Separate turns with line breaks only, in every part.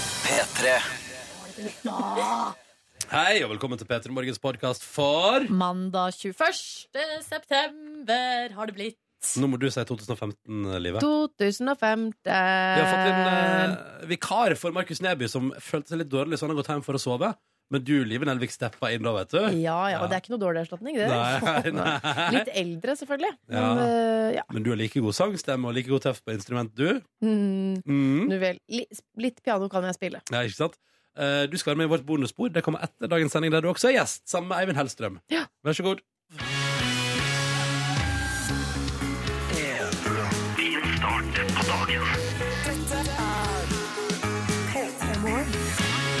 P3.
Hei, og velkommen til P3 Morgens podkast for
Mandag 21. september har det blitt.
Nå må du si 2015-livet.
2015.
Vi har fått inn eh, vikar for Markus Neby, som følte seg litt dårlig, så han har gått hjem for å sove. Men du, Live Nelvik, steppa inn da, vet du.
Ja, ja, og det er ikke noe dårlig erstatning, det.
eh, Nei, nei.
Litt eldre, selvfølgelig.
Ja.
Men eh, ja.
Men du har like god sangstemme og like god tøff på instrument, du.
Mm,
Mm.
nu vel. Li- Litt piano kan jeg spille.
Ja, ikke sant? Eh, Du skal være med i vårt bonusbord. Det kommer etter dagens sending, der du også er gjest, sammen med Eivind Hellstrøm.
Ja.
Vær så god.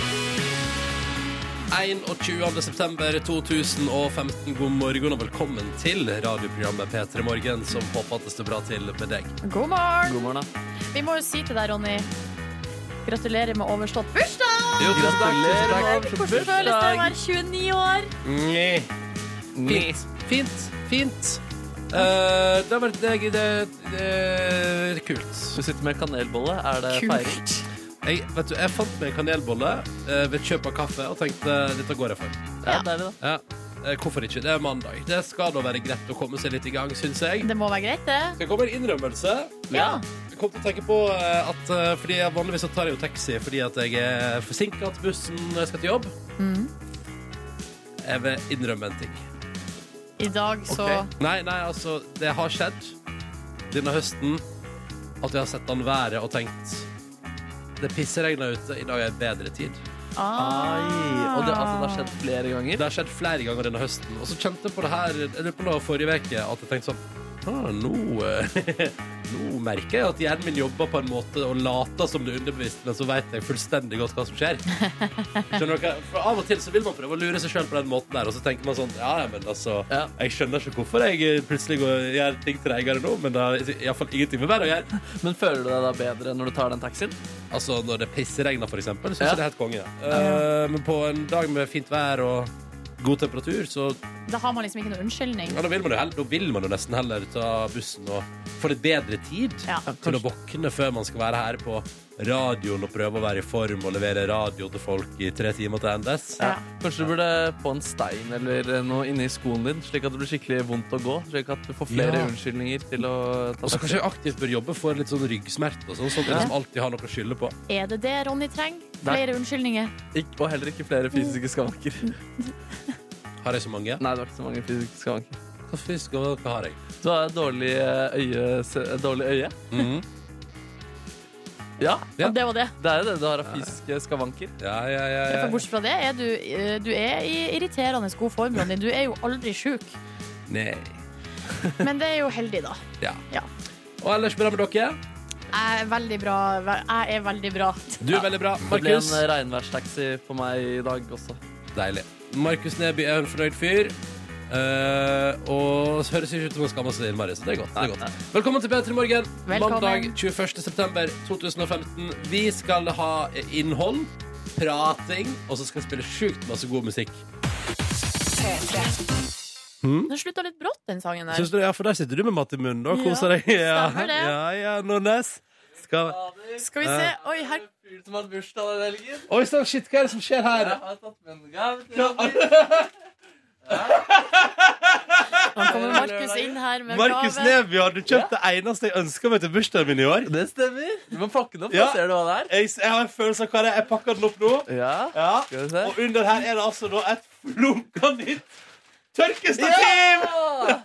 Din start på dagen. 21. september 2015. God morgen og velkommen til radioprogrammet P3 Morgen, som håper at det står bra til med deg.
God morgen!
God morgen, da.
Vi må jo si til deg, Ronny, gratulerer med overstått bursdag!
Jo, tusen takk, tusen takk.
Hvordan føles det å være 29 år?
Fint. Fint. Fint. Eh, det har vært det, det, det er kult.
Du sitter med kanelbolle. Er det feiring?
Jeg, vet du, jeg fant meg en kanelbolle eh, ved kjøp av kaffe og tenkte dette går jeg for.
Ja, deilig, da.
Ja. Eh, hvorfor ikke? Det er mandag. Det skal da være greit å komme seg litt i gang, syns jeg.
Det må være greit, det.
Det kommer en innrømmelse.
Ja.
Jeg kom til å tenke på eh, at eh, fordi jeg vanligvis så tar jeg jo taxi fordi at jeg er forsinka til bussen når jeg skal til jobb. Jeg vil innrømme en ting.
I dag så
Ok. Nei, nei, altså, det har skjedd denne høsten at jeg har sett den været og tenkt det pisseregner ute, i dag er bedre tid.
Ah.
Ai, og det, altså, det har skjedd flere
Det
ganger.
har skjedd flere ganger denne høsten, og så kjente jeg på det her jeg lurer på det var forrige uke at jeg tenkte sånn ah, nå, eh, nå merker jeg at hjernen min jobber på en måte og later som det er underbevisst, men så vet jeg fullstendig godt hva som skjer. Skjønner dere? For Av og til så vil man prøve å lure seg sjøl på den måten der, og så tenker man sånn Ja, ja, men altså
Ja.
Jeg skjønner ikke hvorfor jeg plutselig går, gjør ting treigere nå, men det har iallfall ingenting med været å gjøre.
Men føler du deg da bedre når du tar den taxien?
Altså, når det pissregner, for eksempel, syns
Ja.
jeg det er helt konge. Eh, men på en dag med fint vær og god temperatur, så
Da har man liksom ikke noe unnskyldning.
ja, da, vil man jo heller, da vil man jo nesten heller ta bussen og få litt bedre tid
Ja.
til å våkne før man skal være her på radioen og prøve å være i form og levere radio til folk i tre timer til endes.
Ja.
Kanskje du burde få en stein eller noe inni skoen din, slik at det blir skikkelig vondt å gå? Slik at du får flere
Ja.
unnskyldninger til å ta
Og så
taxi.
kanskje jeg aktivt bør jobbe for litt sånn ryggsmerter og sånn, sånn at jeg liksom alltid har noe å skylde på.
Er det det Ronny trenger? Flere unnskyldninger?
Ikk- Og heller ikke flere fysiske skavanker.
Mm. Har jeg så mange?
Nei, det var ikke så mange fysiske skavanker.
Hva fisk og hva har jeg?
Du har dårlig eh, øye... se- Dårlig øye.
Mhm.
Ja,
Ja.
Og det var det.
det er jo det. Du har av fysiske skavanker.
Ja, ja, ja,
Ja, For
ja.
bortsett fra det er du, eh, du er i irriterende god form, Ronny. Du er jo aldri sjuk.
Nei.
Men det er jo heldig, da.
Ja.
Ja.
Og ellers bra med dere?
Jeg er veldig bra. Jeg er veldig bra.
Du er veldig bra.
Det ble
Markus?
en regnværstaxi på meg i dag også.
Deilig. Markus Neby er en fornøyd fyr. Eh, og så høres ikke ut som han skammer seg innmari, så det er godt. Det er godt. Velkommen til P3 Morgen.
Velkommen.
Mandag 21. september 2015. Vi skal ha innhold, prating, og så skal vi spille sjukt masse god musikk.
Mm.
Den slutta litt brått, den sangen der.
Syns du, ja, for der sitter du med matt i munnen og koser
Ja,
deg. Ja,
stemmer det.
ja, ja, Nordnes. Skal...
Skal vi
Eh.
se. Oi, her
Fyr som hadde bursdag den helgen.
Oi sann, shit, hva er det som skjer her?
har tatt med en gave til
Nå kommer Markus inn her med
Markus
gave.
Neby, har du kjøpt det eneste jeg ønsker meg til bursdagen min i år?
Det stemmer. Du må pakke den opp,
Ja.
da ser du hva det er.
Jeg, jeg har en følelse av hva det er. Jeg pakker den opp nå.
Ja,
Ja.
skal vi se.
Og under her er det altså da et flunka nytt tørkestativ!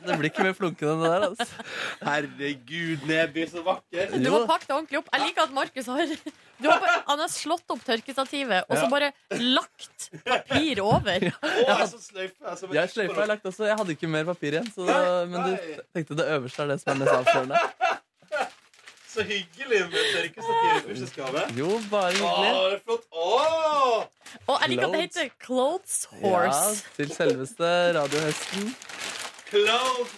Det blir ikke mer flunkende enn det der. Altså.
Herregud, Neby, så vakker.
Du må pakke deg ordentlig opp. Jeg liker at Markus har du har bare, Han har slått opp tørkestativet og så bare lagt papir over.
Å, så sløyfe. Altså,
Jeg sløyfa jeg lagt også. Jeg hadde ikke mer papir igjen, så det, men du tenkte det øverste er det som er mest avslørende.
Så hyggelig med tørkestativ i bursdagsgave.
Jo, bare
Å,
hyggelig.
det er flott. Å!
Og jeg liker at det heter Clothes
Ja,
Horse
til selveste radiohesten.
Clothes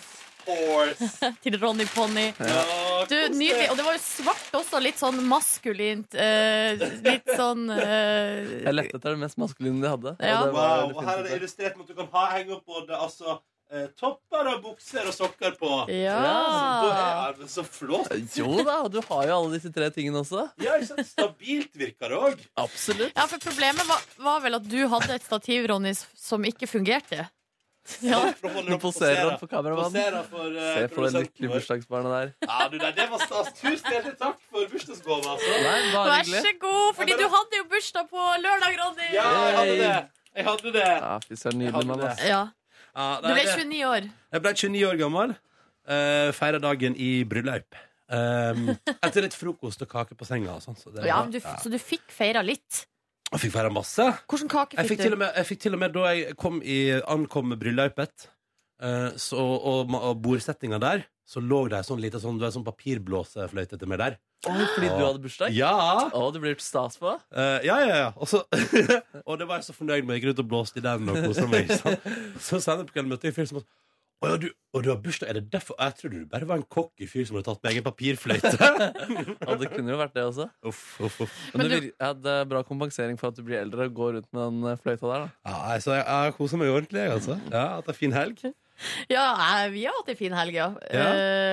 horse.
til Ronny Ponni.
Ja,
Du,
kos deg.
Nydelig. Og det var jo svart også. Litt sånn maskulint. eh, litt sånn eh,
Jeg lette etter det mest maskuline de hadde.
Ja.
Og det var
Wow, og her er
definitivt
det
det.
illustrert med at du kan ha, henge opp både altså, eh, topper og bukser og sokker på. Så,
Ja.
da er det så flott!
Jo da, du har jo alle disse tre tingene også.
Ja, ikke sant? Stabilt virker det òg.
Absolutt.
ja, for problemet var, var vel at du hadde et stativ, Ronny, s- som ikke fungerte. Ja.
Nå poserer han for kameramannen.
Poserer for, eh,
Se for det
produsenten
lykkelige
vår.
bursdagsbarnet der.
Ja, du, nei, det var stas. Tusen hjertelig takk for bursdagsgave, altså.
Nei, bare
Vær
hyggelig.
så god, fordi du hadde jo bursdag på lørdag, Ronny!
Ja, jeg hadde det. Jeg hadde det.
Ja, Fy søren,
Jeg hadde
nydelig mann.
det.
ass.
Ja.
Ja,
Du
nei,
ble
det-
29 år.
Jeg ble 29 år gammel. Uh, Feira dagen i bryllup. Ehm, etter litt frokost og kake på senga. Og sånn, så det
Ja,
var-
men du,
ja.
så du fikk feira litt.
Jeg fikk feira masse.
Hvilken kake
Jeg fikk,
fikk
til og
du?
med, jeg fikk til og med da jeg kom i, ankom med bryllupet eh, så, og, ma- og bordsettinga der, så lå det ei sånn lita sånn, det var en sånn papirblåsefløyte til meg der.
Oi, Fordi du hadde bursdag?
Ja!
Å, du blir gjort stas på?
Eh, ja, ja, ja. Og, så, og det var jeg så fornøyd med. Jeg gikk rundt og blåste i den og kosa meg. ikke sant? Så senere på kvelden møtte jeg en fyr som sa Å ja, du, og du har bursdag? Er det derfor? Jeg trodde du bare var en cocky fyr som hadde tatt med egen papirfløyte.
Ja, det kunne jo vært det også.
uff, uff, uff.
Men,
Men
det, vir- ja, det er bra kompensering for at du blir eldre og går rundt med den eh, fløyta der. da
Ja, altså, jeg, jeg koser meg ordentlig, jeg, altså. Ja, Hatt ei fin helg.
Ja, eh, vi har hatt ei en fin helg, ja. Eh,
Ja.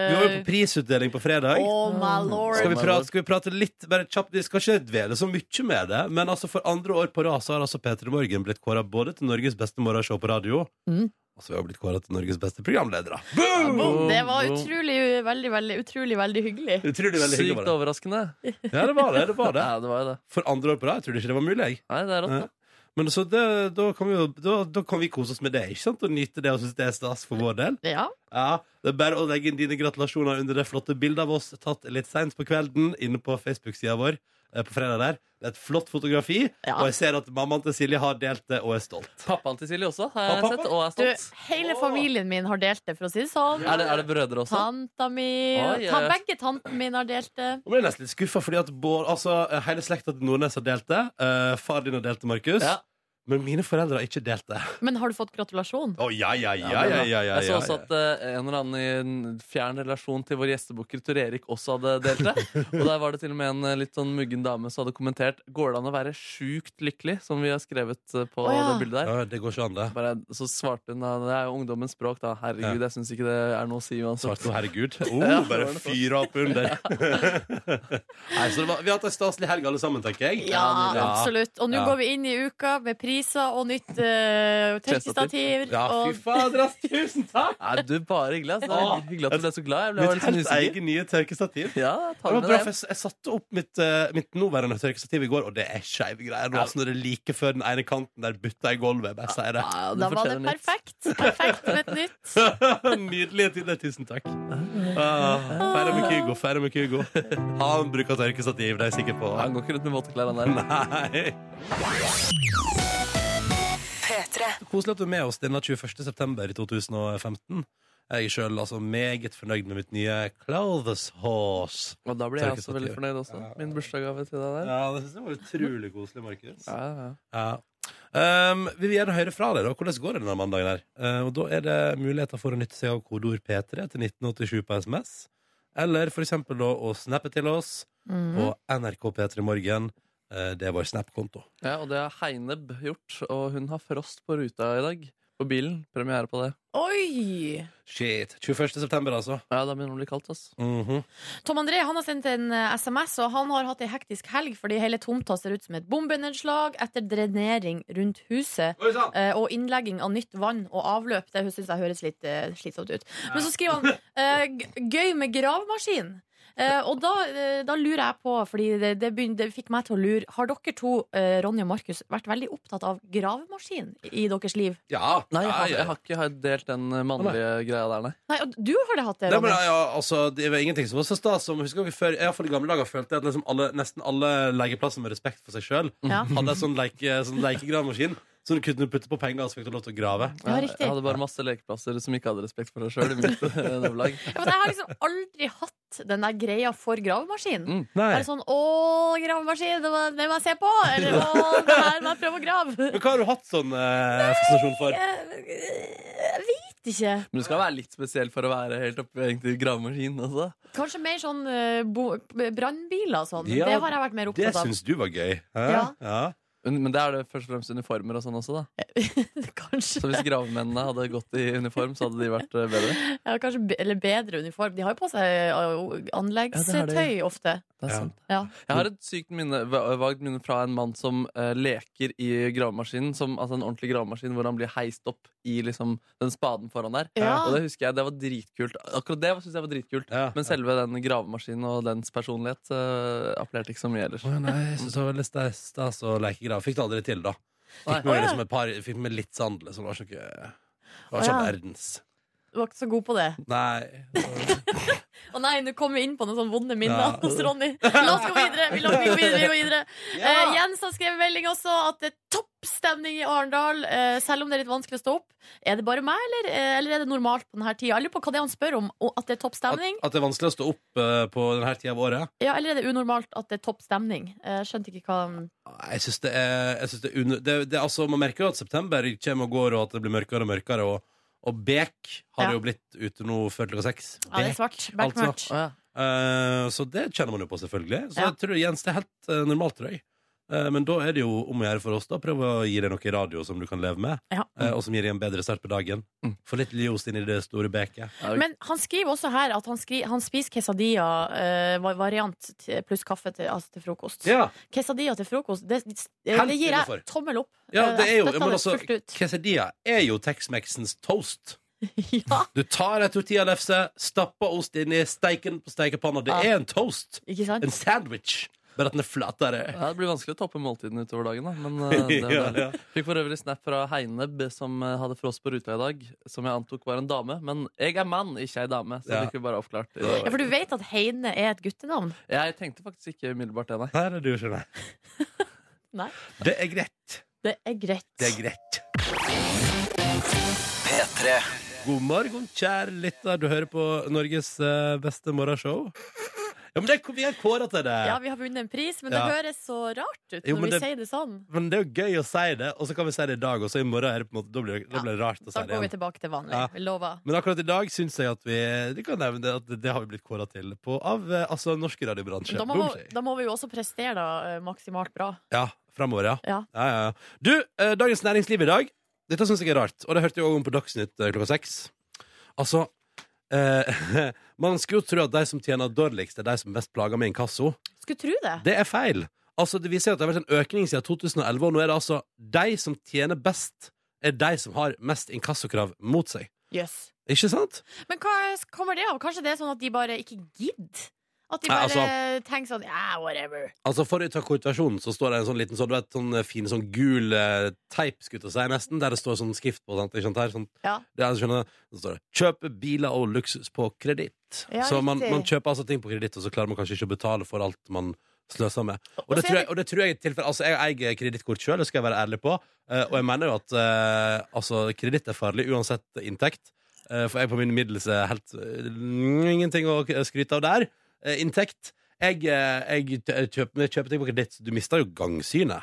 Vi var jo på prisutdeling på fredag.
Oh my
Skal
lord.
vi, prate, skal vi prate litt bare kjapt? Vi skal ikke dvele så mye med det, men altså for andre år på rad så har altså P3 Morgen blitt kåra både til Norges beste morgenshow på radio,
Mm.
og så har vi også blitt kåra til Norges beste programledere.
Boom!
Det var
Boom.
utrolig, veldig, veldig, utrolig, veldig hyggelig.
Utrolig veldig hyggelig.
Sykt
var det.
overraskende.
Ja, det var det. det, var det.
Ja, det var jo det.
For andre år på rad. Jeg trodde ikke det var mulig. jeg.
Nei, det er rått.
Ja. Men så det, da, kan vi, jo- da, da kan vi kose oss med det ikke sant? og nyte det og synes det er stas for vår del.
Ja.
Ja, Det er bare å legge inn dine gratulasjoner under det flotte bildet av oss tatt litt seint på kvelden inne på Facebook-sida vår. eh, På fredag der Det er et flott fotografi,
Ja.
og jeg ser at mammaen til Silje har delt det og er stolt.
Pappaen til Silje også har jeg
Pappa?
sett, og er
Du,
stolt.
hele familien min har delt det, for å si det sånn.
Er det, er det brødre også?
Tanta mi og
Oi,
ta,
oi, oi.
Begge tantene mine har delt det.
Nå ble jeg nesten litt skuffa, fordi at Bård, altså, eh, hele slekta til Nordnes har delt det. eh, far din har delt det, Markus.
Ja.
Men mine foreldre har ikke delt det.
Men har du fått gratulasjon?
Å, ja, ja, ja,
Ja, det er
ja,
bra.
ja, ja,
Jeg så
ja,
også
ja.
at eh, en eller annen i en fjern relasjon til vår gjestebukker Tor Erik også hadde delt det. Og der var det til og med en eh, litt sånn muggen dame som hadde kommentert Går det an å være sjukt lykkelig, som vi har skrevet eh, på
Å, ja.
det bildet der.
Ja, det går ikke an, det.
Bare, så svarte hun da Det er jo ungdommens språk, da. Herregud, jeg syns ikke det er noe å si uansett.
Svarte noe, herregud.
Ja,
Oh,
det
bare
var det for.
fyra opp under. Nei, så det var, vi har hatt en staselig helg alle sammen, tenker jeg.
Ja, absolutt. Og nå
Ja.
går vi inn i uka med priser og nytt uh, tørkestativ.
Ja, fy
og
fader, ass. Tusen takk!
Nei, du, bare hyggelig. ass. Det
Åh.
er hyggelig at du ble så glad. Jeg ble
Mitt
litt sånn
helt
usikker.
eget nye tørkestativ.
Ja,
Det
ta
var
med deg
bra, for
hjem.
jeg, jeg satte opp mitt, eh, mitt nåværende tørkestativ i går, og det er skeive greier. nå, altså, Når det er like før den ene kanten der butta i gulvet. jeg Bare sier det.
Ja, du
da var det
fortjener nytt.
perfekt. Perfekt med et nytt.
Nydelig. Tilde, tusen takk. Ah, Feire med Kygo, feire med Kygo. Han bruker tørkestativ, det er jeg sikker på.
Han går ikke rundt med våtklær, han der.
Nei. Så Koselig at du er med oss denne 21. september i 2015. Jeg er sjøl altså meget fornøyd med mitt nye Clothes Horse.
Og da blir jeg også
Tørkestativ.
veldig fornøyd også. Min bursdagsgave til deg der.
Ja, det syns jeg var utrolig koselig, Markus.
Ja, ja.
Ja. Um, vi vil gjerne høre fra deg, da. Hvordan går det denne mandagen her? Uh, og da er det muligheter for å nytte seg av kodeord P3 til 1987 på SMS. Eller for eksempel da å snappe til oss på NRK P3 Morgen. Uh, det er vår Snap-konto.
Ja, og det har Heineb gjort, og hun har frost på ruta i dag. På bilen. Premiere på det.
Oi!
Shit. 21. september, altså.
Ja, da begynner det å bli kaldt, ass.
Mhm.
Tom André han har sendt en eh, SMS, og han har hatt ei hektisk helg fordi hele tomta ser ut som et bombenedslag etter drenering rundt huset. eh, Og innlegging av nytt vann og avløp. Det syns jeg høres litt eh, slitsomt ut. Men så skriver han eh, g- 'gøy med gravemaskin'. Eh, og da, eh, da lurer jeg på, fordi det, det, begyn- det fikk meg til å lure Har dere to, eh, Ronny og Markus, vært veldig opptatt av gravemaskin i deres liv?
Ja.
Nei, jeg har,
ja,
jeg har ikke har delt den eh, mannlige greia der, nei.
Nei, og du har det hatt det,
Nei, men,
Ronny.
ja, altså, det var ingenting som var så stas som Husker dere før, i hvert fall i gamle dager følte jeg at liksom alle, nesten alle legeplasser med respekt for seg sjøl
Ja.
hadde en sånn, leke, sånn lekegravemaskin som du kunne putte på penger og så fikk du lov til å grave.
Ja,
Jeg,
riktig.
jeg hadde bare masse lekeplasser som ikke hadde respekt for seg sjøl i mitt eh, nabolag.
Ja, men jeg har liksom aldri hatt den der greia for gravemaskin.
Mm.
Nei.
Er det sånn 'Å, gravemaskin, det må- det må jeg se på', eller 'Å, det her må jeg prøve å grave'?
Men hva har du hatt sånn eh, fascinasjon for?
Jeg, jeg vet ikke.
Men du skal være litt spesiell for å være helt oppe egentlig i gravemaskin også.
Kanskje mer sånn eh, bo- brannbiler og sånn.
Ja,
det har jeg vært mer
Det
opptatt av.
syns du var gøy. Hæ?
Ja.
Ja.
Un- Men det er det først og fremst uniformer og sånn også, da. Så
Kanskje.
hvis gravmennene hadde gått i uniform, så hadde de vært eh, bedre.
Ja, kanskje be eller bedre uniform. De har jo på seg eh,
Ja, det har
anleggstøy ofte.
Det er
Ja.
sant.
Ja.
Jeg har et sykt minne, va- vagt minne fra en mann som eh, leker i gravemaskinen. Som, altså en ordentlig gravemaskin hvor han blir heist opp i liksom, den spaden foran der.
Ja.
Og det husker jeg, det var dritkult. Akkurat det synes jeg var dritkult.
Ja.
Men selve den gravemaskinen og dens personlighet eh, appellerte ikke så mye ellers.
Å, nei, jeg synes det var veldig stas stas å leke grav. Fikk det aldri til, da.
Nei.
Fikk med,
Å, ja.
liksom et par, fikk med litt sand, liksom. Det var ikke, det var
Å,
ikke
ja.
verdens.
Du var ikke så god på det.
Nei.
Å nei, nå kom vi inn på noen sånne vonde minner
Ja.
hos Ronny. La oss gå videre! Vi la oss gå videre, vi går videre. Eh,
Ja.
Jens har skrevet melding også at det er topp stemning i Arendal, eh, selv om det er litt vanskelig å stå opp. Er det bare meg, eller, eh, eller er det normalt på denne tida? Jeg lurer på hva det er han spør om, og at det er topp
At,
stemning.
at det er vanskelig å stå opp eh, på denne tida av året?
Ja, eller er det unormalt at det er topp stemning? Eh, skjønte ikke hva han
Jeg synes det er, jeg synes det er under... Det, det, altså, man merker jo at september kommer og går, og at det blir mørkere og mørkere, og, og bek har
Ja.
det jo blitt ute nå før klokka seks.
Ja, det er svart.
altså-
Backmatch.
Å, ja.
Eh, så det kjenner man jo på, selvfølgelig. Så
Ja.
jeg tror, Jens, det er helt eh, normalt, tror jeg. Eh, men da er det jo om å gjøre for oss, da. Prøve å gi deg noe i radio som du kan leve med,
Ja.
eh, og som gir deg en bedre start på dagen.
Mm.
Få litt ljos inn i det store beket.
Ja,
Men han skriver også her at han, skri, han spiser quesadilla eh, var- variant til- pluss kaffe til, altså til frokost.
Ja,
Quesadilla til frokost, det, det,
Helt
det gir
innenfor.
jeg tommel opp. Eh,
det er
jeg
jo
støtter
men
det
altså,
fullt ut.
Quesadilla er jo Tex-Mexens toast.
ja,
Du tar ei tortillalefse, stapper ost inni, steiker den på stekepanna. Det
Ja.
er en toast.
ikke sant?
En sandwich. Bare at den er flatere.
Ja, det blir vanskelig å toppe måltidene utover dagen, da. Men eh, det er jo
Ja,
deilig.
ja.
Fikk for øvrig snap fra Heineb, som eh, hadde frost på ruta i dag. Som jeg antok var en dame. Men jeg er mann, ikke ei dame. Så
Ja.
det fikk vi bare oppklart.
Ja, for du vet at Heine er et guttenavn?
Jeg tenkte faktisk ikke umiddelbart det, nei.
Her er du, skjønner jeg.
Nei.
Det er greit.
Det er greit.
Det er greit. God morgen, kjære lytter. Du hører på Norges eh, beste morgenshow. Ja, men det, er- vi har kåra til det.
Ja, vi har vunnet en pris, men
Ja.
det høres så rart ut
Jo,
når vi
men det-
sier det sånn.
Men det er jo gøy å si det, og så kan vi si det i dag, og så i morgen er det på en måte, da blir det, da
Ja,
blir det rart å si
Da
det
går vi
igjen.
tilbake til vanlig.
Ja.
Vi lover.
Men akkurat i dag syns jeg at vi Du kan nevne at det, det har vi blitt kåra til på av eh, altså, norsk radiobransje.
Da må,
Boom, sier jeg.
da må vi jo også prestere da, eh, maksimalt bra.
Ja, fremover, ja.
Ja.
Ja, ja, ja. Du, eh, Dagens Næringsliv i dag. Dette syns jeg er rart, og det hørte jeg òg om på Dagsnytt eh, klokka seks. Altså eh, Man skulle jo tro at de som tjener dårligst, er de som er mest plaga med inkasso.
Skulle tro det.
Det er feil. Altså, Det viser at det har vært en økning siden 2011, og nå er det altså de som tjener best, er de som har mest inkassokrav mot seg.
Jøss.
Ikke sant?
Men hva kommer det av? Kanskje det er sånn at de bare ikke gidder? At de
Nei,
bare
altså-
tenker sånn yeah, whatever.
Altså For å ta korritasjonen så står det en sånn liten sånn, du vet, sånn eh, fin sånn gul eh, teip, skulle jeg til å si, nesten, der det står sånn skrift på. Sant? Ikke sant? Her, sånn,
Ja.
det er, skjønner, så står det 'Kjøpe biler og luksus på kreditt'.
Ja,
så man,
riktig.
man kjøper altså ting på kreditt, og så klarer man kanskje ikke å betale for alt man sløser med. Og
Og
det
så er
tror jeg,
det-
og det tror jeg er tilfelle, altså Jeg eier kredittkort sjøl, det skal jeg være ærlig på. Eh, og jeg mener jo at eh, altså, kreditt er farlig uansett inntekt. Eh, for jeg på min middels er helt eh, ingenting å k- skryte av der. Eh, inntekt jeg, eh, jeg, t- jeg kjøper, når jeg kjøper ting på kreditt, du mister jo gangsynet.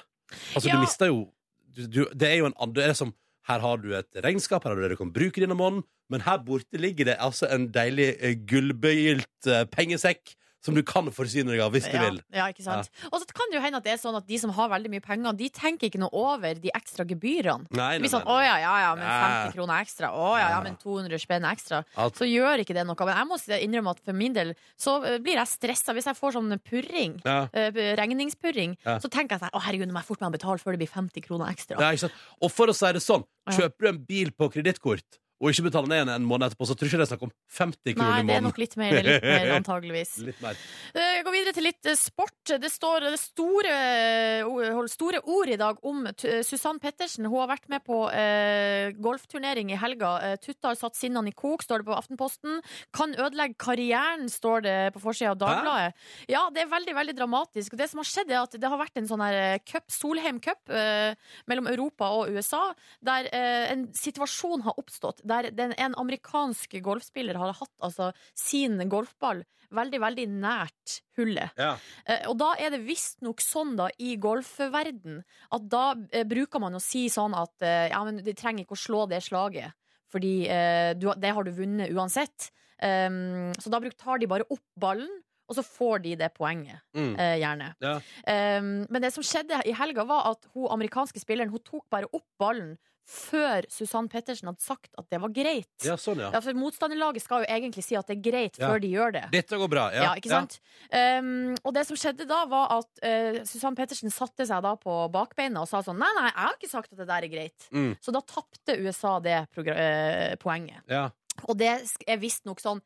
Altså,
Ja.
du mister jo du, du, Det er jo en annen det er som, Her har du et regnskap, her har du det du kan bruke denne måneden, men her borte ligger det altså en deilig eh, gullbøylt eh, pengesekk som du kan forsyne deg av hvis du
ja,
vil.
ja, ikke sant? Og så kan det jo hende at det er sånn at de som har veldig mye penger, de tenker ikke noe over de ekstra gebyrene.
Nei,
Det
nei,
blir sånn, å
nei, nei.
ja, ja, ja, men
Ja.
50 kroner ekstra. Å ja, ja,
Ja.
men 200 spenn ekstra.
At-
Så gjør ikke det noe. Men jeg må si- innrømme at for min del så eh, blir jeg stressa hvis jeg får sånn purring.
Ja.
eh, Regningspurring.
Ja.
Så tenker jeg sånn Å, herregud, nå må jeg fort meg betale før det blir 50 kroner ekstra.
Ja, ikke sant? Og for å si det sånn,
Ja.
kjøper du en bil på kredittkort og ikke betaler ned igjen en måned etterpå, så tror jeg ikke det er snakk om 50
Nei,
kroner
det
i
er
måneden.
nok litt mer, litt mer antageligvis.
Litt mer.
Eh, Jeg går videre til litt eh, sport. Det står eh, store, eh, hold- store ord i dag om t- eh, Susann Pettersen. Hun har vært med på eh, golfturnering i helga. Eh, Tutta har satt sinnene i kok, står det på Aftenposten. Kan ødelegge karrieren, står det på forsida av Dagbladet. Ja, det er veldig veldig dramatisk. Og Det som har skjedd, er at det har vært en sånn her eh, cup, Solheim Cup, eh, mellom Europa og USA, der eh, en situasjon har oppstått. Der den, en amerikansk golfspiller har hatt altså, sin golfball veldig, veldig nært hullet.
Ja.
Eh, og da er det visstnok sånn da i golfverden at da eh, bruker man å si sånn at eh, ja, men de trenger ikke å slå det slaget, fordi Ehm, eh, du, har- det har du vunnet uansett. Um, så da bruk, tar de bare opp ballen, og så får de det poenget,
Mm.
eh, gjerne.
Ja.
Um, men det som skjedde i helga, var at hun amerikanske spilleren hun tok bare opp ballen før Susann Pettersen hadde sagt at det var greit.
ja, sånn, ja.
Ja, for Motstanderlaget skal jo egentlig si at det er greit
Ja.
før de gjør det.
Dette går bra.
Ja,
Ja,
ikke sant? Um, og det som skjedde da, var at uh, Susann Pettersen satte seg da på bakbeina og sa sånn Nei, nei, jeg har ikke sagt at det der er greit.
Mm.
Så da tapte USA det progra- eh, poenget.
Ja.
Og det sk- er visstnok sånn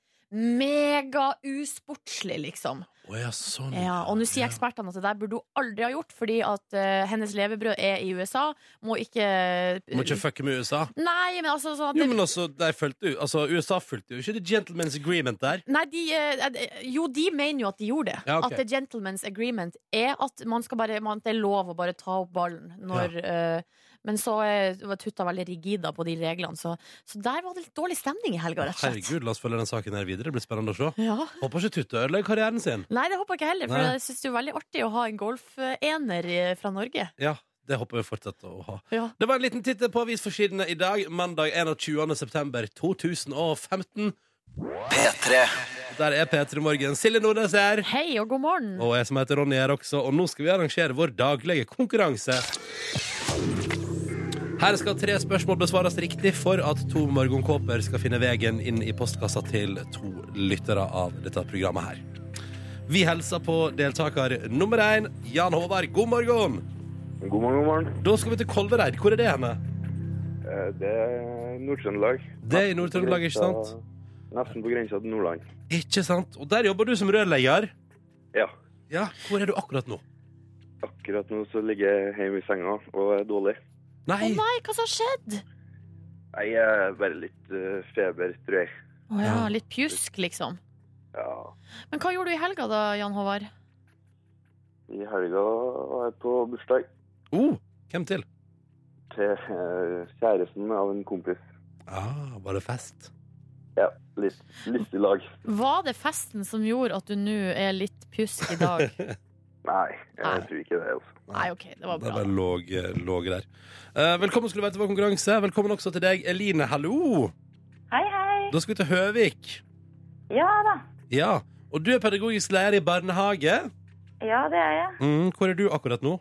megausportslig, liksom.
Å ja, sånn.
Ja, og nå sier ekspertene at det der burde hun aldri ha gjort, fordi at eh, hennes levebrød er i USA. Må ikke eh,
Må ikke fucke med USA.
Nei, men altså sånn at
Jo,
det,
men altså, de fulgte jo altså, USA fulgte jo ikke The Gentlemen's Agreement der.
Nei, de, eh, eh, jo, de mener jo at de gjorde det.
Ja, ok.
At the gentleman's agreement er at man skal bare, man, det er lov å bare ta opp ballen når eh, Men så eh, var Tutta veldig rigida på de reglene, så, så der var det litt dårlig stemning i helga, rett og slett.
Herregud, la oss følge den saken her videre. Det blir spennende å se.
Ja.
Håper ikke Tutte ødelegger karrieren sin.
Nei, det håper jeg ikke heller, for
Nei.
jeg syns det er veldig artig å ha en golfener eh, fra Norge.
Ja, det håper vi fortsetter å ha.
Ja.
Det var en liten titt på avisforsidene i dag, mandag 21. september 2015. Der er P3 Morgen. Silje Nordnes er her.
Hei og god morgen.
Og jeg som heter Ronny er også, og nå skal vi arrangere vår daglige konkurranse. Her skal tre spørsmål besvares riktig for at to morgenkåper skal finne veien inn i postkassa til to lyttere av dette programmet her. Vi hilser på deltaker nummer én, Jan Håvard. God morgen!
God morgen, god morgen.
Da skal vi til Kolvereid. Hvor er det henne?
Eh, Det er Nord-Trøndelag.
Det er i
Nesten på
Nord-Trøndelag, ikke
grensa-
sant?
Nesten på grensa til Nordland.
Ikke sant? Og der jobber du som rørlegger.
Ja.
Ja, Hvor er du akkurat nå?
Akkurat nå så ligger jeg hjemme i senga og er dårlig.
Å
Nei,
nei, hva som har skjedd?
Jeg er bare litt eh, feber, tror jeg.
Å ja,
Ja.
litt pjusk, liksom.
Ja.
Men hva gjorde du i helga da, Jan Håvard?
I helga var jeg på bursdag
oh, hvem til?
til eh, kjæresten av en kompis.
Ah, var det fest?
Ja, litt lystig lag.
Var det festen som gjorde at du nå er litt pjusk i dag?
Nei,
Nei.
jeg tror ikke det, altså.
Nei, OK, det var
Det
bra.
bare lå, lå der. Eh, velkommen skulle du være til vår konkurranse. Velkommen også til deg, Eline. Hallo!
Hei, hei.
Da skal vi til Høvik.
Ja da.
Ja, Og du er pedagogisk lærer i barnehage.
Ja, det er jeg.
Mm, hvor er du akkurat nå?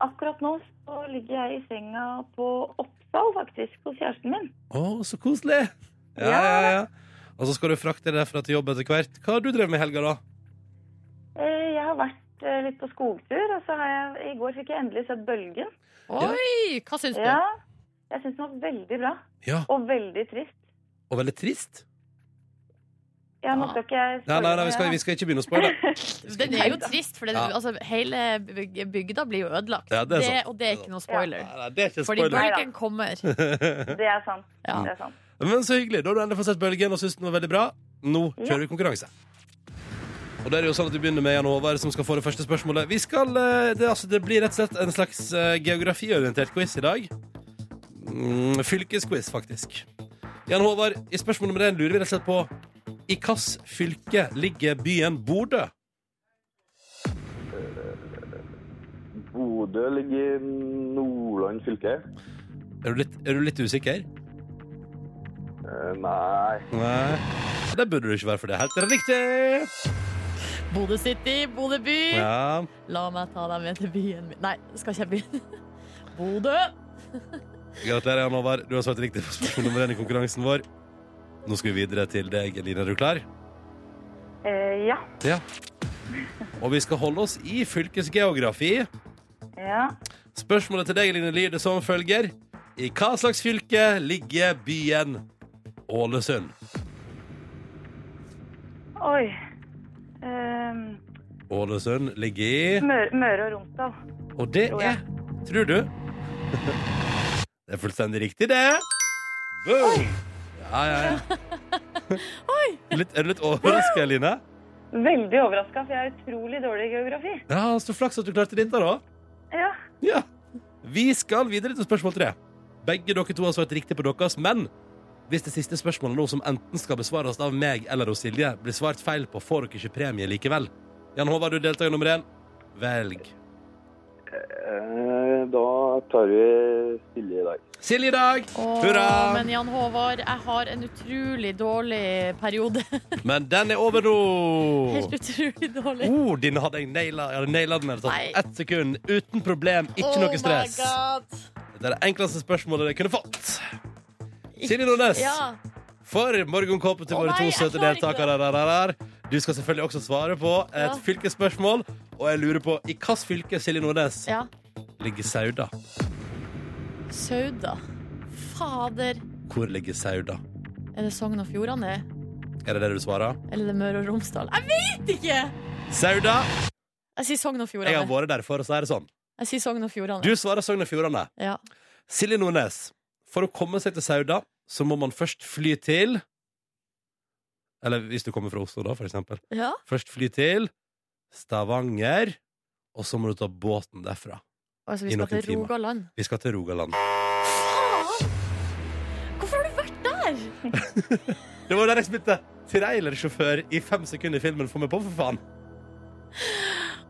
Akkurat nå så ligger jeg i senga på Oppsal, faktisk, hos kjæresten min.
Å, så koselig! Ja, ja, ja. Og så skal du frakte deg fra til jobb etter hvert. Hva har du drevet med i helga, da?
Eh, Jeg har vært eh, litt på skogtur, og så har jeg I går fikk jeg endelig sett Bølgen.
Oi, hva syns du?
Ja. Jeg syns den var veldig bra.
Ja,
Og veldig trist.
Og veldig trist.
Ja, nå skal ikke jeg
Ah. Nei, nei, nei vi, skal,
spoile
vi skal ikke begynne å spoile.
Den er jo trist, for det,
Ja.
altså, hele byg- bygda blir jo ødelagt.
Ja, det er sant.
og det er ikke noe spoiler.
Nei, nei, det er ikke
Fordi
spoiler.
bølgen kommer.
noe. Det er sant.
Ja.
Det er sant.
Men så hyggelig. Da har du endelig fått sett bølgen og syns den var veldig bra. Nå
Ja.
kjører vi konkurranse. Og det er det jo sånn at Vi begynner med Jan Håvard, som skal få det første spørsmålet. Vi skal, eh, det, altså, det blir rett og slett en slags eh, geografiorientert quiz i dag. Mm, fylkesquiz, faktisk. Jan Håvard, i spørsmål nummer én lurer vi rett og slett på i hvilket fylke ligger byen Bodø?
Bodø ligger i Nordland fylke.
Er du litt, er du litt usikker?
Eh, Nei.
Nei. Det burde du ikke være, for det er helt riktig.
Bodø City, Bodø by.
Ja.
La meg ta deg med til byen min. Nei, skal ikke jeg begynne? Bodø!
Gratulerer, Jan Håvard. Du har svart riktig på spørsmål nummer én i konkurransen vår. Nå skal vi videre til deg, Eline. Er du klar?
Eh, ja.
Ja. Og vi skal holde oss i fylkesgeografi.
Ja.
Spørsmålet til deg, Eline, lyder som følger. I hva slags fylke ligger byen Ålesund?
Oi. Ehm,
Ålesund ligger i
Møre, Møre og Romsdal.
Og det
Tror jeg.
er Tror du? Det er fullstendig riktig, det. Boom! Ja, ja, ja. Litt, er du litt overraska, Eline?
Veldig overraska, for jeg har utrolig dårlig i geografi.
Ja, Så flaks at du klarte dette, da.
Ja.
Ja. Vi skal videre til spørsmål tre. Begge dere to har svart riktig på deres, men hvis det siste spørsmålet nå som enten skal besvares av meg eller av Silje, blir svart feil på, får dere ikke premie likevel. Jan Håvard, du er deltaker nummer én. Velg.
Eh, Da tar vi Silje i dag.
Silje i dag!
Åh,
Hurra!
Men Jan Håvard, jeg har en utrolig dårlig periode.
Men den er over nå!
Helt utrolig dårlig.
Oh, denne hadde jeg naila. Jeg hadde naila den her.
Nei.
Sånn. Ett sekund, uten problem, ikke
Oh my
noe stress.
God.
Dette er det enkleste spørsmålet jeg kunne fått. Silje Nordnes,
Ja.
for morgenkåpet til
Å
våre
nei,
to
jeg
søte
klarer ikke
deltakere. Der, der, der. Du skal selvfølgelig også svare på et
Ja.
fylkesspørsmål. Og jeg lurer på i hvilket fylke Silje Nordnes
ja.
ligger Sauda?
Sauda. Fader.
Hvor ligger Sauda?
Er det Sogn og Fjordane?
Er det det du svarer?
Eller er det Møre og Romsdal? Jeg vet ikke!
Sauda!
Jeg sier Sogn og
Jeg har
Fjordane.
vært der for å si det sånn.
Jeg sier Sogn og Fjordane.
Du svarer Sogn og Fjordane.
Ja.
Silje Nordnes, for å komme seg til Sauda, så må man først fly til Eller hvis du kommer fra Oslo, da, for eksempel.
ja.
Først fly til Stavanger, og så må du ta båten derfra.
Altså,
I
vi skal
noen
til
timer.
Rogaland.
Vi skal til Rogaland.
Faen! Hvorfor har du vært der?
Det var der jeg spilte trailersjåfør i fem sekunder i filmen. Få meg på, for faen!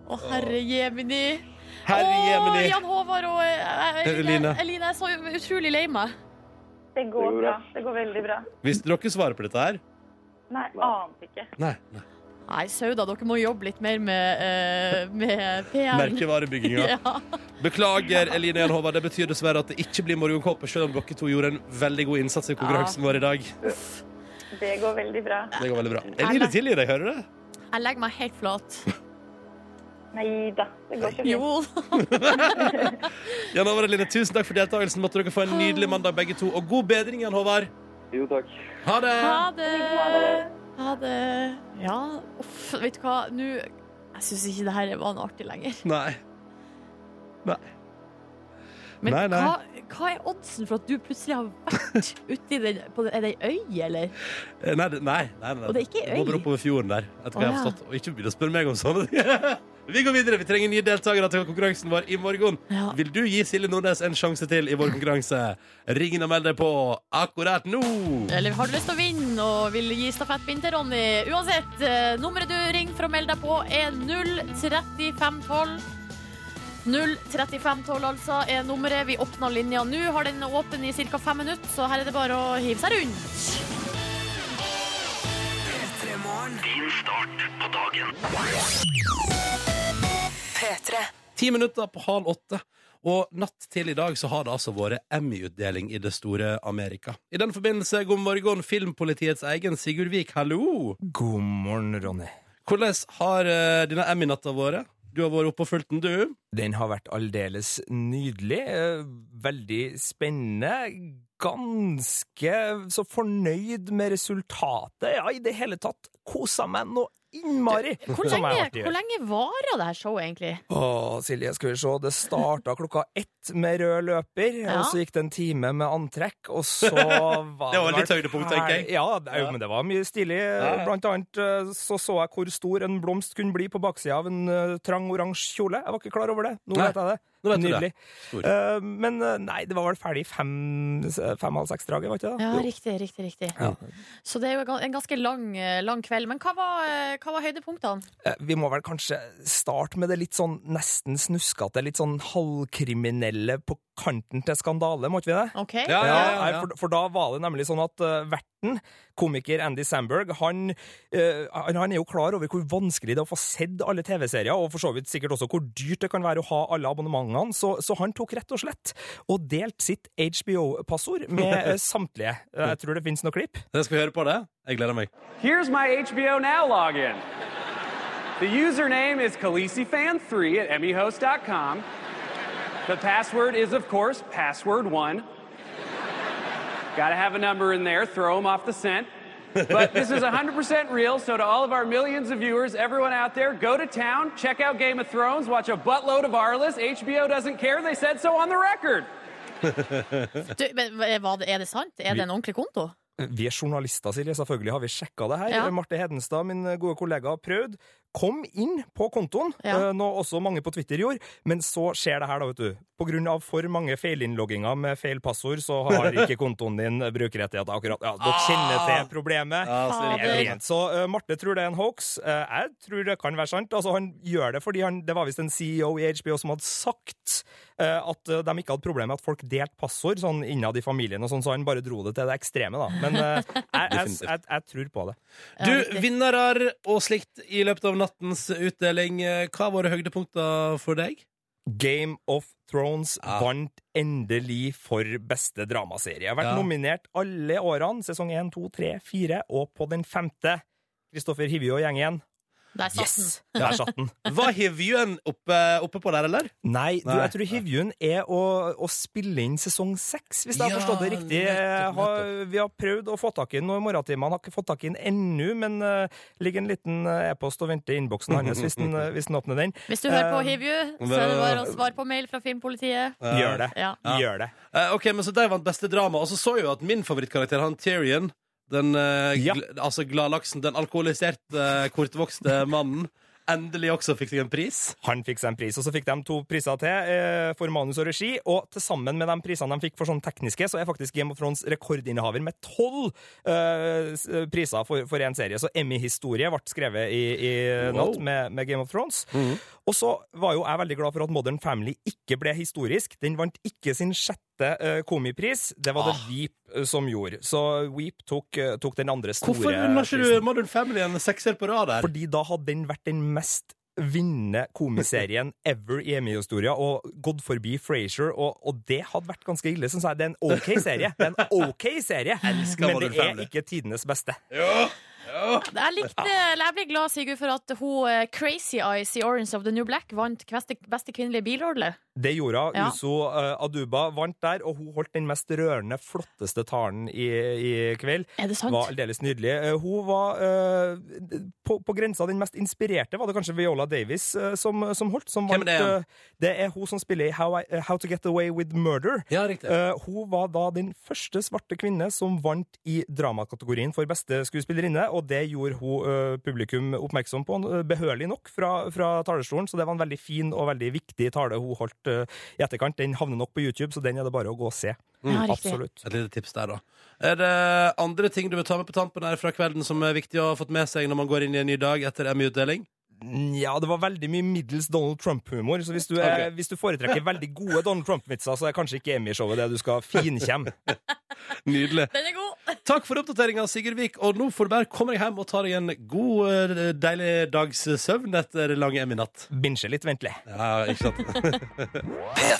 Å, herre jemini.
Herre
Å,
jemini!
Jan Håvard og eh,
Det er
Eline.
Eline.
Eline, jeg er så utrolig lei meg.
Det
Det
går
går
bra.
bra.
Det går veldig bra.
Hvis dere svarer på dette her
Nei, ante ikke.
Nei.
Nei, Sauda, dere må jobbe litt mer med, eh, med PR-en.
Merkevarebygginga.
Ja.
Beklager, Eline Jan Håvard. Det betyr dessverre at det ikke blir morgenkåpe, selv om dere to gjorde en veldig god innsats i konkurransen
Ah.
vår i dag.
Det går veldig bra.
Det går veldig bra. Eline tilgir deg, hører du det?
Jeg legger meg helt flat.
Nei da. Det går ikke fint.
Jo.
Jan Håvard og Eline, tusen takk for deltakelsen. Måtte dere få en nydelig mandag, begge to. Og god bedring, Jan Håvard.
Jo, takk.
Ha det!
Ha det.
det.
Ha det. Ja, uff, vet du hva? Nå Jeg syns ikke det her var noe artig lenger.
Nei.
Men
Nei, nei.
Hva, hva er oddsen for at du plutselig har vært uti den på den, Er det ei øy, eller?
Eh, Nei, det- nei, nei, nei.
Og det er ikke
Det må
øy.
bare oppover fjorden der. Etter hva jeg har
Å, ja.
forstått. Og ikke begynn å spørre meg om sånne ting. Vi går videre. Vi trenger nye deltakere til konkurransen vår i morgen.
Ja.
Vil du gi Silje Nordnes en sjanse til i vår konkurranse? Ring inn og meld deg på akkurat nå.
Eller har du lyst til å vinne og vil gi stafettpinn til Ronny? Uansett, eh, nummeret du ringer for å melde deg på, er 03512. 03512 altså er nummeret. Vi åpner linja nå. Har den åpen i ca. fem minutter, så her er det bare å hive seg rundt.
Ti minutter på halv åtte. Og natt til i dag så har det altså vært Emmy-utdeling i det store Amerika. I den forbindelse, god morgen, filmpolitiets egen Sigurd Vik, hallo!
God morgen, Ronny.
Hvordan har eh, denne Emmy-natta vært? Du har vært oppe og fulgt den, du.
Den har vært aldeles nydelig, eh, veldig spennende, ganske så fornøyd med resultatet. Ja, i det hele tatt kosa meg noe innmari.
Hvor
som jeg
lenge,
alltid
hvor
gjør.
lenge varer det her showet, egentlig?
Å, Silje, skal vi se. Det starta klokka ett med rød løper,
Ja.
og så gikk det en time med antrekk, og så var
Det var
vel
litt høydepunkt, tenker jeg.
ferdig. Ja, det, er jo- men det var mye stilig.
Ja.
Blant annet eh, så så jeg hvor stor en blomst kunne bli på baksida av en eh, trang oransje kjole. Jeg var ikke klar over det. Nå
Nei.
vet jeg det.
Nå vet du
Nydelig.
det. Stor.
Eh, men eh, nei, det var vel ferdig fem-halv seks-draget, var ikke det?
Ja, riktig, riktig, riktig. Så det er jo ga- en ganske lang, eh, lang kveld. Men hva var, eh, hva var høydepunktene?
Eh, Vi må vel kanskje starte med det litt sånn nesten snuskete, litt sånn halvkriminelle på kanten til skandale, måtte vi det?
OK?
Ja, ja, ja,
nei,
ja.
For, for da var det nemlig sånn at eh, verten, komiker Andy Samberg, han, eh, han han er jo klar over hvor vanskelig det er å få sett alle TV-serier, og for så vidt sikkert også hvor dyrt det kan være å ha alle abonnementene, så, så han tok rett og slett og delte sitt HBO-passord med eh, samtlige. Eh, Jeg tror det finnes noen klipp.
Det skal vi høre på det. Jeg gleder meg.
Here's my HBO Now login. The username is KalisiFan3 at E emmyhost.com. The password is, of course, password1. Gotta have a number in there, throw them off the scent. But this is 100% real, so to all of our millions of viewers, everyone out there, go to town, check out Game of Thrones, watch a buttload of our list. HBO doesn't care, they said so on the record.
Du, men, hva- var det, er det sant? Er det en ordentlig konto?
Vi er journalister, Silje. Selvfølgelig har vi sjekka det her.
Ja.
Marte Hedenstad, min eh, gode kollega, prøvde. Kom inn på kontoen,
Ja.
eh, noe også mange på Twitter gjorde. Men så skjer det her, da, vet du. På grunn av for mange feilinnlogginger med feil passord, så har ikke kontoen din brukerrettigheter akkurat. Ja, dere kjenner
Ah.
til problemet.
Silje.
Jeg vet. Så eh, Marte tror det er en hoax. Eh, jeg tror det kan være sant. Altså, han gjør det fordi han, det var visst en CEO i HBO som hadde sagt eh, at eh, de ikke hadde problemer med at folk delte passord sånn innad i familien, og sånn, så han bare dro det til det ekstreme. da. Men eh, jeg, jeg,
Definitivt.
jeg, jeg tror på det.
Du, vinnere og slikt i løpet av nattens utdeling. Eh, Hva var høydepunkter for deg?
Game of Thrones
Ja.
vant endelig for beste dramaserie. Jeg har vært
Ja.
nominert alle årene, sesong 1, 2, 3, 4, og på den femte. Kristoffer Hivju og gjengen.
Der satt den.
Yes! Der satt den.
Var hivjuen oppe, oppe på der, eller?
Nei, du,
Nei.
jeg tror Hivjun er å, å spille inn sesong seks, hvis jeg
Ja,
har forstått det riktig. Eh,
nettopp,
Ha, vi har prøvd å få tak i den nå i morgentimene, har ikke fått tak i den ennå, men eh, ligger en liten eh, e-post og venter i innboksen hans hvis den, eh, hvis den åpner den.
Hvis du hører på
Eh,
Hivju, så er det bare å svare på mail fra Filmpolitiet.
Gjør det.
Ja.
Ja.
Gjør det.
Eh, ok, men Så de vant beste drama. Og så så jeg jo at min favorittkarakter, han Tyrion, den eh,
Ja.
gl altså gladlaksen, den alkoholiserte, eh, kortvokste mannen, endelig også fikk seg en pris.
Han fikk seg en pris, og så fikk de to priser til eh, for manus og regi. Og til sammen med de prisene de fikk for sånn tekniske, så er faktisk Game of Thrones rekordinnehaver med tolv eh, s- priser for, for en serie. Så Emmy-historie ble skrevet i, i
Wow. Mhm.
natt med, med Game of Thrones. Og så var jo jeg veldig glad for at Modern Family ikke ble historisk. Den vant ikke sin sjette eh, komipris. Det var
Ah.
det Weep eh, som gjorde. Så Weep tok, eh, tok den andre store
Hvorfor unner ikke
prisen.
du Modern Family en sekser på rad der?
Fordi da hadde den vært den mest vinnende komiserien ever i Emmy-historia, og gått forbi Frasier, og, og det hadde vært ganske ille, synes jeg. Det er en OK serie, det er en ok serie men det
Modern
er
Family.
ikke tidenes beste.
Jeg, likte, eh, eller jeg ble glad, Sigurd, for at hun eh, Crazy Eyes i Orange of the New Black vant beste, beste kvinnelige bilrolle.
Det gjorde hun.
Ja.
Uso eh, Aduba vant der, og hun holdt den mest rørende, flotteste talen i, i kveld.
Er det sant?
Var aldeles nydelig. Eh, Hun var eh, på, på grensa den mest inspirerte, var det kanskje Viola Davis eh, som, som holdt. Som
Hvem er
vant,
det igjen?
eh, det er hun som spiller i How, I, How to Get Away with Murder.
Ja, riktig.
Eh, hun var da den første svarte kvinne som vant i dramakategorien for beste skuespillerinne, og det gjorde hun eh, publikum oppmerksom på, eh, behørig nok, fra, fra talerstolen. Så det var en veldig fin og veldig viktig tale hun holdt eh, i etterkant. Den havner nok på YouTube, så den er det bare å gå og se.
Ja, riktig.
Absolutt.
Et lite tips der, da. Er det andre ting du vil ta med på tampen her fra kvelden som er viktig å ha fått med seg når man går inn i en ny dag etter Emmy-utdeling?
Ja, det var veldig mye middels Donald Trump-humor, så hvis du, er, hvis du foretrekker veldig gode Donald Trump-vitser, så er kanskje ikke Emmy-showet det du skal finkjemme.
Nydelig.
Den er god!
Takk for oppdateringa, Sigurd Vik. Og nå får du bare komme deg hjem og ta deg en god, eh, deilig dags søvn etter lang Emmy-natt.
Binsje litt, ventelig.
Ja, ikke sant? P3.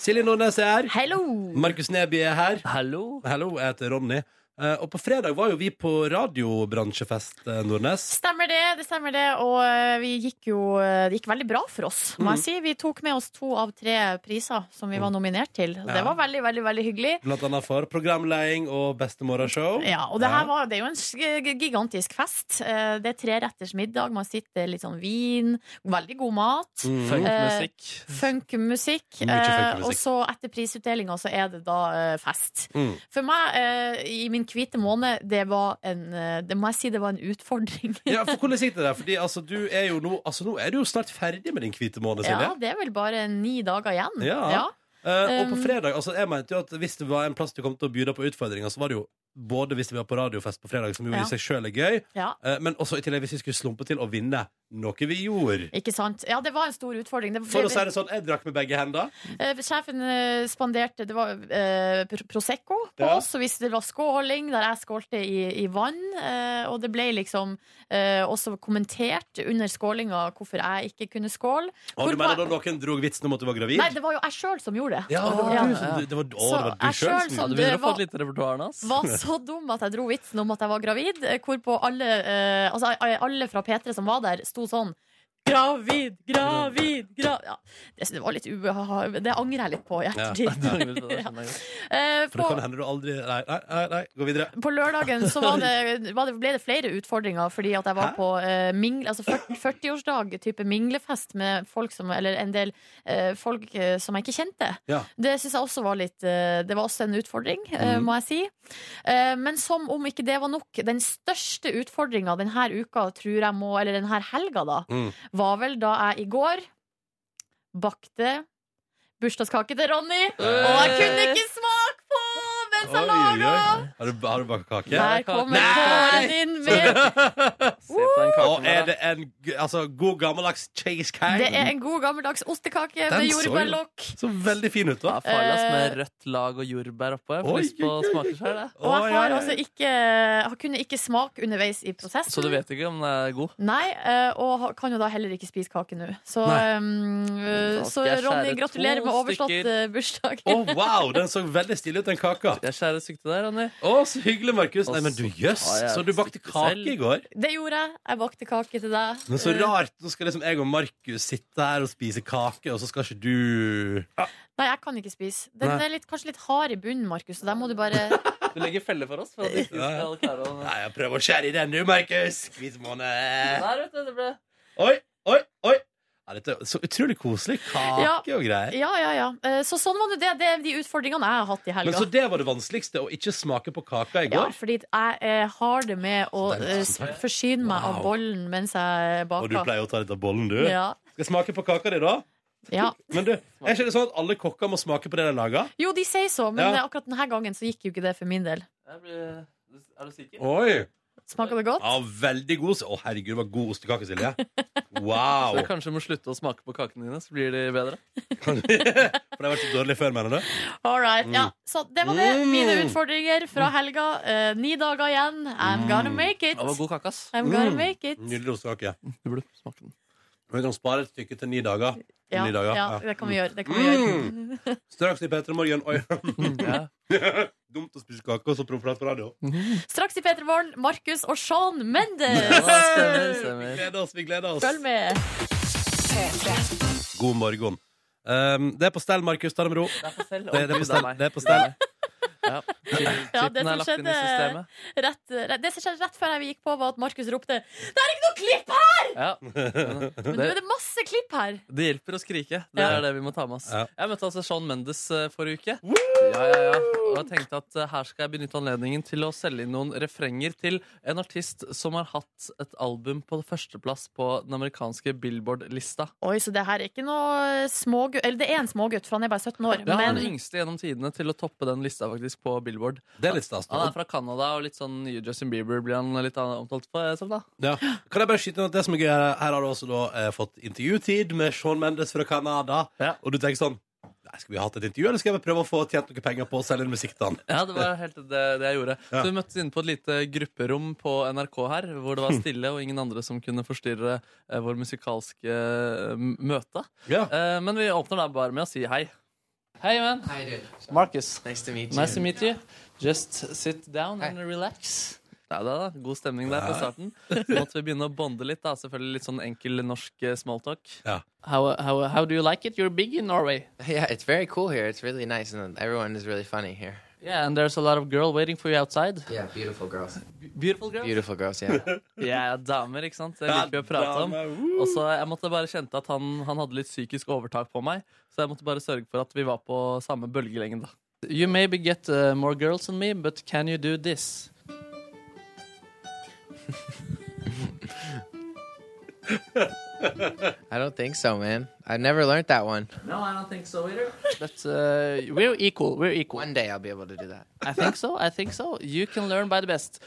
Silje Nordnes er her.
Hello!
Markus Neby er her.
Hallo?
Hallo, jeg heter Ronny. Eh, Og på fredag var jo vi på radiobransjefest, eh, Nordnes.
Stemmer det, det stemmer det. Og eh, vi gikk jo eh, Det gikk veldig bra for oss,
Mm.
må jeg si. Vi tok med oss to av tre priser som vi var nominert til. Det var veldig, veldig, veldig hyggelig.
Blant annet for programleding og Bestemorgenshow.
Ja, og det her
Ja.
var, det er jo en s- g- gigantisk fest. Eh, Det er treretters middag, man sitter litt sånn vin, veldig god mat.
Mm.
Eh.
Funkmusikk.
Funkmusikk.
Mye
eh,
funkmusikk.
Og så etter prisutdelinga så er det da eh, fest.
Mm.
For meg, eh, i min hvite måned, det var en eh, Det må jeg si det var en utfordring.
Ja, for hvordan gikk det der? Fordi altså, du er jo nå Altså, nå er du jo snart ferdig med din hvite måned, Silje.
Ja, det er vel bare ni dager igjen.
Ja. Eh, og på fredag, altså jeg mente jo at hvis det var en plass du kom til å by deg på utfordringer, så var det jo både hvis vi var på radiofest på fredag, som jo
Ja.
i seg sjøl er gøy,
Ja.
eh, men også i tillegg hvis vi skulle slumpe til å vinne, noe vi gjorde.
Ikke sant? Ja, det var en stor utfordring. Det,
For å si det sånn, jeg drakk med begge hender.
Eh, Sjefen eh, spanderte Det var eh, pr- Prosecco på
Ja.
oss, og hvis det var skåling, der jeg skålte i, i vann, eh, og det ble liksom eh, også kommentert under skålinga hvorfor jeg ikke kunne skåle.
Og du
Hvorpå-
mener da noen dro vitsen om at du var gravid?
Nei, det var jo jeg sjøl som gjorde det.
ja, det var
Ja.
du som det var, å,
Så
det var
jeg
du sjøl
selv
som
Ja,
som-
du
Det
begynner å få
var-
et lite repertoar nå. ass.
Var så dum at jeg dro vitsen om at jeg var gravid, eh, hvorpå alle, eh, altså, alle fra P3 som var der, sto sånn Gravid, gravid, gravid ja. det, det var litt ubeha... Det angrer jeg litt på i ettertid.
Det angrer du på, det skjønner jeg godt.
Eh,
For det
på,
kan hende du aldri Nei, nei, nei, nei. gå videre.
på lørdagen så var det, var det, ble det flere utfordringer, fordi at jeg var
Hæ?
på eh, mingle, altså 40 40-årsdag, type minglefest, med folk som, eller en del eh, folk eh, som jeg ikke kjente.
Ja.
Det synes jeg også var litt eh, Det var også en utfordring, eh,
Mhm.
må jeg si. Eh, men som om ikke det var nok, den største utfordringa denne uka, tror jeg må, eller denne helga, da,
Mm.
var vel da jeg i går bakte bursdagskake til Ronny, og jeg kunne ikke smake på mens
Eh. Oi,
jeg
oi,
laga!
oi. Har du, har du bakt kake?
Der kommer
Nei!
faren din med
Se på den
Og
kaken der,
er
da.
det en g- altså, god gammeldags
Det
cheesecake?
er en god gammeldags ostekake
Den
med
så jo-
jordbærlokk.
Så veldig fin ut,
Ja,
da.
Farlas
Eh.
med rødt lag og jordbær oppå. Jeg får
Oi,
lyst på
oi,
å
oi,
smake sjøl, jeg.
Og
Oi,
jeg har
oi,
altså
oi.
ikke Jeg kunne ikke smake underveis i prosessen.
Så du vet ikke om den er god?
Nei, eh, og ha- kan jo da heller ikke spise kake nå. Så,
Nei.
um,
Da
eh, så
skal jeg
Ronny,
skjære to
gratulerer med overstått
stykker.
eh, bursdag.
Å, wow! Den så veldig stilig ut, den kaka.
Jeg skjærer sykt til deg, Ronny.
Å, så hyggelig, Markus. Nei, men du, jøss.
Ja, jeg
Så du bakte
stikker
kake
selv.
i går?
Det gjorde jeg. Jeg bakte kake til deg. Eh,
Men så rart. Nå skal liksom jeg og Markus sitte her og spise kake, og så skal ikke du
Nei, jeg kan ikke spise. Den
Nei.
er litt, kanskje litt hard i bunnen, Markus. Så der må du bare
Du legger felle for oss. For at vi ikke
Ja, ja.
skal klare å...
Nei, jeg prøver å skjære i den, du, Markus. Hvit måned.
Der, vet du, det ble...
Oi, oi, oi. Ja, dette er så utrolig koselig.
Ja.
Kake og greier.
Ja, ja, ja. Eh, Så sånn var nå det. Det er de utfordringene jeg har hatt i
Men så
helga.
det var det vanskeligste, å ikke smake på kaka i
Ja,
går?
fordi jeg eh, har det med å
Så det er
eh,
litt sånn her.
forsyne meg av
Wow.
bollen mens jeg
Og du
baker.
pleier å ta litt av bollen, du?
Ja,
Skal jeg smake på kaka di, da?
ja.
Men du, er ikke det sånn at alle kokker må smake på det de lager?
Jo, de sier så, men
Ja.
eh, akkurat denne gangen så gikk jo ikke det for min del.
Jeg blir... Er du sikker?
Oi!
Smaker det godt?
Ja, veldig god. Å, herregud, det var god ostekake, Silje.
Så
Wow!
jeg kanskje må slutte å smake på kakene dine, så blir de bedre.
For det har vært så dårlig før, mener du?
All right, ja. Så det var det.
Mm.
Mine utfordringer fra helga. Eh, ni dager igjen. I'm gonna make it.
Det var god kake, ass.
I'm gonna
Mm.
make it.
Nydelig ostekake.
Du burde smake den.
Vi kan spare et stykke til ni dager.
Ja,
Ni dager.
ja,
Ja. Mm.
det kan vi gjøre. Det kan vi gjøre.
Straks i P3 Morgen. Oi,
Mm, Ja.
dumt å spise kake og så prompe på radio.
Straks i P3 Morgen, Markus og Sean
Ja,
Mendes.
stemmer,
Vi
stemmer.
gleder oss, vi gleder
Følg
oss.
med.
God morgen. Um, det er på stell, Markus. Ta det med ro.
Det er på stell. Å, Gud, er
Det, det er på stell.
meg.
Det er på stell.
Ja.
Ja,
Klippen
det
er
som
lagt inn i
skjedde-
systemet.
Rett, rett, det som skjedde rett før vi gikk på, var at Markus ropte 'Det er ikke noe klipp her!'
Ja.
Men nå er det masse klipp her.
Det hjelper å skrike. Det
Ja.
er det vi må ta med oss.
Ja.
Jeg møtte altså Sean Mendes eh, forrige uke. Ja, ja, ja. Og jeg tenkte at eh, her skal jeg benytte anledningen til å selge inn noen refrenger til en artist som har hatt et album på førsteplass på den amerikanske Billboard-lista.
Oi, så det her er ikke noe smågutt Eller det er en smågutt, for han er bare 17 år.
Det er han
Men
den yngste gjennom tidene til å toppe den lista faktisk på Billboard.
Det er litt stas.
Han
da.
er fra Canada, og litt sånn nye Justin Bieber blir han litt omtalt for, som, da.
Ja. Kan jeg bare skyte inn at det som er gøy Her her har du også da, eh, fått intervjutid med Sean Mendes fra Canada.
Ja.
Og du tenker sånn Nei, Skal vi ha hatt et intervju, eller skal jeg bare prøve å få tjent noen penger på å selge inn musikk til han?
Ja, det var helt det, det jeg gjorde.
Ja.
Så vi møttes inne på et lite grupperom på NRK her, hvor det var stille og ingen andre som kunne forstyrre eh, vår musikalske eh, m- møte.
Ja.
Eh, men vi åpner da bare med å si hei. Hei, man. Marcus.
Nice to meet you.
Nice to meet you. Just sit down and relax. Nei, da, da. God stemning der på starten. Så måtte vi begynne å bonde litt. da Selvfølgelig litt sånn enkel norsk eh, smalltalk.
Ja.
How, how, how do you like it? You're big in Norway.
Yeah, it's very cool here. It's really nice, and everyone is really funny here.
Yeah, and there's a lot of girl waiting for you outside.
Yeah, beautiful girls.
Beautiful girl.
Beautiful girls, yeah.
Ja, damer, ikke sant? Det liker vi å prate om.
uh.
Og så jeg måtte bare kjente at han, han hadde litt psykisk overtak på meg, så jeg måtte bare sørge for at vi var på samme bølgelengde. You maybe get uh, more girls than me, but can you do this?
I don't think so, man. I've never learned that one.
No, I don't think so either. But uh, we're equal, we're equal.
One day I'll be able to do that.
I think so, I think so. You can learn by the best.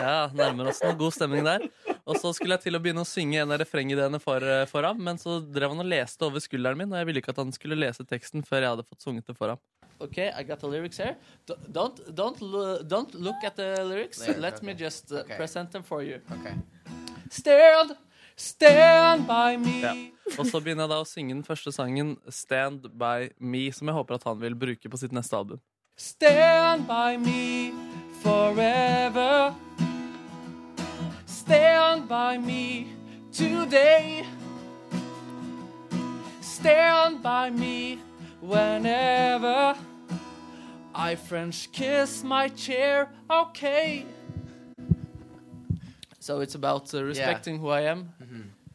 Ja, nærmer oss noe god stemning der. Og så skulle jeg til å begynne å synge en av refrengideene for, eh, for ham, men så drev han og leste over skulderen min, og jeg ville ikke at han skulle lese teksten før jeg hadde fått sunget det for ham. Ok, I got the lyrics here. Do- Don't, don't, lo- don't look at the lyrics.
Lyrics,
Let
okay.
me just uh,
Okay.
present them for you.
Okay.
Stand, stand by me. Og så begynner jeg da å synge den første sangen Stand by me, som jeg håper at han vil bruke på sitt neste album. Stand by me forever. Stand by me today. stand by me whenever I French kiss my chair, okay. So it's about uh, respecting who I am.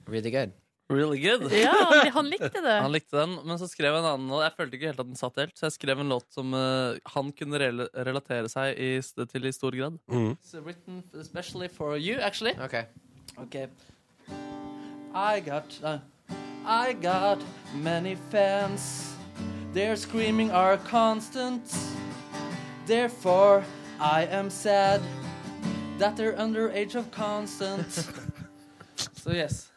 Really good.
Really good.
Ja, han- han likte
Eh.
det.
Han likte den, men så skrev jeg en annen og Jeg følte ikke helt at den satt helt, så jeg skrev en låt som eh, han kunne rela- relatere seg i, st- til i stor grad.
Mm.
It's written especially for you, actually.
Okay.
Okay. I got, uh, I got many fans. Their screaming are constant. Therefore, I am sad that they're under age of constant. so yes,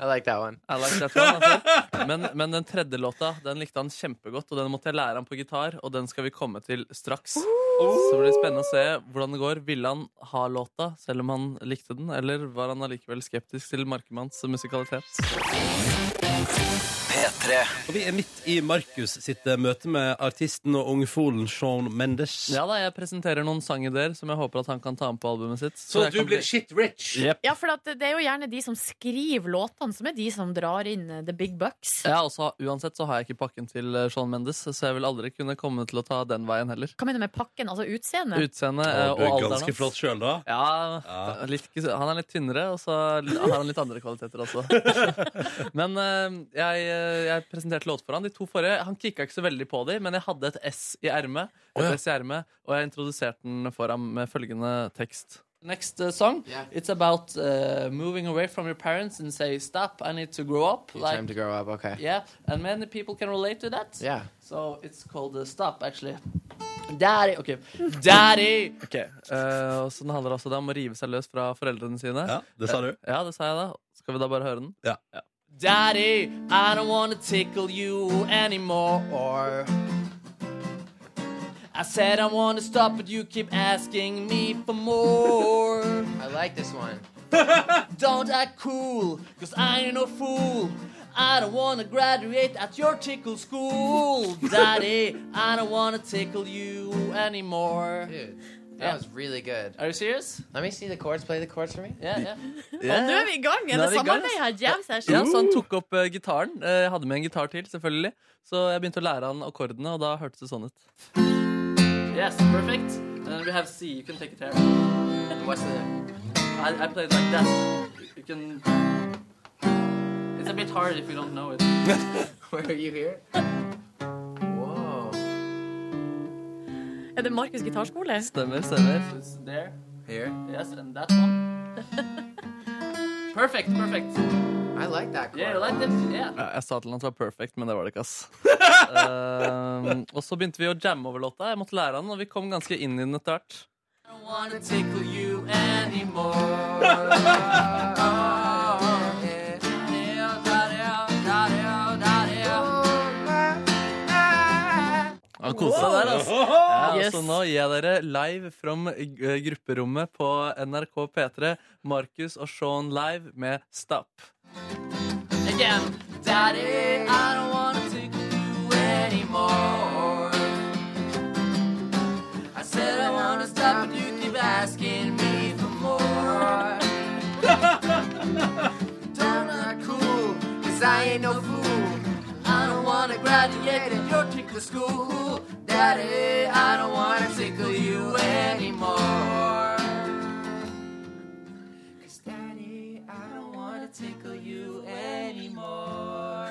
I like that one.
I like that one. Altså. Men, men den tredje låta den likte han kjempegodt, og den måtte jeg lære han på gitar. Og den skal vi komme til straks. Så blir det spennende å se hvordan det går. Ville han ha låta selv om han likte den, eller var han allikevel skeptisk til Markemanns musikalitet?
Og vi er midt i Markus sitt eh, møte med artisten og ungfolen Shawn Mendes.
Ja da, jeg presenterer noen sangideer som jeg håper at han kan ta med på albumet sitt.
Så
jeg
du
kan
blir
bli-
shit rich!
Yep.
Ja, for at det er jo gjerne de som skriver låtene, som er de som drar inn eh, the big bucks.
ja, og så- Uansett så har jeg ikke pakken til eh, Shawn Mendes, så jeg vil aldri kunne komme til å ta den veien heller.
Hva mener du med pakken? Altså utseendet?
Utseende eh, og
Og du er
alderen
ganske
hans.
flott sjøl, da.
Ja,
Ja.
Litt, han er litt tynnere, og så har han litt andre kvaliteter også. Men eh, jeg, eh, jeg presenterte låt for han. De to forrige, Han kicka ikke så veldig på dem, men jeg hadde et S i ermet,
Å,
et
ja.
S i ermet, og jeg introduserte den for ham med følgende tekst. Next uh, song,
Yeah.
it's about uh, moving away from your parents and say stop, I need to grow up.
Your time to grow up. Okay.
yeah, and many people can relate to that.
Yeah.
So it's called uh, Stop, actually. Daddy! Ok. Daddy! Ok, eh, og så den handler altså da om å rive seg løs fra foreldrene sine.
Ja, det sa du.
Ja, det sa jeg da. Skal vi da bare høre den?
Ja.
Daddy, I don't wanna tickle you anymore. I said I wanna stop, but you keep asking me for more.
I like this one.
Don't act cool, cause I ain't no fool. I don't wanna graduate at your tickle school. Daddy, I don't wanna tickle you anymore.
Dude, that
Yeah.
was really good.
Are you serious?
Let me see the chords. Play the chords for me.
Yeah, yeah.
Og nå er vi i gang! Er
Nå er
det
vi i gang,
samarbeid her? Jam session?
Ja,
Sånn
så han tok opp eh, gitaren. Eh, jeg hadde med en gitar til, selvfølgelig. Så eh, jeg begynte å lære han akkordene, og da hørtes det sånn ut. Yes, perfect. And we have C. You can take it here. What's the... I, I play it like that. You can... It's a bit hard if you don't know it.
Were you here? Whoa.
Er det Markus gitarskole?
Stemmer, stemmer. It's there.
Here.
Yes, and that one. Perfect, perfect.
I like that chord. Uh.
Yeah, you liked it? Yeah. Jeg sa til han at det var perfect, men det var det ikke, ass. Ehm, og så begynte vi å jamme over låta. Jeg måtte lære han, og vi kom ganske inn i den etter hvert.
Oh,
Han koste seg der, altså. Ja,
Yes.
Så nå gir jeg dere live from eh, grupperommet på NRK P3 Markus og Sean live med Stapp. Again. Daddy, I don't wanna take you anymore. I said I wanna stop, but you keep asking me for more. Don't act cool, cause I ain't no fool. I don't wanna graduate and you're tickle school. Daddy, I don't wanna tickle you anymore. Cause daddy, I don't wanna tickle you anymore.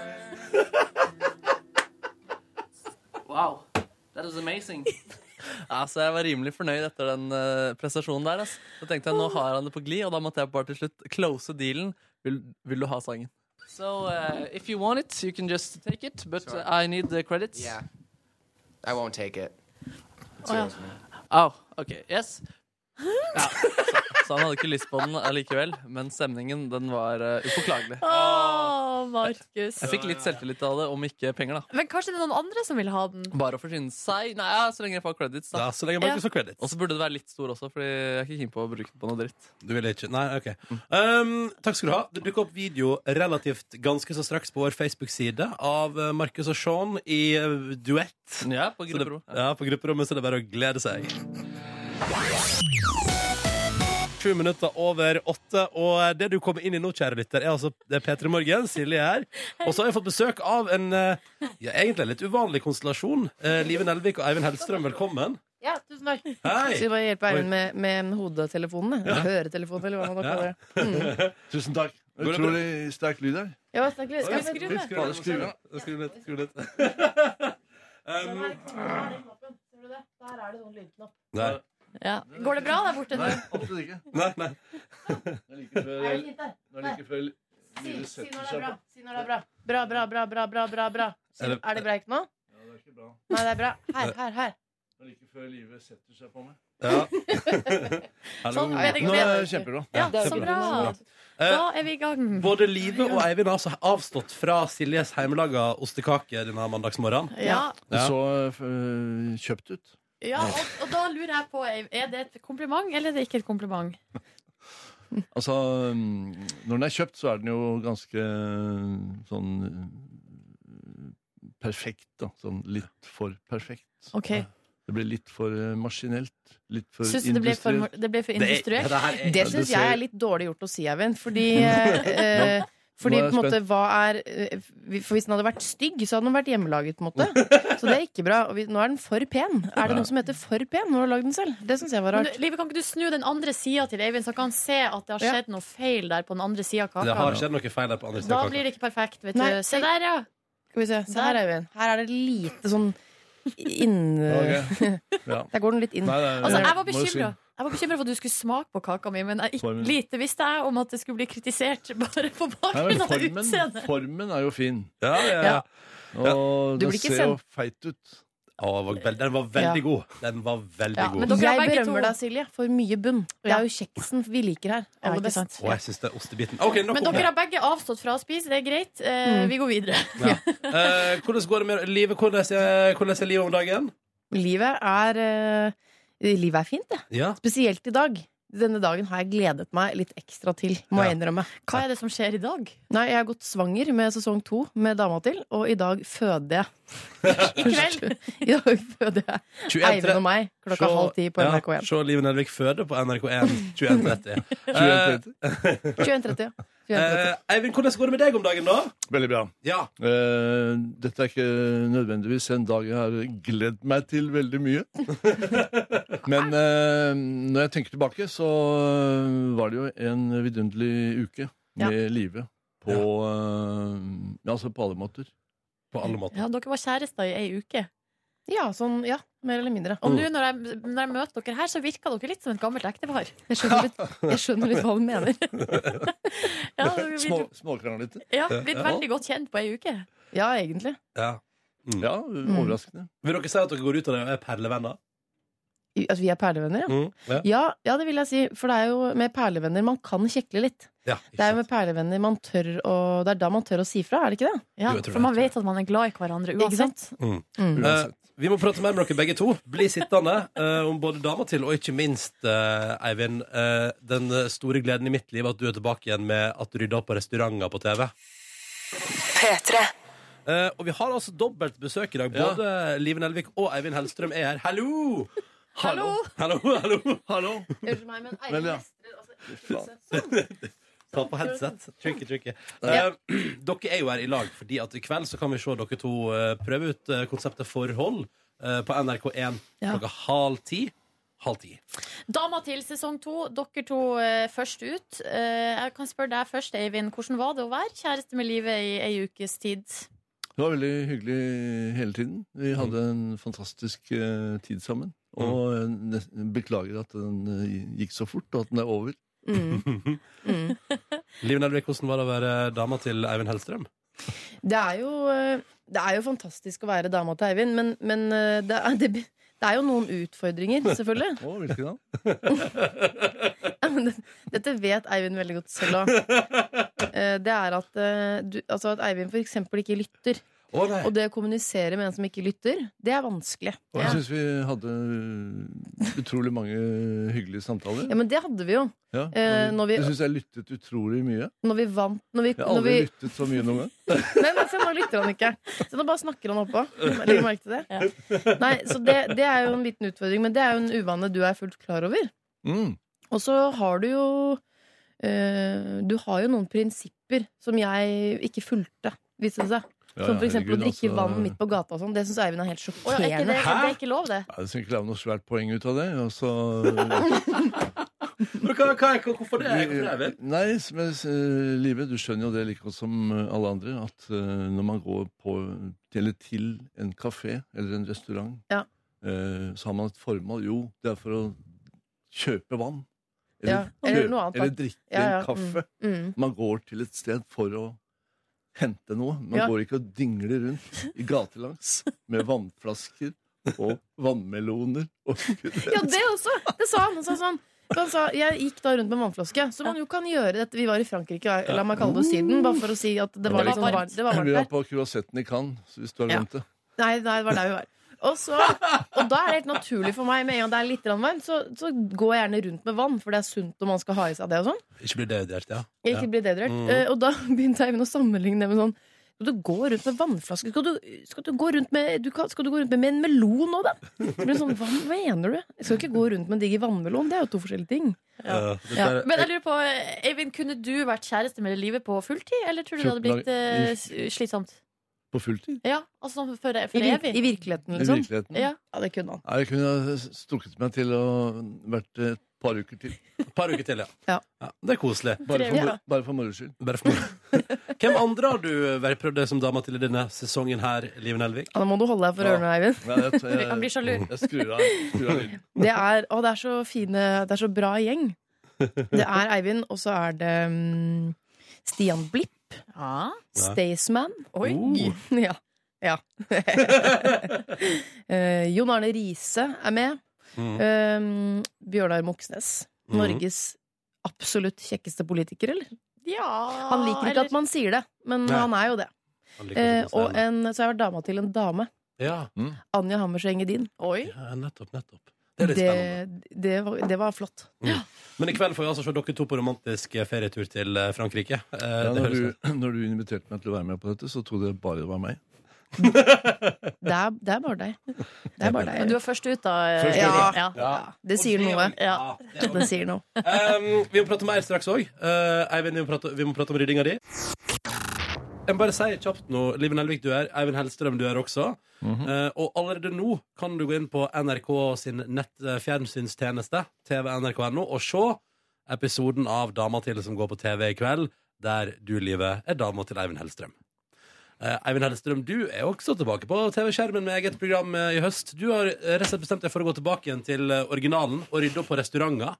wow, that was amazing. Altså, jeg var rimelig fornøyd etter den eh, prestasjonen der. ass. Da tenkte jeg, Nå har han det på glid, og da måtte jeg bare til slutt close dealen. Vil, vil du ha sangen? So, uh, if you want it, you can just take it, but uh, I need the credits.
Yeah. I won't take it.
Å, ja.
Oh, ok, yes så, så han hadde ikke lyst på den allikevel, men stemningen den var eh, upåklagelig.
Å, Markus.
Jeg fikk litt selvtillit av det, om ikke penger, da.
Men kanskje det er noen andre som vil ha den?
Bare å forsyne seg. Nei, ja, så lenge jeg får credits, da.
Ja, så lenge Markus får credits.
Og så burde det være litt stor også, Fordi jeg er ikke keen på å bruke den på noe dritt.
Du ville ikke Nei, OK. Um, takk skal du ha. Det dukker opp video relativt ganske så straks på vår Facebook-side av eh, Markus og Sean i eh, duett.
Ja, på
Så det-
gruppero.
Ja, på grupperommet, så det er bare å glede seg. sju minutter over åtte. Og det du kommer inn i nå, kjære lytter, er altså det er P3 Morgen. Silje er her. Og så har jeg fått besøk av en eh, ja, egentlig en litt uvanlig konstellasjon. Eh, Live Nelvik og Eivind Hellstrøm, velkommen.
Ja, tusen takk. Skal
Hei!
vi bare hjelpe
Oi.
Eivind med, med hodetelefonene? Eller Høretelefonen, eller hva man nå
Ja.
kaller det. Mm.
Tusen takk.
Går det
Utrolig sterk lyd her.
Ja, snakk litt. Skal vi skru
Skru
ned?
ned. Skru ned. Skru ned. Skru ned. Um,
Der er det noen lydknapp.
nei,
Ja. Går det bra der borte nå?
Nei, absolutt ikke.
nei, nei.
Det er like før, det er like før
Si,
lydet
si når
setter
det er
seg
bra.
på.
Si når det er bra. Bra, bra, bra, bra, bra, bra. bra. Si-
Er det-
Er det breik nå?
Ja, det er ikke bra.
Nei, det er bra. Her, her, her.
Det er like før livet setter seg på meg.
Ja. Hallo.
Sånn, jeg tenker
Nå
bedre.
er det kjempebra.
Ja,
Ja, så
kjempebra.
bra.
Eh,
Da er vi i gang.
Både Live og Eivind har altså avstått fra Siljes heimelaga ostekake denne mandagsmorgenen.
Ja.
Det
Ja.
så øh, kjøpt ut.
Ja, og, og da lurer jeg på, Eiv, er det et kompliment eller er det ikke et kompliment?
Altså, mm, når den er kjøpt, så er den jo ganske øh, sånn øh, perfekt, da. Sånn litt for perfekt.
Ok,
Det blir litt for øh, maskinelt. Litt for
Syns du det ble for,
industrielt.
det ble for
Det er-
industrielt?
dette her er-
Det syns
Eh, ser-
jeg er litt dårlig gjort å si, Eivind. Fordi, eh, fordi
Nå er jeg
på en måte, hva er eh, For hvis den hadde vært stygg, så hadde den vært hjemmelaget. på en måte Så det er ikke bra. Og vi, nå er den for pen. Er det noe som heter for pen når du har lagd den selv? Det syns jeg var
Men
rart.
du, Live, kan ikke du snu den andre sida til Eivind, så kan han se at det har
Ja.
skjedd noe feil der på den andre sida av
Det har
kaka?
skjedd noe feil der på andre
Da
siden av
blir
kaka.
det ikke perfekt, vet
Nei,
du. Se der, ja.
Skal vi se. Se her, Eivind. Her er det lite sånn inn...
Ok. Ja.
Der går den litt inn.
Nei, nei,
Altså,
nei,
jeg var
må jo si-
bekymra. Jeg var bekymret for at du skulle smake på kaka mi, men jeg,
Formen.
ikke, lite visste jeg om at det skulle bli kritisert bare på
Nei,
bakgrunn
men
av
formen,
utseendet.
formen er jo fin.
Ja, ja, ja.
Ja.
Og
Du
den
blir ikke
ser jo feit ut.
Å, den var veld- den var veldig
Ja.
god. Den var veldig
Ja, men
god.
dere er
Jeg
begge to-
berømmer deg, Silje, for mye bunn. Det
Ja.
er jo kjeksen vi liker her.
Ja, ikke
Aller best.
sant?
Å, jeg syns det er ostebiten. OK, nok
Men
om
dere
det.
har begge avstått fra å spise, det er greit. Eh,
Mm.
Vi går videre.
Ja. Eh, hvordan går det med livet? Hvordan er, hvordan er livet om dagen?
Livet er eh, Livet er fint, det.
Ja.
Spesielt i dag. Denne dagen har jeg gledet meg litt ekstra til, må jeg innrømme.
Hva er det som skjer i dag?
Nei, jeg har gått svanger med sesong to med dama til, og i dag føder jeg.
I kveld?
I dag føder jeg
21
Eivind og meg klokka
Se-
halv ti på
Ja,
NRK1.
se Live Nelvik føde på NRK1 21.30.
21.30.
21.30. ja.
Eh,
21.30.
eh, Eivind, hvordan går det med deg om dagen, da?
Veldig bra.
Ja.
Eh, dette er ikke nødvendigvis en dag jeg har gledd meg til veldig mye. Men eh, når jeg tenker tilbake, så var det jo en vidunderlig uke
Ja.
med live. På, eh, ja, altså på alle måter.
På alle måter.
Ja, dere var kjærester i ei uke.
ja, sånn, ja, mer eller mindre.
Og nå når jeg, når jeg møter dere her, så virker dere litt som et gammelt ektepar.
Jeg skjønner litt, jeg skjønner litt hva du mener.
Ja, dere har
Små,
blitt,
Småkranglete.
ja, blitt veldig godt kjent på ei uke.
Ja, egentlig.
Ja. Mm.
Ja, overraskende.
Vil dere si at dere går ut av det og er perlevenner?
I- At vi er perlevenner, ja.
Mm, ja.
Ja, ja, det vil jeg si, for det er jo med perlevenner man kan kjekle litt.
Ja, ikke
Det er jo
sant.
med perlevenner man tør å Det er da man tør å si fra, er det ikke det?
Ja,
Jo, jeg tror
for
det,
man
jeg
vet at man er glad i hverandre
Ikke
uansett.
sant?
Mm.
Mm.
Eh, vi må prate mer med dere begge to. Bli sittende eh, om både dama til og ikke minst, eh, Eivind, eh, den store gleden i mitt liv at du er tilbake igjen med at du rydder opp på restauranter på TV. Eh, og vi har altså dobbelt besøk i dag.
Ja.
Både Live Nelvik og Eivind Hellstrøm er her. Hallo!
Hallo!
Hallo, hallo!
Hallo!
Unnskyld meg, men
Vel, ja.
Ta på headset. Tricky, tricky. Eh, dere er jo her i lag fordi at i kveld så kan vi se dere to eh, prøve ut eh, konseptet Forhold eh, på NRK1
Ja.
klokka halv ti. Halv ti.
Dama til sesong to, dere to eh, først ut. Eh, jeg kan spørre deg først, Eivind. Hvordan var det å være kjæreste med livet i ei ukes tid?
Det var veldig hyggelig hele tiden. Vi hadde en fantastisk eh, tid sammen. Og eh, nes- beklager at den eh, gikk så fort, og at den er over.
Mm. Mm.
Liv Nelvik, hvordan var det å være dama til Eivind Hellstrøm?
Det er jo, eh, det er jo fantastisk å være dama til Eivind, men, men eh, det, er, det, be- det er jo noen utfordringer, selvfølgelig.
Å, hvilken da?
Ja, men det- Dette vet Eivind veldig godt selv òg. Det er at, eh, du, altså at Eivind f.eks. ikke lytter.
Å nei.
Og det å kommunisere med en som ikke lytter, det er vanskelig.
Og jeg syns vi hadde utrolig mange hyggelige samtaler.
Ja, Men det hadde vi jo.
Ja,
eh, når vi-
Jeg syns jeg lyttet utrolig mye.
Når vi vant når vi,
Jeg har
når
aldri
vi,
lyttet så mye noen gang.
Nei, men se, nå lytter han ikke. Se, nå bare snakker han oppå. Legger du merke til det? Nei, så det, det er jo en liten utfordring, men det er jo en uvane du er fullt klar over.
Mm.
Og så har du jo eh, Du har jo noen prinsipper som jeg ikke fulgte, viste det seg.
Ja,
Som
ja,
for eksempel å
herregud,
drikke
altså.
vann midt på gata og sånn. Det syns Eivind er helt
Å, ja,
sjokkerende.
er ikke det, det er ikke lov, det.
Ja, Jeg skal ikke lage noe svært poeng ut av det. Og så
Men hva, hva, hva, hvorfor det? Hvorfor det, Eivind?
Nei, men eh, Live, du skjønner jo det like godt som alle andre, at eh, når man går på, eller til en kafé eller en restaurant,
Ja.
eh, så har man et formål. Jo, det er for å kjøpe vann.
Ja, eller noe annet, da.
eller drikke
Ja, ja,
en kaffe.
mm, mm.
Man går til et sted for å hente noe. Man
Ja.
går ikke og dingler rundt i gatelangs med vannflasker og vannmeloner. Og
Ja, det også! Det sa han. Han sa sånn. Så Han sa, jeg gikk da rundt med vannflaske, så man jo kan gjøre dette. Vi var i Frankrike, la meg kalle det Syden, bare for å si at det var, liksom, var- det var varmt
Vi
der.
var på Croissetten i Cannes, så hvis du har
Ja.
glemt det.
Nei, nei, det var der vi var. Og, så, og da er det helt naturlig for meg, med en gang det er litt grann varmt, så, så går jeg gjerne rundt med vann, for det er sunt og man skal ha i seg det og sånn.
Ikke bli dehydrert, ja.
Jeg ikke blir dehydrert.
Mm.
Eh, Og da begynte Eivind å sammenligne det med sånn skal du gå rundt med vannflaske? Skal du, skal du gå rundt med, du kan, skal du gå rundt med, med en melon nå, da? Så blir det sånn, Hva mener du? Jeg skal ikke gå rundt med en diger vannmelon. Det er jo to forskjellige ting.
Ja.
Ja.
dette er-
Men jeg lurer på, Eivind, kunne du vært kjæreste med livet på fulltid, eller tror du det hadde blitt eh, s- slitsomt?
På fulltid?
Ja, altså sånn for,
I,
for
vir
evig?
I virkeligheten,
I
liksom.
virkeligheten.
Ja.
Ja, det kunne han.
Nei, Jeg kunne ha strukket meg til å vært et par uker til.
Et par uker til, ja.
Ja.
Det er koselig.
Bare for,
Trevlig,
mor- bare for moro skyld.
Bare for Hvem andre har du vært prøvd deg som dama til i denne sesongen her, Liven Elvik?
Ja, Da må du holde deg for
Ja.
ørene, Eivind.
Nei, jeg, jeg,
Han blir sjalu.
jeg skrur av, skrur av lyden.
Det er, å, det er så fine Det er så bra gjeng. Det er Eivind, og så er det mm, Stian Blipp.
Ja.
Ja.
Staysman.
Oi.
Ja. ja. Eh, Jon Arne Riise er med.
Mm.
Um, Bjørnar Moxnes.
Mhm.
Norges absolutt kjekkeste politiker, eller?
ja Ah,
Han liker ikke at man sier det, men
Nei.
han er jo det.
Han liker
Eh,
å sitte på
og
scenen.
en, så har jeg vært dama til en dame.
ja.
Mm.
Anja Hammerseng Edin.
Oi.
ja, nettopp, nettopp. Det er litt spennende.
Det, det, var- det var flott.
Men i kveld får vi altså se dere to på romantisk ferietur til eh, Frankrike. Eh,
Ja,
det
når,
høres
du,
ut.
når du inviterte meg til å være med på dette, så trodde jeg bare det var meg.
Det er, det er bare deg. Det er bare
Men
deg.
du er først ut, da.
Først ut,
ja. ja.
Ja, det sier noe.
Ja, det er
Det sier noe.
Um, vi må prate mer straks òg. Eivind, vi må, prate, vi må prate om ryddinga di. Jeg må bare si kjapt nå Liven Elvik, du er. Eivind Hellstrøm, du er også. Eh, og allerede nå kan du gå inn på NRK sin nett eh, fjernsynstjeneste, tvnrk.no, og se episoden av Dama til som går på TV i kveld, der du, Livet, er dama til Eivind Hellstrøm. Eh, Eivind Hellstrøm, du er også tilbake på TV-skjermen med eget program eh, i høst. Du har eh, rett og slett bestemt deg for å gå tilbake igjen til eh, originalen og rydde opp på restauranter.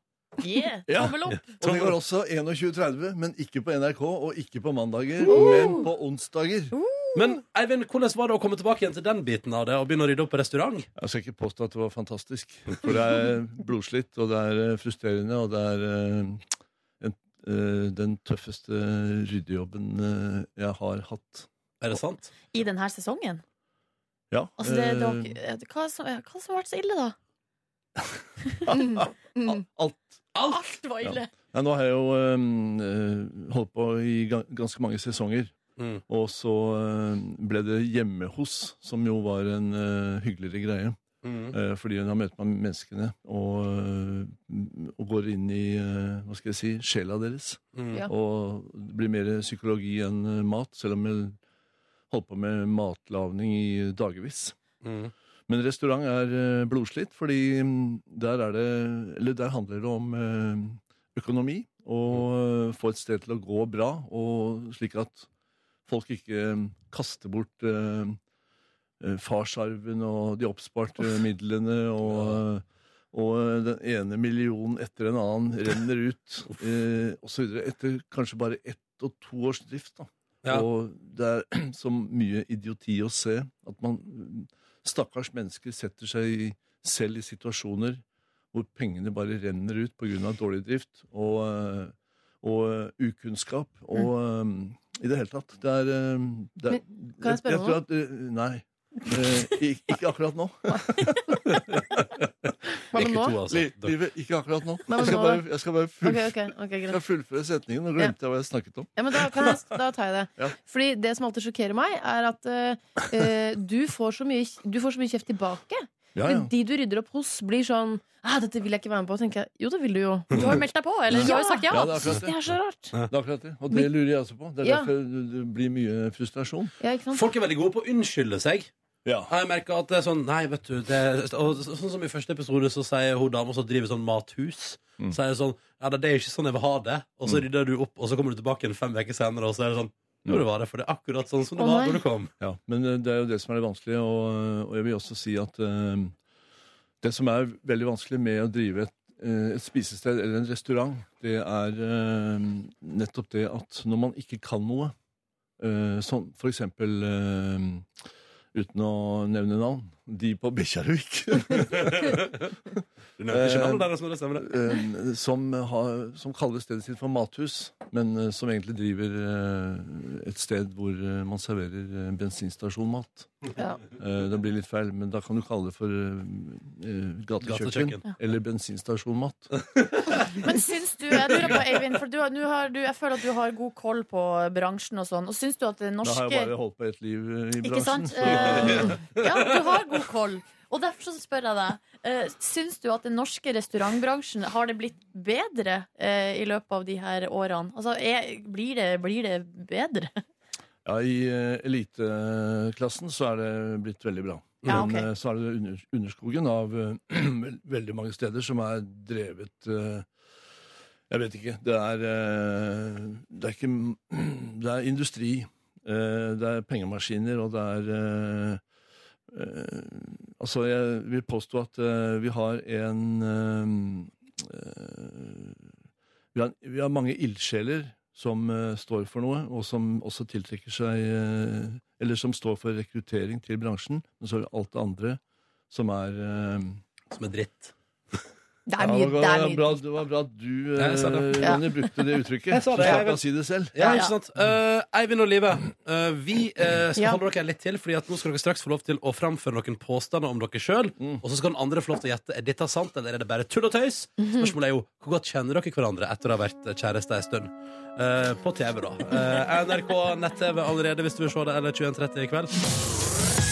Yeah.
Ja.
Tommel opp.
Og det går også 21.30, men ikke på NRK, og ikke på mandager, men på onsdager.
Men Eivind, hvordan var det å komme tilbake igjen til den biten av det og begynne å rydde opp på restaurant?
Jeg skal ikke påstå at det var fantastisk. For det er blodslitt, og det er eh, frustrerende, og det er eh, en, eh, den tøffeste ryddejobben eh, jeg har hatt.
Er det sant?
I denne sesongen?
Ja.
Altså, det, det var,
eh,
ikke- hva, som, hva som var så ille, da? Mm.
al- Eh, alt.
Alt var ille.
Nei, nå har jeg jo eh, eh, holdt på i ga- ganske mange sesonger.
Mm.
Og så eh, ble det hjemme hos, som jo var en eh, hyggeligere greie.
Mm.
Eh, fordi hun har møtt meg med menneskene og, eh, og går inn i eh, hva skal jeg si, sjela deres.
Mm.
Ja.
Og det blir mer psykologi enn eh, mat, selv om jeg holdt på med matlagning i dagevis.
Mm.
Men restaurant er eh, blodslitt, fordi mm, der, er det, eller der handler det om eh, økonomi. Og eh, få et sted til å gå bra, og slik at folk ikke eh, kaster bort eh, eh, farsarven og de oppsparte midlene. og... eh, og eh, den ene millionen etter en annen renner ut, eh, og så videre. Etter kanskje bare ett og to års drift, da.
Ja.
Og det er så mye idioti å se. At man Stakkars mennesker setter seg i- selv i situasjoner hvor pengene bare renner ut pga. dårlig drift og, eh, og eh, ukunnskap. Og eh, i det hele tatt. Det er, eh, det er
Mm. kan jeg spørre om
tror at, eh, Nei. Eh, ik- ikke akkurat nå.
Hva med
Ikke
nå?
to, altså.
Li- Livet, ikke akkurat nå.
Nei, men
Jeg skal
nå
bare, jeg skal bare
Ok,
fullføre,
ok, ok,
jeg
greit.
skal fullføre setningen. Nå glemte jeg hva jeg snakket om.
Ja, men da, kan jeg, da tar jeg det.
Ja.
Fordi det som alltid sjokkerer meg, er at eh, eh, du, får så mye, du får så mye kjeft tilbake.
Ja, ja.
Men De du rydder opp hos, blir sånn ah, 'Dette vil jeg ikke være med på'. tenker jeg, Jo, det vil du jo.
Du har jo meldt deg på, eller? Du har jo sagt ja.
Ja, det er akkurat
Det er så rart.
Det er akkurat det. Og det lurer jeg også på. Det er
Ja.
derfor det blir mye frustrasjon.
Ja, ikke sant?
Folk er veldig gode på å unnskylde seg.
Ja.
Jeg merker at det er sånn Nei, vet du det, er- og, så- Sånn som i første episode, så sier hun dama som driver sånn mathus
Mm.
Så er det sånn Ja, det er ikke sånn jeg vil ha det. Og så rydder du opp, og så kommer du tilbake igjen fem uker senere, og så er det sånn Jo, det var det, for det er akkurat sånn som det
Å,
var
nei.
da du kom.
Ja, men eh, det er jo det som er det vanskelige, og, og jeg vil også si at eh, det som er veldig vanskelig med å drive et, eh, et spisested eller en restaurant, det er eh, nettopp det at når man ikke kan noe, eh, som for eksempel eh, uten å nevne navn, de på Bekkjarvik,
Du nevnte ikke
Eh,
navnet deres når det stemmer, det.
eh, som, har- som kaller stedet sitt for mathus, men eh, som egentlig driver eh, et sted hvor eh, man serverer eh, bensinstasjonmat.
Ja.
Eh, Det blir litt feil, men da kan du kalle det for eh, eh, gatekjøkken.
Gatekjøkken.
Eller bensinstasjonmat.
Men syns du Jeg lurer på, Eivind, for du, har- nå har, du, jeg føler at du har god koll på bransjen og sånn. Og syns du at det
Da har jeg
norske
bare holdt på ett liv eh, i
Ikke
bransjen.
sant? Eh, ja, du har god koll. Og derfor så spør jeg deg, eh, syns du at den norske restaurantbransjen har det blitt bedre eh, i løpet av de her årene? Altså, er, blir, det, blir det bedre?
Ja, I eh, eliteklassen så er det blitt veldig bra.
Ja,
Men
ok.
eh, så er det under, underskogen av eh, vel- veldig mange steder som er drevet eh, Jeg vet ikke. Det er, eh, det er ikke Det er industri. eh, Det er pengemaskiner, og det er eh, eh, Altså, jeg vil påstå at eh, vi har en eh, eh, vi har, vi har mange ildsjeler som eh, står for noe, og som også tiltrekker seg eh, Eller som står for rekruttering til bransjen. Men så er det alt det andre som er eh,
Som er dritt.
Det
ja,
er mye. Det er
var bra,
mye.
det var bra at du,
Ja, jeg sa
eh,
det.
Ronny, brukte det uttrykket.
Jeg sa
Så
det, jeg
slapp
vet.
jeg å si det selv.
Ja,
Ja,
ikke
ja.
sant? Eh, Eivind og Live, eh, vi eh, skal
Ja.
holde dere litt til, Fordi at nå skal dere straks få lov til å framføre noen påstander om dere sjøl. Og så skal den andre få lov til å gjette er dette sant eller er det bare tull og tøys. Spørsmålet er jo hvor godt kjenner dere hverandre etter å ha vært kjærester en stund. Eh, på TV, da. Eh, NRK nett-TV allerede hvis du vil se det, eller 21.30 i kveld.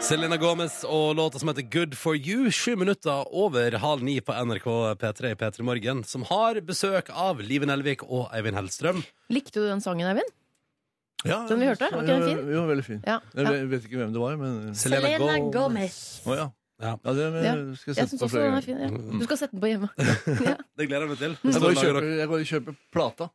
Selena Gomez og låta som heter Good for you, sju minutter over halv ni på NRK P3 i P3 Morgen, som har besøk av Live Nelvik og Eivind Hellstrøm.
Likte du den sangen, Eivind?
Ja,
Den vi hørte, var ikke den fin?
Jo, veldig fin.
Ja.
Jeg
ja.
vet- vet ikke hvem det var, men
Selena Gomez.
Å ja.
Ja.
Ja, det
Ja.
skal jeg
Jeg
sette
syns
på
også
flere
den er
ganger. Mm.
fin. Ja. Du skal sette den på hjemme.
Det gleder jeg meg til.
Jeg går og kjøper, jeg går og kjøper plata.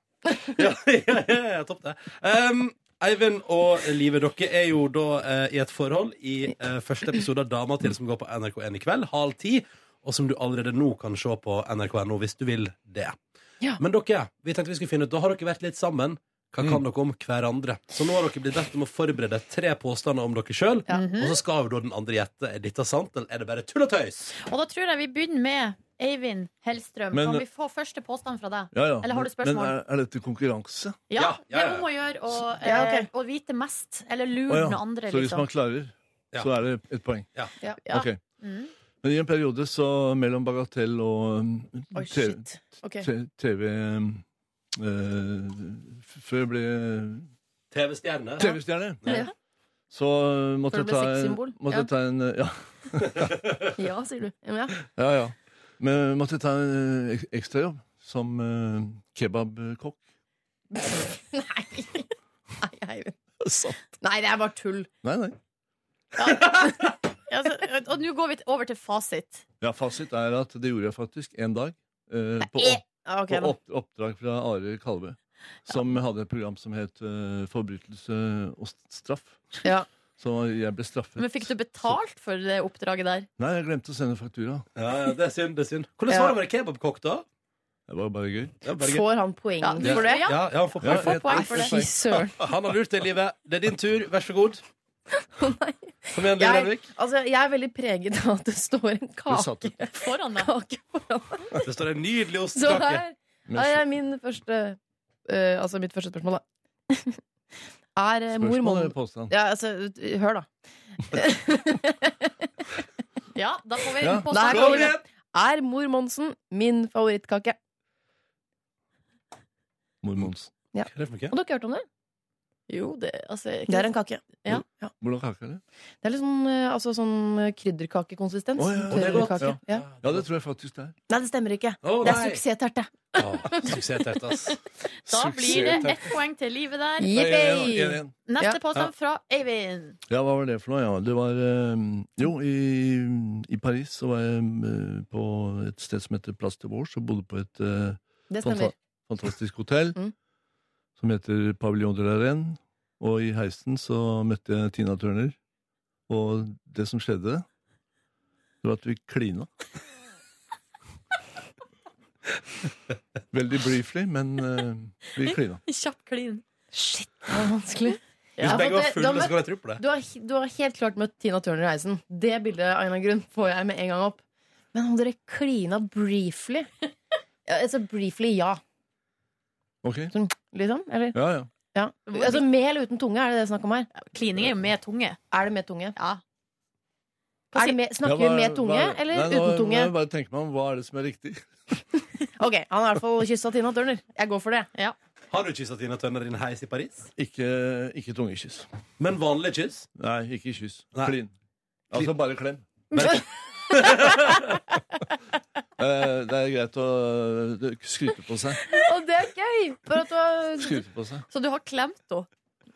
ja, ja, ja, ja, topp det. Um, Eivind og Live, dere er jo da eh, i et forhold i eh, første episode av Dama til, som går på NRK1 i kveld, halv ti. Og som du allerede nå kan se på nrk.no hvis du vil det.
Ja.
Men dere, vi tenkte vi skulle finne ut, da har dere vært litt sammen. Hva kan dere om hverandre? Så nå har dere blitt bedt om å forberede tre påstander om dere sjøl.
Ja.
Og så skal jo da den andre gjette. Er dette sant, eller er det bare tull og tøys?
Og da tror jeg vi begynner med Eivind Hellstrøm.
Men-
kan vi få første påstand fra deg?
Ja, ja.
Eller har du
Men-
spørsmål?
Men er, er dette konkurranse?
Ja,
Ja, ja,
det
ja.
er om å gjøre å,
Ja, ok.
eh, å vite mest, eller lure
Å ja.
den andre,
Så hvis
liksom.
man klarer,
Ja.
så er det et poeng.
Ja.
Ok.
Mm.
Men i en periode så mellom Bagatell og um,
Oi,
TV,
shit. Ok.
te- TV um, eh, f- Før jeg ble
TV-stjerne.
TV-stjerne,
Ja.
så uh,
Før
måtte
du
jeg
ble
ta en,
sexsymbol.
måtte
Ja.
jeg ta en uh, ja,
Ja, sier du. Ja, men ja.
ja, ja. Men eh, måtte jeg ta en uh, ek- ekstrajobb som uh, kebabkokk.
Nei. Nei, Eivind.
Sant.
Nei, det er bare tull.
Nei, nei.
Ja, så- og nå går vi over til fasit.
Ja, fasit er at det gjorde jeg faktisk en dag. eh, på,
eh,
opp,
Ja, ok,
på
da.
opp, oppdrag fra Are Kalve. Som hadde et program som het eh, Forbrytelse og st- straff.
Ja.
Så jeg ble straffet.
Men fikk du betalt for det oppdraget der?
Nei, jeg glemte å sende faktura.
Ja, ja, det er synd. det er synd Hvordan
Ja.
var det å være kebabkokk, da?
Det var bare gøy.
Det var bare gøy.
Får han poeng
Ja,
for det?
Ja.
Ja, ja, han får poeng.
Ja,
Få poeng for
Fy
det.
søren.
Han har lurt deg, livet. Det er din tur, vær så god. Kom igjen, Liv
Jeg,
Nelvik.
altså, jeg er veldig preget av at det står en
Det satt
kake,
Foran deg.
kake foran meg.
Det står en nydelig
Så
ostekake.
her her er min første eh, Altså mitt første spørsmål, da. Er eh, mor
Spørsmål eller
mono...
påstand?
Ja, altså, hør, da.
Ja, da får vi
Ja.
en
Nei,
påstand.
kom
Kom
igjen.
igjen!
Er mor Monsen min favorittkake?
Mormons.
Hva er det for noe?
Har dere hørt om det?
Jo, det altså,
Det er en kake.
Ja.
Hvordan kake er det?
Det er litt sånn, eh, altså, sånn eh, krydderkakekonsistens.
Å, ja. Å, det er godt.
Krydderkake. Ja.
Ja, det tror jeg faktisk det er.
Nei, det stemmer ikke.
Å,
det er
nei.
suksessterte.
Suksessterte, ass.
Da blir det ett poeng til livet der.
Yippee! Ja, ja, ja, ja.
Neste
Ja.
påstand fra Eivind.
Ja, hva var det for noe? Ja, det var eh, Jo, i, i Paris så var jeg eh, på et sted som heter Place de Bourges, og bodde på et eh,
Det
fanta
stemmer.
fantastisk hotell
Mm.
som heter Pavillon de la Reine. Og i heisen så møtte jeg Tina Turner, og det som skjedde, det var at vi klina. Veldig briefly, men eh, vi klina.
Kjapp klin.
Shit, det var vanskelig.
Hvis
Ja,
begge var
for det-
fulle,
da
så kan jeg tro på det.
Du har, du har helt klart møtt Tina Turner i heisen. Det bildet av en eller annen grunn får jeg med en gang opp. Men om dere klina briefly ja, Altså briefly, ja.
Ok?
Sånn, liksom? Eller?
Ja, ja.
Ja. Altså med eller uten tunge, er det det snakk om her?
Klining er jo med tunge.
Er det med tunge?
Ja.
Er det med, snakker
Ja,
vi
hva-
med tunge
hva-
eller
nei, nå-
uten tunge?
Nå, jeg bare tenker meg om, hva er det som er riktig?
Ok, Han har i hvert fall kyssa Tina Turner. Jeg går for det.
Har du kyssa Tina Tønner i en heis i Paris?
Ikke, ikke tungekyss.
Men vanlig kyss?
Nei, ikke kyss.
Nei.
Klin. Altså bare klem.
Bare-
Eh, det er greit å eh, skryte på seg.
Og det er gøy! For at du har
Skryte på seg.
Så du har klemt henne,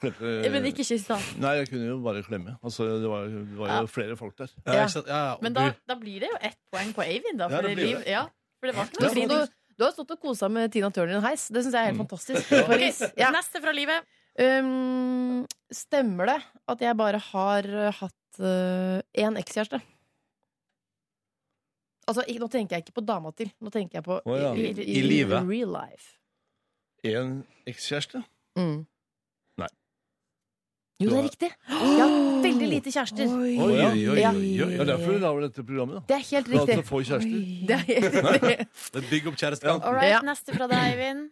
Eh,
Klemte-
men ikke kyssa.
Nei, jeg kunne jo bare klemme. Altså, det var, det var jo
Ja.
flere folk der.
Ja, ikke sant? Ja, ja. og
Men da,
du-
da blir det jo ett poeng på Eivind, da.
Ja,
Fordi
det blir
liv,
det.
ja, for det var ikke
Du,
noe
sto-
klining.
du, du har stått og kosa med Tina Turner i en heis. Det syns jeg er helt
Mm.
fantastisk. I Paris. Ja.
Neste fra livet.
Um, stemmer det at jeg bare har uh, hatt én ekskjæreste? Altså, ikke- nå tenker jeg ikke på dama til. Nå tenker jeg på
Å, ja.
I livet.
real life.
En ekskjæreste?
Mm.
Nei.
Jo, det er riktig. Jeg har hatt veldig lite kjærester.
Oi, oi, oi, oi,
Ja.
oi. Det er derfor du lager dette programmet, da.
Det er helt
For at
riktig.
du får kjærester.
Det er helt riktig.
det bygger opp kjærestekamp.
All right,
Ja.
neste fra deg, Eivind.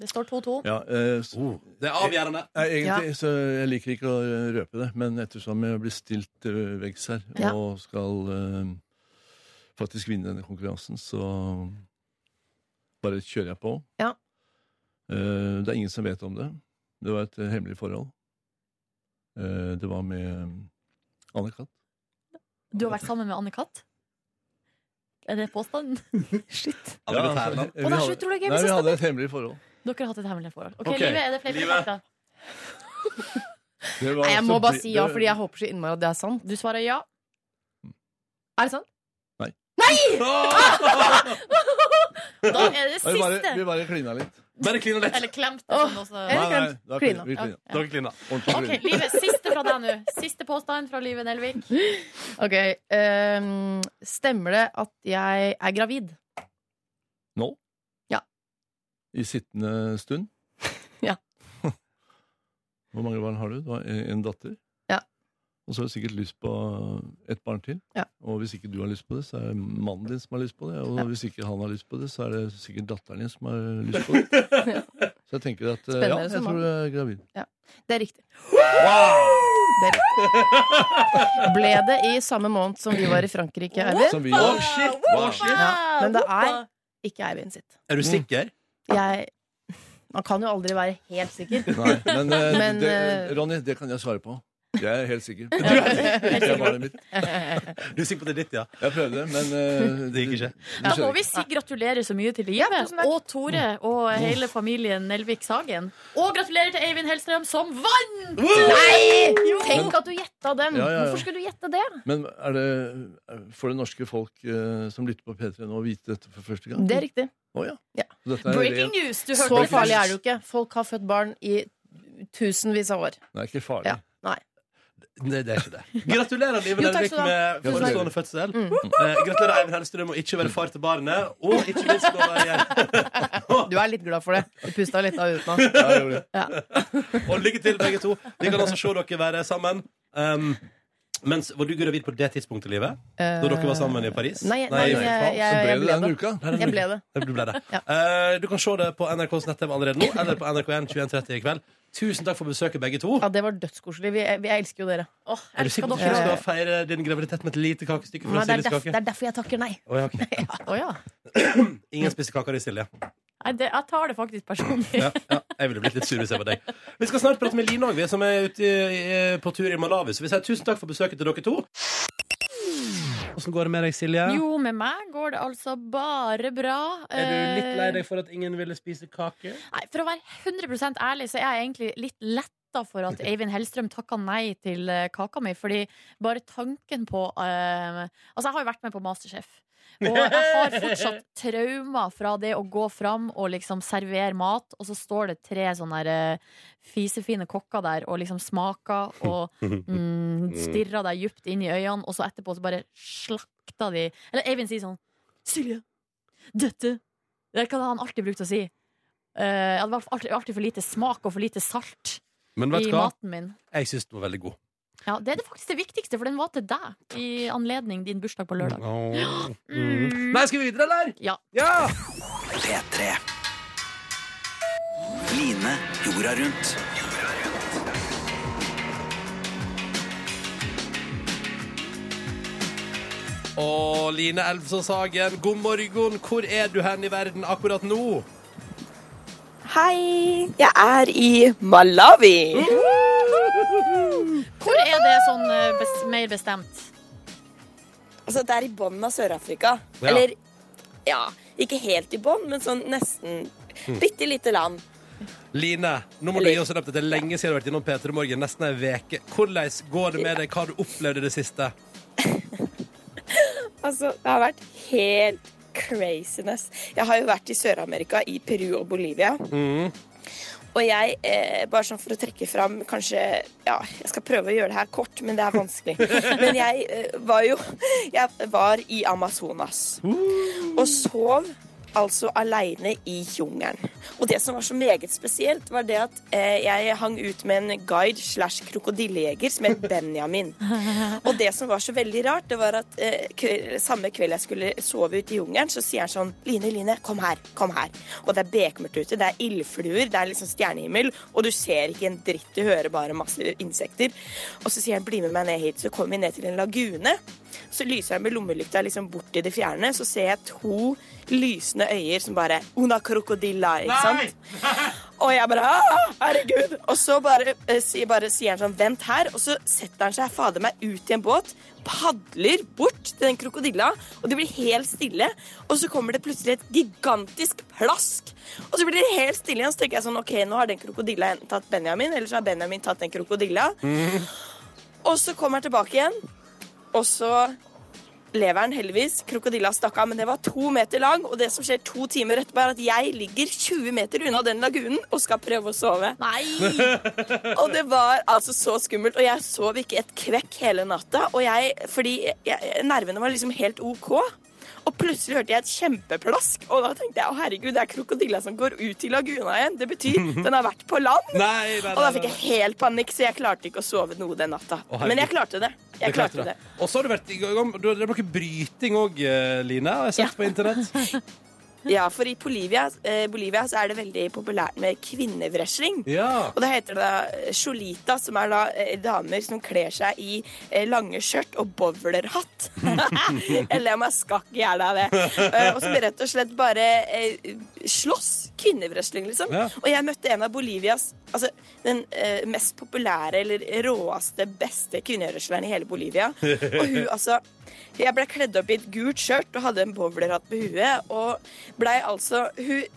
Det står 2-2.
Ja, eh, så-
Oh. Det er avgjørende.
Nei, egentlig så jeg liker ikke å eh, røpe det, men ettersom jeg blir stilt øh, veggs her
Ja.
og skal øh, faktisk vinne denne konkurransen, så bare kjører jeg på.
Ja.
Eh, det er ingen som vet om det. Det var et eh, hemmelig forhold. Eh, det var med eh, Anne-Kat.
Du har vært sammen med Anne-Kat? Er det påstanden? Shit.
Hadde gått her, da.
altså, vi
Å, det er så
hadde-
utrolig gøy.
Nei, vi hadde et hemmelig forhold.
Dere har hatt et hemmelig forhold. Ok,
Ok,
Livet, er det flere
Livet.
fakta?
Det var
Nei, jeg
altså
må bare
bli-
si ja,
det-
fordi jeg håper så innmari at det er sant.
Du svarer ja.
Er det sant?
Da er det
Nei, vi bare, vi
siste.
bare klina litt.
Bare kline litt.
Eller klemt.
Åh,
Sånn også.
Eller klemt.
da
Klina.
vi klina.
Ja.
Dere klina.
Ordentlig
Ok,
klina.
Livet, siste fra deg nå. Siste påstand fra Live Nelvik.
Ok, ehm, Stemmer det at jeg er gravid?
Nå?
Ja.
I sittende stund?
Ja.
Hvor mange barn har du? Du har en en datter?
Ja.
Og så har du sikkert lyst på ett barn til.
Ja.
Og hvis ikke du har lyst på det, så er det mannen din som har lyst på det. Og
Ja.
hvis ikke han har lyst på det, så er det sikkert datteren din som har lyst på det. Så jeg tenker at eh, ja,
Spennende
jeg
som
tror du er gravid.
Det er riktig. Det er riktig. Ble det i samme måned som vi var i Frankrike, Eivind?
Som vi
Å, shit! Å, shit.
Ja, men det er ikke Eivind sitt.
Er du sikker?
Jeg Man kan jo aldri være helt sikker.
Nei, men, eh,
Men,
det,
eh,
Ronny, det kan jeg svare på. Jeg er helt sikker.
Du er,
Det er barnet mitt.
du er sikker på at det er ditt, ja?
Jeg prøvde, men eh,
Det gikk ikke.
det
Da må
skjedde ikke.
vi si gratulerer så mye til livet.
tusen takk.
Og Tore
Mm.
og hele familien Nelvik Sagen. Og gratulerer til Eivind Hellstrøm som vant!
Nei! Tenk at du gjetta den!
Ja, ja, ja.
Hvorfor skulle du gjette det?
Men er det for det norske folk eh, som lytter på P3 nå, å vite dette for første gang?
Det er riktig.
Å, ja.
Ja.
Så Dette er
Breaking
ren-
news! Du hørte
Så farlig er det jo ikke. Folk har født barn i tusenvis av år.
Nei, ikke farlig.
Ja. Nei.
Nei, det er ikke det. Gratulerer, Live
Jo, takk
Nelvik,
skal du ha. Mm.
med
Tusen takk.
forestående fødsel. Eh, gratulerer, Eivind Hellstrøm, og ikke være far til barnet. Og ikke minst å være
Du er litt glad for det. Du pusta litt av utenat.
Ja, jeg gjorde det.
Og lykke til, begge to. Vi kan altså se dere være sammen. Um, mens, var du gravid på det tidspunktet i livet? Da dere var sammen i Paris?
Nei, nei, jeg, jeg,
Så
jeg,
ble det
ble
denne
det.
uka.
Jeg ble det.
Det ble det.
Ja.
Eh, du kan se det på NRKs nettem allerede nå, eller på NRK1 21.30 i kveld. Tusen takk for besøket, begge to.
Ja, det var dødskoselig. Vi, vi elsker jo dere.
Åh, jeg
Er du sikker
elsker
på at
dere.
du skal feire din graviditet med et lite kakestykke fra
Nei, det, er
Siljes
derf,
kake?
det er derfor jeg takker nei.
Å, ja, ok.
Å ja.
Ingen spiste kaker i Silje.
Nei, det, jeg tar det faktisk personlig.
Ja, ja, jeg ville blitt litt sur hvis jeg var deg. Vi skal snart prate med Line òg, som er ute i, i- på tur i Malawi. Så vi sier tusen takk for besøket til dere to. Åssen går det med deg, Silje?
Jo, med meg går det altså bare bra.
Er du litt
eh,
lei deg for at ingen ville spise kake?
Nei, for å være 100 ærlig, så er jeg egentlig litt letta for at Eivind Hellstrøm takka nei til eh, kaka mi. Fordi bare tanken på eh, Altså, jeg har jo vært med på Masterchef. Og jeg har fortsatt traumer fra det å gå fram og liksom servere mat, og så står det tre sånne der, eh, fisefine kokker der og liksom smaker og mm, stirrer deg djupt inn i øynene, og så etterpå så bare slakter de Eller Eivind sier sånn Silje, dette Det er hva han alltid brukte å si. Eh, det var alltid, alltid for lite smak og for lite salt
Men vet
i
du hva?
maten min.
Jeg syns den var veldig god.
Ja, det er det faktisk det viktigste, for den var til deg i anledning din bursdag på lørdag.
Åh. Mm. Nei, skal vi videre, eller?
Ja.
Ja!
P3. Line jorda rundt.
Og Line Elvsås Hagen, god morgen. Hvor er du hen i verden akkurat nå?
Hei, jeg er i Malawi.
Hvor er det sånn eh, bes mer bestemt?
Altså, det er i bånn av Sør-Afrika.
Ja.
Eller, ja, ikke helt i bånn, men sånn nesten.
Hmm.
Bitte lite land.
Line, nå må du gi oss en update. Det er lenge siden du har vært innom P3 Morgen. Nesten ei veke. Hvordan går det med deg? Hva har du opplevd i det siste?
Altså, det har vært helt craziness. Jeg har jo vært i Sør-Amerika, i Peru og Bolivia. Og jeg, eh, bare sånn for å trekke fram kanskje Ja, jeg skal prøve å gjøre det her kort, men det er vanskelig. Men jeg eh, var jo Jeg var i Amazonas. Og sov altså aleine i jungelen. Og det som var så meget spesielt, var det at eh, jeg hang ut med en guide slash krokodillejeger som het Benjamin. Og det som var så veldig rart, det var at eh, kve- samme kveld jeg skulle sove ute i jungelen, så sier han sånn Line, Line, kom her, kom her. Og det er bekmørkt ute, det er ildfluer, det er liksom stjernehimmel, og du ser ikke en dritt, du hører bare masse insekter. Og så sier han bli med meg ned hit. Så kommer vi ned til en lagune. Så lyser jeg med lommelykta liksom bort i det fjerne, så ser jeg to lysende øyer som bare Una crocodilla, ikke sant? Og jeg bare «Ah, Herregud! Og så bare, eh, sier- bare sier han sånn Vent her. Og så setter han seg fader meg ut i en båt, padler bort til den krokodilla, og det blir helt stille. Og så kommer det plutselig et gigantisk plask. Og så blir det helt stille igjen. Så tenker jeg sånn OK, nå har den krokodilla enten tatt Benjamin, eller så har Benjamin tatt den krokodilla. Og så kommer han tilbake igjen, og så lever han heldigvis. Krokodilla stakk av, men det var to meter lang. Og det som skjer to timer etterpå, er at jeg ligger 20 meter unna den lagunen og skal prøve å sove. og det var altså så skummelt. Og jeg sov ikke et kvekk hele natta. Og jeg, fordi jeg, nervene var liksom helt OK. Og plutselig hørte jeg et kjempeplask, og da tenkte jeg å herregud, det er krokodilla som går ut i laguna igjen. Det betyr den har vært på land.
Nei, nei, nei,
og da fikk
nei,
jeg helt panikk, så jeg klarte ikke å sove noe den natta.
Å, herregud.
Men jeg klarte det. Jeg
Du klarte
klarte det.
Og så har du vært i gang Du har drevet noe bryting òg, Line. Har jeg sett på internett?
Ja, for i Bolivia, eh, Bolivia så er det veldig populært med kvinnevresling.
Ja.
Og det heter da eh, cholita, som er da eh, damer som kler seg i eh, lange skjørt og bowlerhatt. Jeg ler meg skakk i hjel av det. Eh, og som rett og slett bare eh, slåss. Kvinnevresling, liksom.
Ja.
Og jeg møtte en av Bolivias altså, den eh, mest populære eller råeste, beste kvinnevresleren i hele Bolivia. Og hun, altså Jeg ble kledd opp i et gult skjørt og hadde en bowlerhatt på huet, og blei altså Hun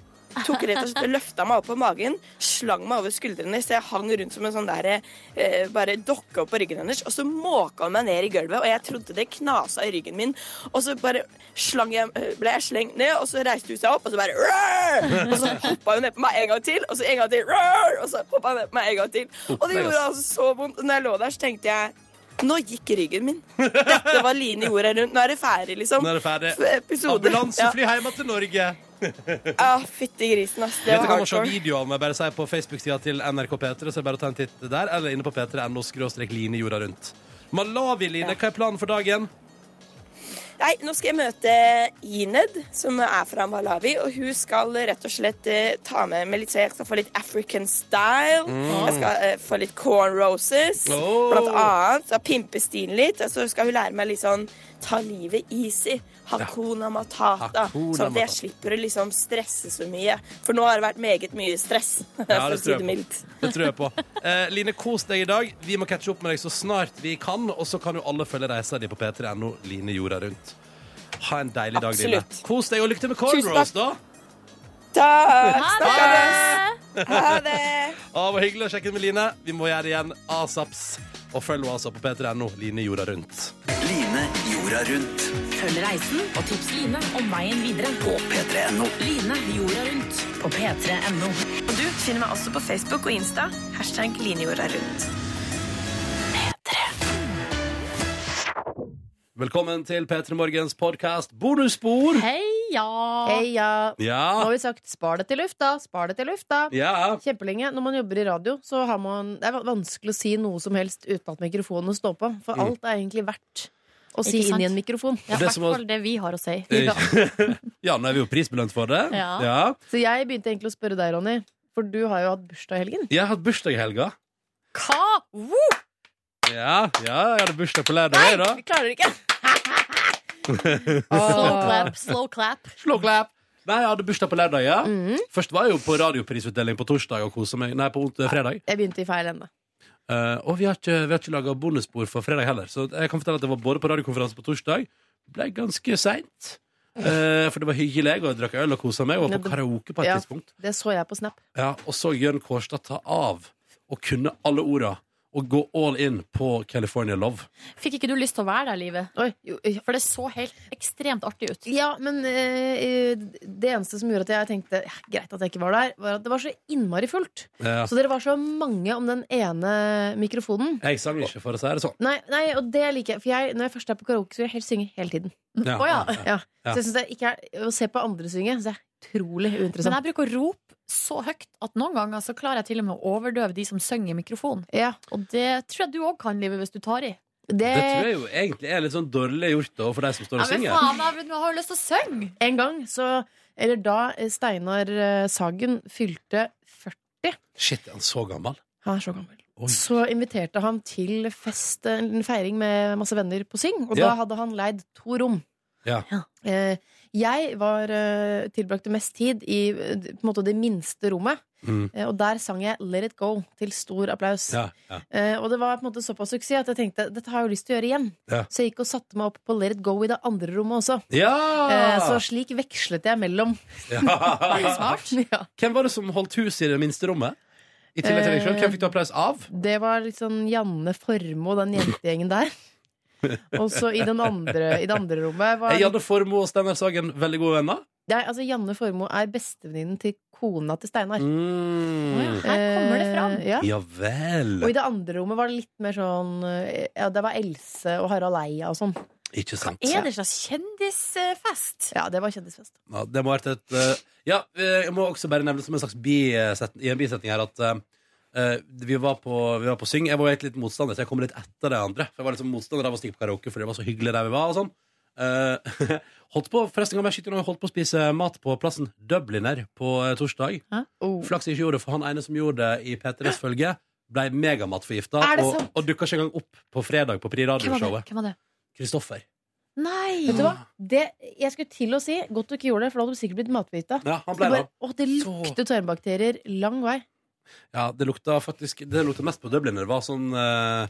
tok rett og slett løfta meg opp på magen, slang meg over skuldrene, så jeg hang rundt som en sånn der eh, bare dokke opp på ryggen hennes, og så måka hun meg ned i gulvet, og jeg trodde det knasa i ryggen min, og så bare slang jeg, eh, ble jeg slengt ned, og så reiste hun seg opp, og så bare «Rar!» og så hoppa hun ned på meg en gang til, og så en gang til, «Rar!» og så hoppa hun ned på meg en gang til, og det gjorde altså så vondt, og når jeg lå der, så tenkte jeg nå gikk ryggen min. Dette var Line jorda rundt. Nå er det ferdig, liksom.
Nå er det ferdig.
Episode.
Ambulansefly hjemme til Norge.
Ja, ah, fytti grisen, ass. Det
Dette
var
kan man se
hardcore.
video av meg bare si på Facebook-sida til NRK P3, så er det bare å ta en titt der, eller inne på p3.no skråstrek Line jorda rundt. Malawi, Line, hva er planen for dagen?
Nei, nå skal jeg møte Ined, Eh, som er fra Malawi, og hun skal rett og slett eh, ta med meg litt, så jeg skal få litt African style,
Mm.
jeg skal eh, få litt corn roses,
Oh.
blant annet, og pimpe stilen litt, og så skal hun lære meg litt sånn, ta livet easy, hakuna
Ah,
matata,
Hakuna
sånn at
matata.
jeg slipper å liksom stresse så mye, for nå har det vært meget mye stress, for å si det
jeg
mildt.
på. Det tror jeg på. Eh, Line, kos deg i dag. Vi må catche opp med deg så snart vi kan. Og så kan jo alle følge reisa di på p3.no Line jorda rundt. Ha en deilig dag, Line.
Absolutt.
Kos deg, og lykke til med
Tusen
cornrows, da.
Takk,
Ha
snakkes! Ha det!
Å, det var hyggelig å sjekke inn med Line. Vi må gjøre det igjen asaps. Og følg henne altså på p3.no Line jorda rundt.
Line jorda rundt.
Følg reisen og tips Line om veien videre på p3.no. Line jorda rundt på p3.no.
Og du finner meg også på Facebook og Insta. Hashtag linjorda rundt.
Velkommen til P3 Morgens podkast Bonusspor.
Heia!
Ja.
Nå har vi sagt 'spar det til lufta', spar det til lufta.
Ja.
Kjempelenge. Når man jobber i radio, så har man Det er va- vanskelig å si noe som helst uten at mikrofonen står på. For
Mm.
alt er egentlig verdt å si
Ikke sant?
inn i en mikrofon.
Ja, Det i hvert som var- fall
det vi har å si.
Eh, ja, nå er vi jo prisbelønt for det.
Ja.
ja.
Så jeg begynte egentlig å spørre deg, Ronny, for du har jo hatt bursdag i helgen.
Jeg har hatt bursdag i helga.
Hva? Woo!
Ja, ja, jeg hadde bursdag på lørdag,
Nei,
jeg, da.
vi klarer det ikke!
Slow clap, slow clap.
Slow clap. Nei, jeg hadde bursdag på lørdag, ja.
Mhm.
Først var jeg jo på radioprisutdeling på torsdag og kosa meg. Nei, på ont- fredag.
Jeg begynte i feil ende.
Eh, og vi har ikke, vi har ikke laga bonusspor for fredag heller, så jeg kan fortelle at jeg var både på radiokonferanse på torsdag. Ble ganske seint. Eh, for det var hyggelig, og jeg drakk øl og kosa meg. Og var på karaoke på et
Ja,
tidspunkt.
Det så jeg på Snap.
Ja, og så Jørn Kårstad ta av og kunne alle orda og gå all in på California Love.
Fikk ikke du lyst til å være der, Livet? For det så helt ekstremt artig ut.
Ja, men eh, det eneste som gjorde at jeg tenkte ja, greit at jeg ikke var der, var at det var så innmari fullt.
Ja.
Så dere var så mange om den ene mikrofonen.
Jeg sang ikke, for å si det sånn.
Nei, nei, og det liker jeg. For jeg, når jeg først er på karaoke, så vil jeg helst synge hele tiden.
Ja,
Å ja.
ja,
Ja.
ja.
Så jeg synes det ikke er Å se på andre synge så det er utrolig
Liksom.
Men
uinteressant.
jeg bruker å rope så høyt at noen ganger så klarer jeg til og med å overdøve de som synger i mikrofonen. Og det tror jeg du òg kan, Livet, hvis du tar i.
Det tror jeg jo egentlig er litt sånn dårlig gjort da, for de som står
Ja,
og
men
synger.
faen, Avrud, man har jo lyst til å synge!
En gang så Eller da eh, Steinar eh, Sagen fylte 40
Shit, er han så gammel?
Han er så gammel. Så inviterte han til fest, eh, en feiring med masse venner på Syng, og da
Ja.
hadde han leid to rom.
Ja.
Eh, jeg var, eh, tilbrakte mest tid i eh, på en måte det minste rommet,
Mm.
eh, og der sang jeg Let It Go til stor applaus.
Ja, ja.
Eh, og det var på en måte såpass suksess at jeg tenkte dette har jeg jo lyst til å gjøre igjen.
Ja.
Så jeg gikk og satte meg opp på Let It Go i det andre rommet også. Eh,
Ja!
så slik vekslet jeg mellom. Ah.
Ja.
Ja.
Hvem var det som holdt hus i det minste rommet? I tillegg til deg sjøl, hvem fikk du applaus av?
Det var litt sånn Janne Formoe og den jentegjengen der. Og så i, den andre, i det andre rommet var
Jeg hadde Formoe og Steinar Sagen veldig gode venner.
Nei, altså Janne Formoe er bestevenninnen til kona til Steinar.
Mm.
Her kommer det
Eh,
fram. Ja.
Ja vel.
Og i det andre rommet var det litt mer sånn eh, Ja, det var Else og Harald Eia og sånn.
Ikke sant.
Er
det slags kjendisfest?
Ja, det var kjendisfest.
Ja, det må ha vært et eh, Ja, eh, jeg må også bare nevne som en slags biset, i en bisetning her at eh, eh, vi, var på, vi var på Syng. Jeg var egentlig litt motstander, så jeg kom litt etter de andre. For jeg var liksom motstander av å stikke på karaoke, fordi det var så hyggelig der vi var. og sånn Eh, holdt på, Forresten kan jeg skyte inn at jeg holdt på å spise mat på plassen Dubliner på eh, torsdag. Flaks jeg ikke gjorde det, for han ene som gjorde det i P3s følge, ble megamatforgifta
Er det
og,
sant?
og dukka ikke engang opp på fredag på Pri
Hvem var det?
Radioshowet.
Hvem var det?
Kristoffer.
Nei!
Vet du
Ah.
hva? Det, jeg skulle til å si godt du ikke gjorde det, for da hadde du sikkert blitt matbita.
Ja,
Så
han ble
bare,
det.
Å, det lukter tarmbakterier lang vei.
Ja, det lukta faktisk Det lukta mest på Dubliner. var sånn, eh,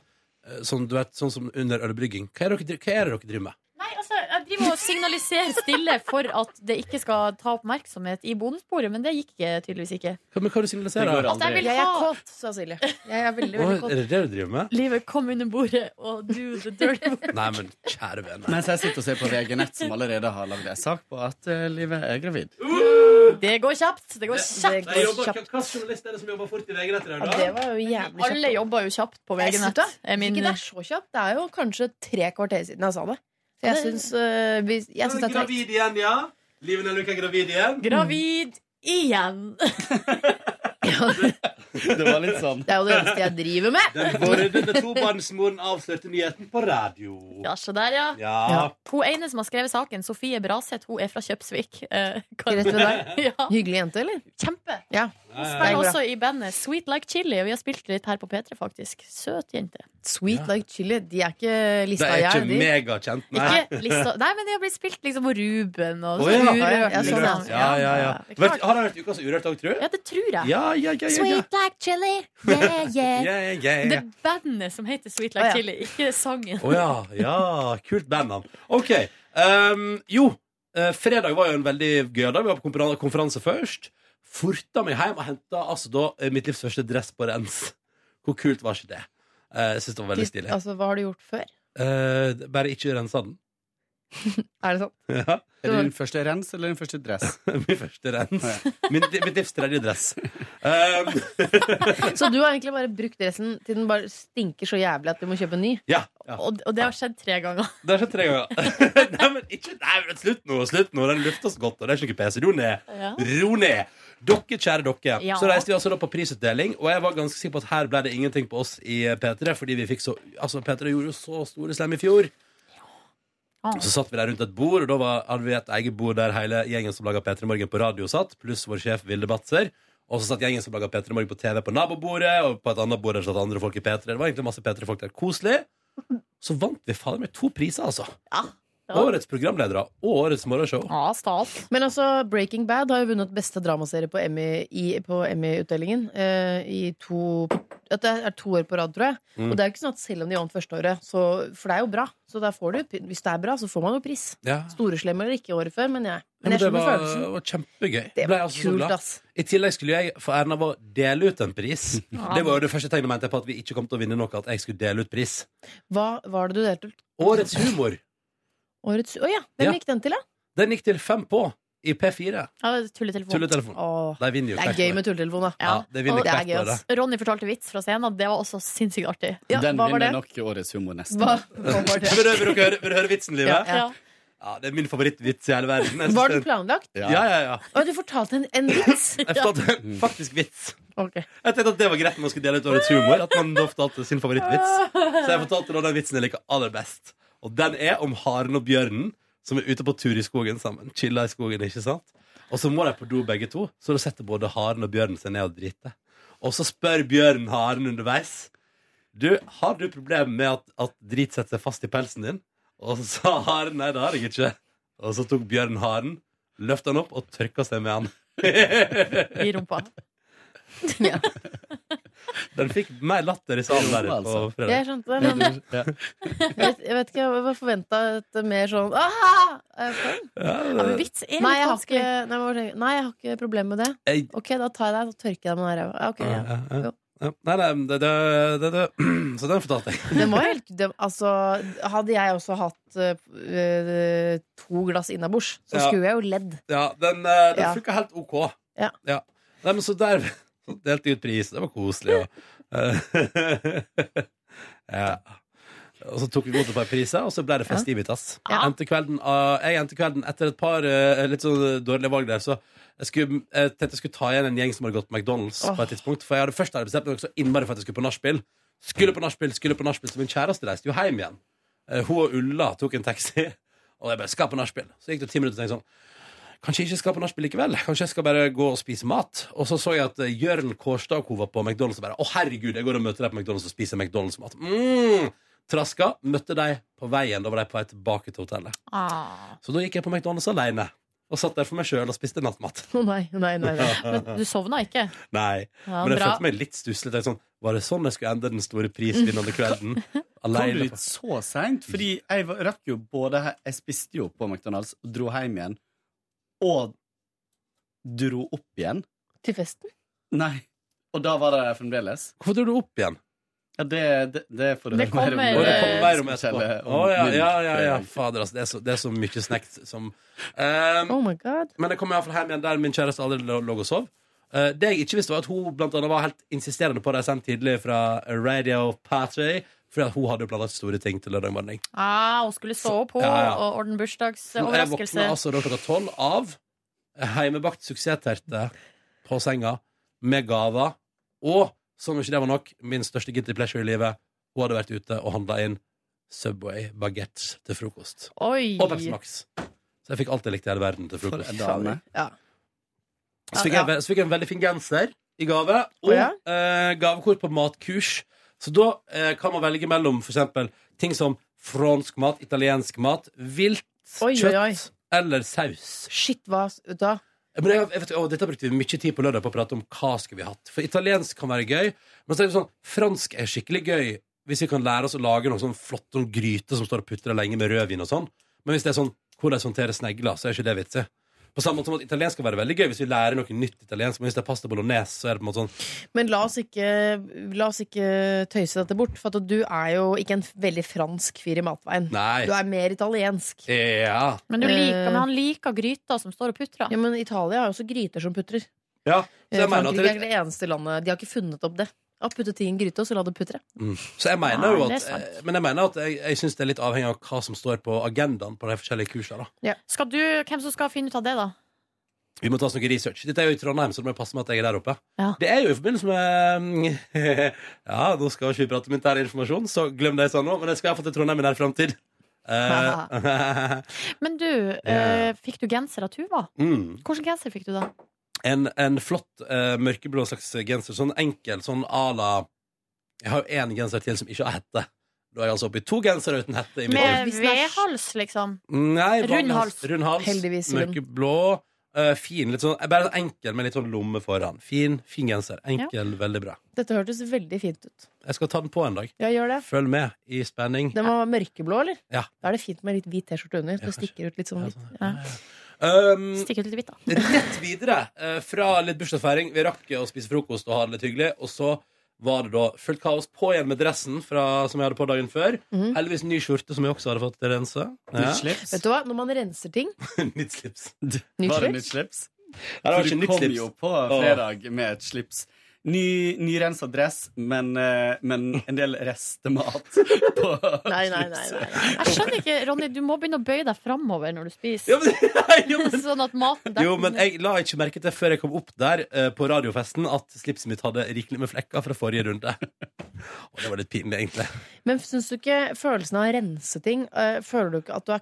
sånn, du vet, sånn som under ølbrygging. Hva er det dere, dri- hva er det dere driver med?
Nei, altså, jeg driver og signaliserer stille for at det ikke skal ta oppmerksomhet i bonussporet, men det gikk ikke, tydeligvis ikke.
Hva, men hva er det du signaliserer?
At jeg vil
Jeg er
ha
kåt, sa Silje. Jeg er veldig,
Å,
veldig
er
kåt.
det det du driver med?
Livet, kom under bordet og do the dirty work.
Nei, men kjære vene.
Mens jeg sitter og ser på VG Nett, som allerede har lagd en sak på at eh, Livet er gravid.
Uh!
Det går kjapt. Det går kjapt.
Nei, jeg jobber- hva slags journalist er det som jobber fort i VG Nett i dag?
Ja, det var jo jævlig kjapt.
Alle jobber jo kjapt på
Jeg
VG
synes
Nett.
det. Jeg synes ikke det er så kjapt. Det er jo kanskje tre kvarter siden jeg sa det. Så
Ja,
jeg
det-
syns øh, vi- jeg syns det er tregt.
Gravid igjen, ja. Liven er gravid igjen.
Gravid igjen.
Det var litt sånn.
Det er jo det eneste jeg driver med.
Den vordende tobarnsmoren avslørte nyheten på radio.
Ja, se der, ja.
Ja.
Hun ene som har skrevet saken, Sofie Braseth, hun er fra Kjøpsvik. Eh, hva-
Rett ved deg.
ja.
Hyggelig jente, eller?
Kjempe.
Ja.
Hun
Det
spiller
er bra.
også i bandet Sweet Like Chili, og vi har spilt litt her på P3, faktisk. Søt jente.
Sweet like chili. De er ikke
Det
lista
er
jeg
ikke
de.
megakjent, nei.
Ikke lista Nei, men de har blitt spilt liksom på Ruben og
Å, ja.
Sture.
Ja, ja,
Ja, sånn,
ja,
ja.
ja, ja, ja.
Det er
Vært-
klart.
Har det vært ukas Urørt òg, tror du?
Ja, det tror jeg.
Ja, ja, ja, ja, ja.
Sweet like chili, yeah, yeah.
Yeah, yeah, yeah.
Det er bandet som heter Sweet like
Å, ja.
chili, ikke sangen.
Å ja, ja. Kult bandnavn. OK. ehm, jo, eh, fredag var jo en veldig gøy dag. Vi var på konferan- konferanse først. Forta meg hjem og henta altså, da, eh, mitt livs første dress på rens. Hvor kult var ikke det? Eh, Jeg synes det var veldig stilig.
Altså, hva har du gjort før?
Eh, bare ikke rensa den.
Er det sånn?
Ja.
Er det din første rens eller din første dress?
Min første rens. Min, mitt livs tredje dress. Ehm,
Så du har egentlig bare brukt dressen til den bare stinker så jævlig at du må kjøpe en ny?
ja, ja.
Og, og det har skjedd tre ganger.
Det har skjedd tre ganger. nei, men ikke, nei, men slutt nå, slutt nå. Den luftes godt, og det er ikke noe PC. Ro ned.
Ja.
Ro ned. Dere, kjære dere,
Ja.
så reiste vi altså da på prisutdeling, og jeg var ganske sikker på at her ble det ingenting på oss i P3, fordi vi fikk så Altså, P3 gjorde jo så store slem i fjor. Så satt vi der rundt et bord, og da var, hadde vi et eget bord der hele gjengen som laga P3 Morgen på radio satt, pluss vår sjef Vilde Batzer. Og så satt gjengen som laga P3 Morgen på TV på nabobordet, og på et annet bord der satt andre folk i P3. Det var egentlig masse P3-folk der. Koselig. Så vant vi fader meg to priser, altså. Årets programledere og årets morgenshow.
Ja, stas.
Men altså, Breaking Bad har jo vunnet beste dramaserie på Emmy- i- på Emmy-utdelingen. eh, I to at Det er to år på rad, tror jeg.
Mm.
Og det er jo ikke sånn at selv om de vant første året, så, for det er jo bra, så der får du, hvis det er bra, så får man jo pris.
Ja.
Storeslem eller ikke året før, men jeg,
Ja,
men jeg
det
skjønner
var,
følelsen.
var kjempegøy.
Det
Ble
var
altså så
kult,
glad.
ass.
I tillegg skulle jeg få æren av å dele ut en pris. Det var jo det første tegnet mente jeg på at vi ikke kom til å vinne noe, at jeg skulle dele ut pris.
Hva var det du delte ut?
Årets humor.
Årets Å ja! Hvem
Ja.
gikk den til, da?
Den gikk til fem på i P4.
Ja, det er tulletelefon.
Tulletelefon. De vinner jo
Det er
hvert
gøy
år.
med tulletelefon, da.
Ja, det vinner
Og-
hvert år,
altså.
da.
Ronny fortalte vits fra scenen, og det var også sinnssykt artig.
den
hva var
vinner
det?
nok årets humor neste
Hva-
år.
hva var det?
Vil dere, vil dere høre, vil dere høre vitsen, Live?
Ja, ja.
Ja, det er min favorittvits i hele verden. Jeg synes
Var den
det-
planlagt?
Ja, ja, ja.
Å, du fortalte en, en vits?
Jeg fortalte en faktisk vits.
Ok.
Jeg tenkte at det var greit når man skulle dele ut årets humor. At man da fortalte sin favorittvits Så jeg fortalte da den vitsen jeg liker aller best. Og den er om haren og bjørnen som er ute på tur i skogen sammen. Chilla i skogen, ikke sant? Og så må de på do begge to, så da setter både haren og bjørnen seg ned og driter. Og så spør bjørnen haren underveis. Du, har du problemer med at, at drit setter seg fast i pelsen din? Og så sa haren nei, det har jeg ikke. Og så tok bjørnen haren, løfta han opp og tørka seg med han.
I rumpa.
Den fikk mer latter i salen der på fredag.
Jeg skjønte det, men-
Ja.
Jeg vet, jeg vet ikke, jeg var forventa et mer sånn Aha! Er jeg fornøyd?
Ja, det-
vits er litt
Nei, jeg har ikke, nei, men hva tenker jeg? nei, jeg har ikke problem med det.
Jeg-
Ok, da tar jeg deg, så tørker jeg deg med den her ræva. Ja, ok, ja.
Ja, ja. Ja. Nei, nei, det, det, det, det. Så den fortalte jeg.
Det var helt, det, altså, hadde jeg også hatt eh, eh, to glass innabords, så
Ja.
skulle jeg jo ledd.
Ja, den, eh, den
Ja.
funka helt OK.
Ja.
Nei, men så der så delte jeg ut pris. Det var koselig. Og, ja. og så tok vi imot et par priser, og så ble det festivitas.
Ja.
Endte kvelden, av- jeg endte kvelden etter et par eh, litt sånn dårlige valg der, så jeg, skulle, jeg tenkte jeg skulle ta igjen en gjeng som hadde gått på McDonald's på et tidspunkt. For jeg hadde først hadde bestemt meg så innmari for at jeg skulle på nachspiel. Skulle på nachspiel, skulle på nachspiel, så min kjæreste reiste jo hjem igjen. Eh, Hun og Ulla tok en taxi, og jeg bare skal på nachspiel. Så gikk det ti minutter, og tenkte jeg sånn Kanskje jeg ikke skal på nachspiel likevel. Kanskje jeg skal bare gå og spise mat. Og så så jeg at eh, Jørn Kårstad og hun var på McDonald's og bare Å, herregud, jeg går og møter deg på McDonald's og spiser McDonald's-mat. Mm. Traska. Møtte de på veien. Da var de på vei tilbake til hotellet.
Ah.
Så da gikk jeg på McDonald's alene. Og satt der for meg sjøl og spiste nattmat.
Å nei, nei, nei, nei.
Men du sovna ikke?
Nei.
Ja,
Men jeg
bra.
følte meg litt stusslig. Tenkte Sånn, var det sånn jeg skulle ende den store prisvinnende kvelden?
Kom du
Alene.
dit så seint? Fordi jeg var- rakk jo både he- Jeg spiste jo på McDonald's og dro hjem igjen. Og dro opp igjen.
Til festen?
Nei. Og da var det fremdeles.
Hvorfor dro du opp igjen?
Ja, det, det, det får du
Det
høre mer om.
kommer, eh, Å, det kommer mer om etterpå.
Kjelle, om eh.
Å, ja,
min
ja, ja, ja.
fredag.
Fader, altså. Det er så, det er så mye snacks som Ehm,
Oh my god.
Men jeg kom iallfall hjem igjen der min kjæreste aldri lå lå og sov. Eh, det jeg ikke visste, var at hun blant annet var helt insisterende på det jeg sendte tidlig fra Radio Party, fordi at hun hadde planlagt store ting til lørdag morgen.
Ah, hun skulle stå opp, hun,
Ja, ja.
og ordne
Men Jeg våkna
bursdagsoverraskelse.
altså da klokka tolv av heimebakt suksessterte på senga med gaver Og som om ikke det var nok, min største guilty pleasure i livet. Hun hadde vært ute og handla inn Subway baguette til frokost.
Oi.
Og Pepsi Max. Så jeg fikk alt jeg likte i hele verden til frokost.
For en dame.
Ja.
Så fikk, jeg, så fikk jeg en veldig fin genser i gave, og eh, gavekort på matkurs. Så da eh, kan man velge mellom for eksempel ting som fransk mat, italiensk mat, vilt
Oi, oi,
kjøtt
oi.
eller saus.
Shit, hva vet du hva?
Men jeg, jeg vet, å, dette brukte vi mye tid på lørdag på å prate om hva skulle vi hatt. For italiensk kan være gøy, men så er det sånn, fransk er skikkelig gøy hvis vi kan lære oss å lage noen sånn flott noen gryte som står og putrer lenge med rødvin og sånn. Men hvis det er sånn hvordan håndtere snegler, så er ikke det vitsig. På samme måte som at italiensk skal være veldig gøy hvis vi lærer noe nytt italiensk. Men hvis det er pasta bolognese, så er det på en måte sånn
Men la oss, ikke, la oss ikke tøyse dette bort, for at du er jo ikke en veldig fransk fyr i matveien.
Nei.
Du er mer italiensk.
Eh. Ja.
Men, du liker, men han liker gryta som står og putrer.
Eh. Ja, men Italia har jo også gryter som putrer.
Ja, så
Eh,
jeg mener at
Frankrike er
det er
det eneste landet De har ikke funnet opp det. Å putte ting i en gryte, og så la det putre.
Mm. Så jeg mener jo
Ja, det er
at
sant.
eh, Men jeg mener at jeg, jeg syns det er litt avhengig av hva som står på agendaen på de forskjellige kursene. da.
Skal du, hvem som skal finne ut av det, da?
Vi må ta oss noe research. Dette er jo i Trondheim, så det må passe med at jeg er der oppe. Det er jo i forbindelse med mm, Ja, nå skal ikke vi prate om intern informasjon, så glem det jeg sa nå. Men jeg skal iallfall til Trondheim i nær framtid. Eh,
Men du, eh, fikk du genser av Tuva?
mm.
Hvilken genser fikk du, da?
en, en flott eh, mørkeblå slags genser. Sånn enkel, sånn à la Jeg har jo én genser til som ikke har hette. Da er jeg altså oppe i to gensere uten hette. i mitt liv.
Med vedhals, liksom?
Nei,
Rund
vanlig
hals.
Rund hals.
Heldigvis rund.
Mørkeblå. eh, fin, litt sånn, bare enkel med litt sånn lomme foran. Fin, fin genser. Enkel, veldig bra.
Dette hørtes veldig fint ut.
Jeg skal ta den på en dag.
Ja, gjør det.
Følg med i spenning.
Den var mørkeblå, eller?
Ja.
Da er det fint med litt hvit T-skjorte under. Så det stikker ut litt sånn. litt.
Um,
Stikk ut litt hvitt, da.
rett videre eh, fra litt bursdagsfeiring. Vi rakk å spise frokost og ha det litt hyggelig. Og så var det da fullt kaos på igjen med dressen fra, som jeg hadde på dagen før.
Mhm.
Heldigvis ny skjorte, som jeg også hadde fått rense. Ja.
Vet du hva, når man renser ting
nytt slips.
Nytt
Var det
slips?
nytt slips?
Ja, det var
For
ikke
du
nytt
kom
slips.
jo på fredag med et slips. Ny, nyrensa dress, men, eh, men en del restemat på
Nei, nei, nei, nei, nei. Jeg skjønner ikke, Ronny, du må begynne å bøye deg framover når du spiser. sånn at maten
Jo, men jeg la ikke merke til før jeg kom opp der eh, på radiofesten at slipset mitt hadde rikelig med flekker fra forrige runde. Og det var litt pinlig, egentlig.
Men syns du ikke følelsen av å rense ting eh, Føler du ikke at du er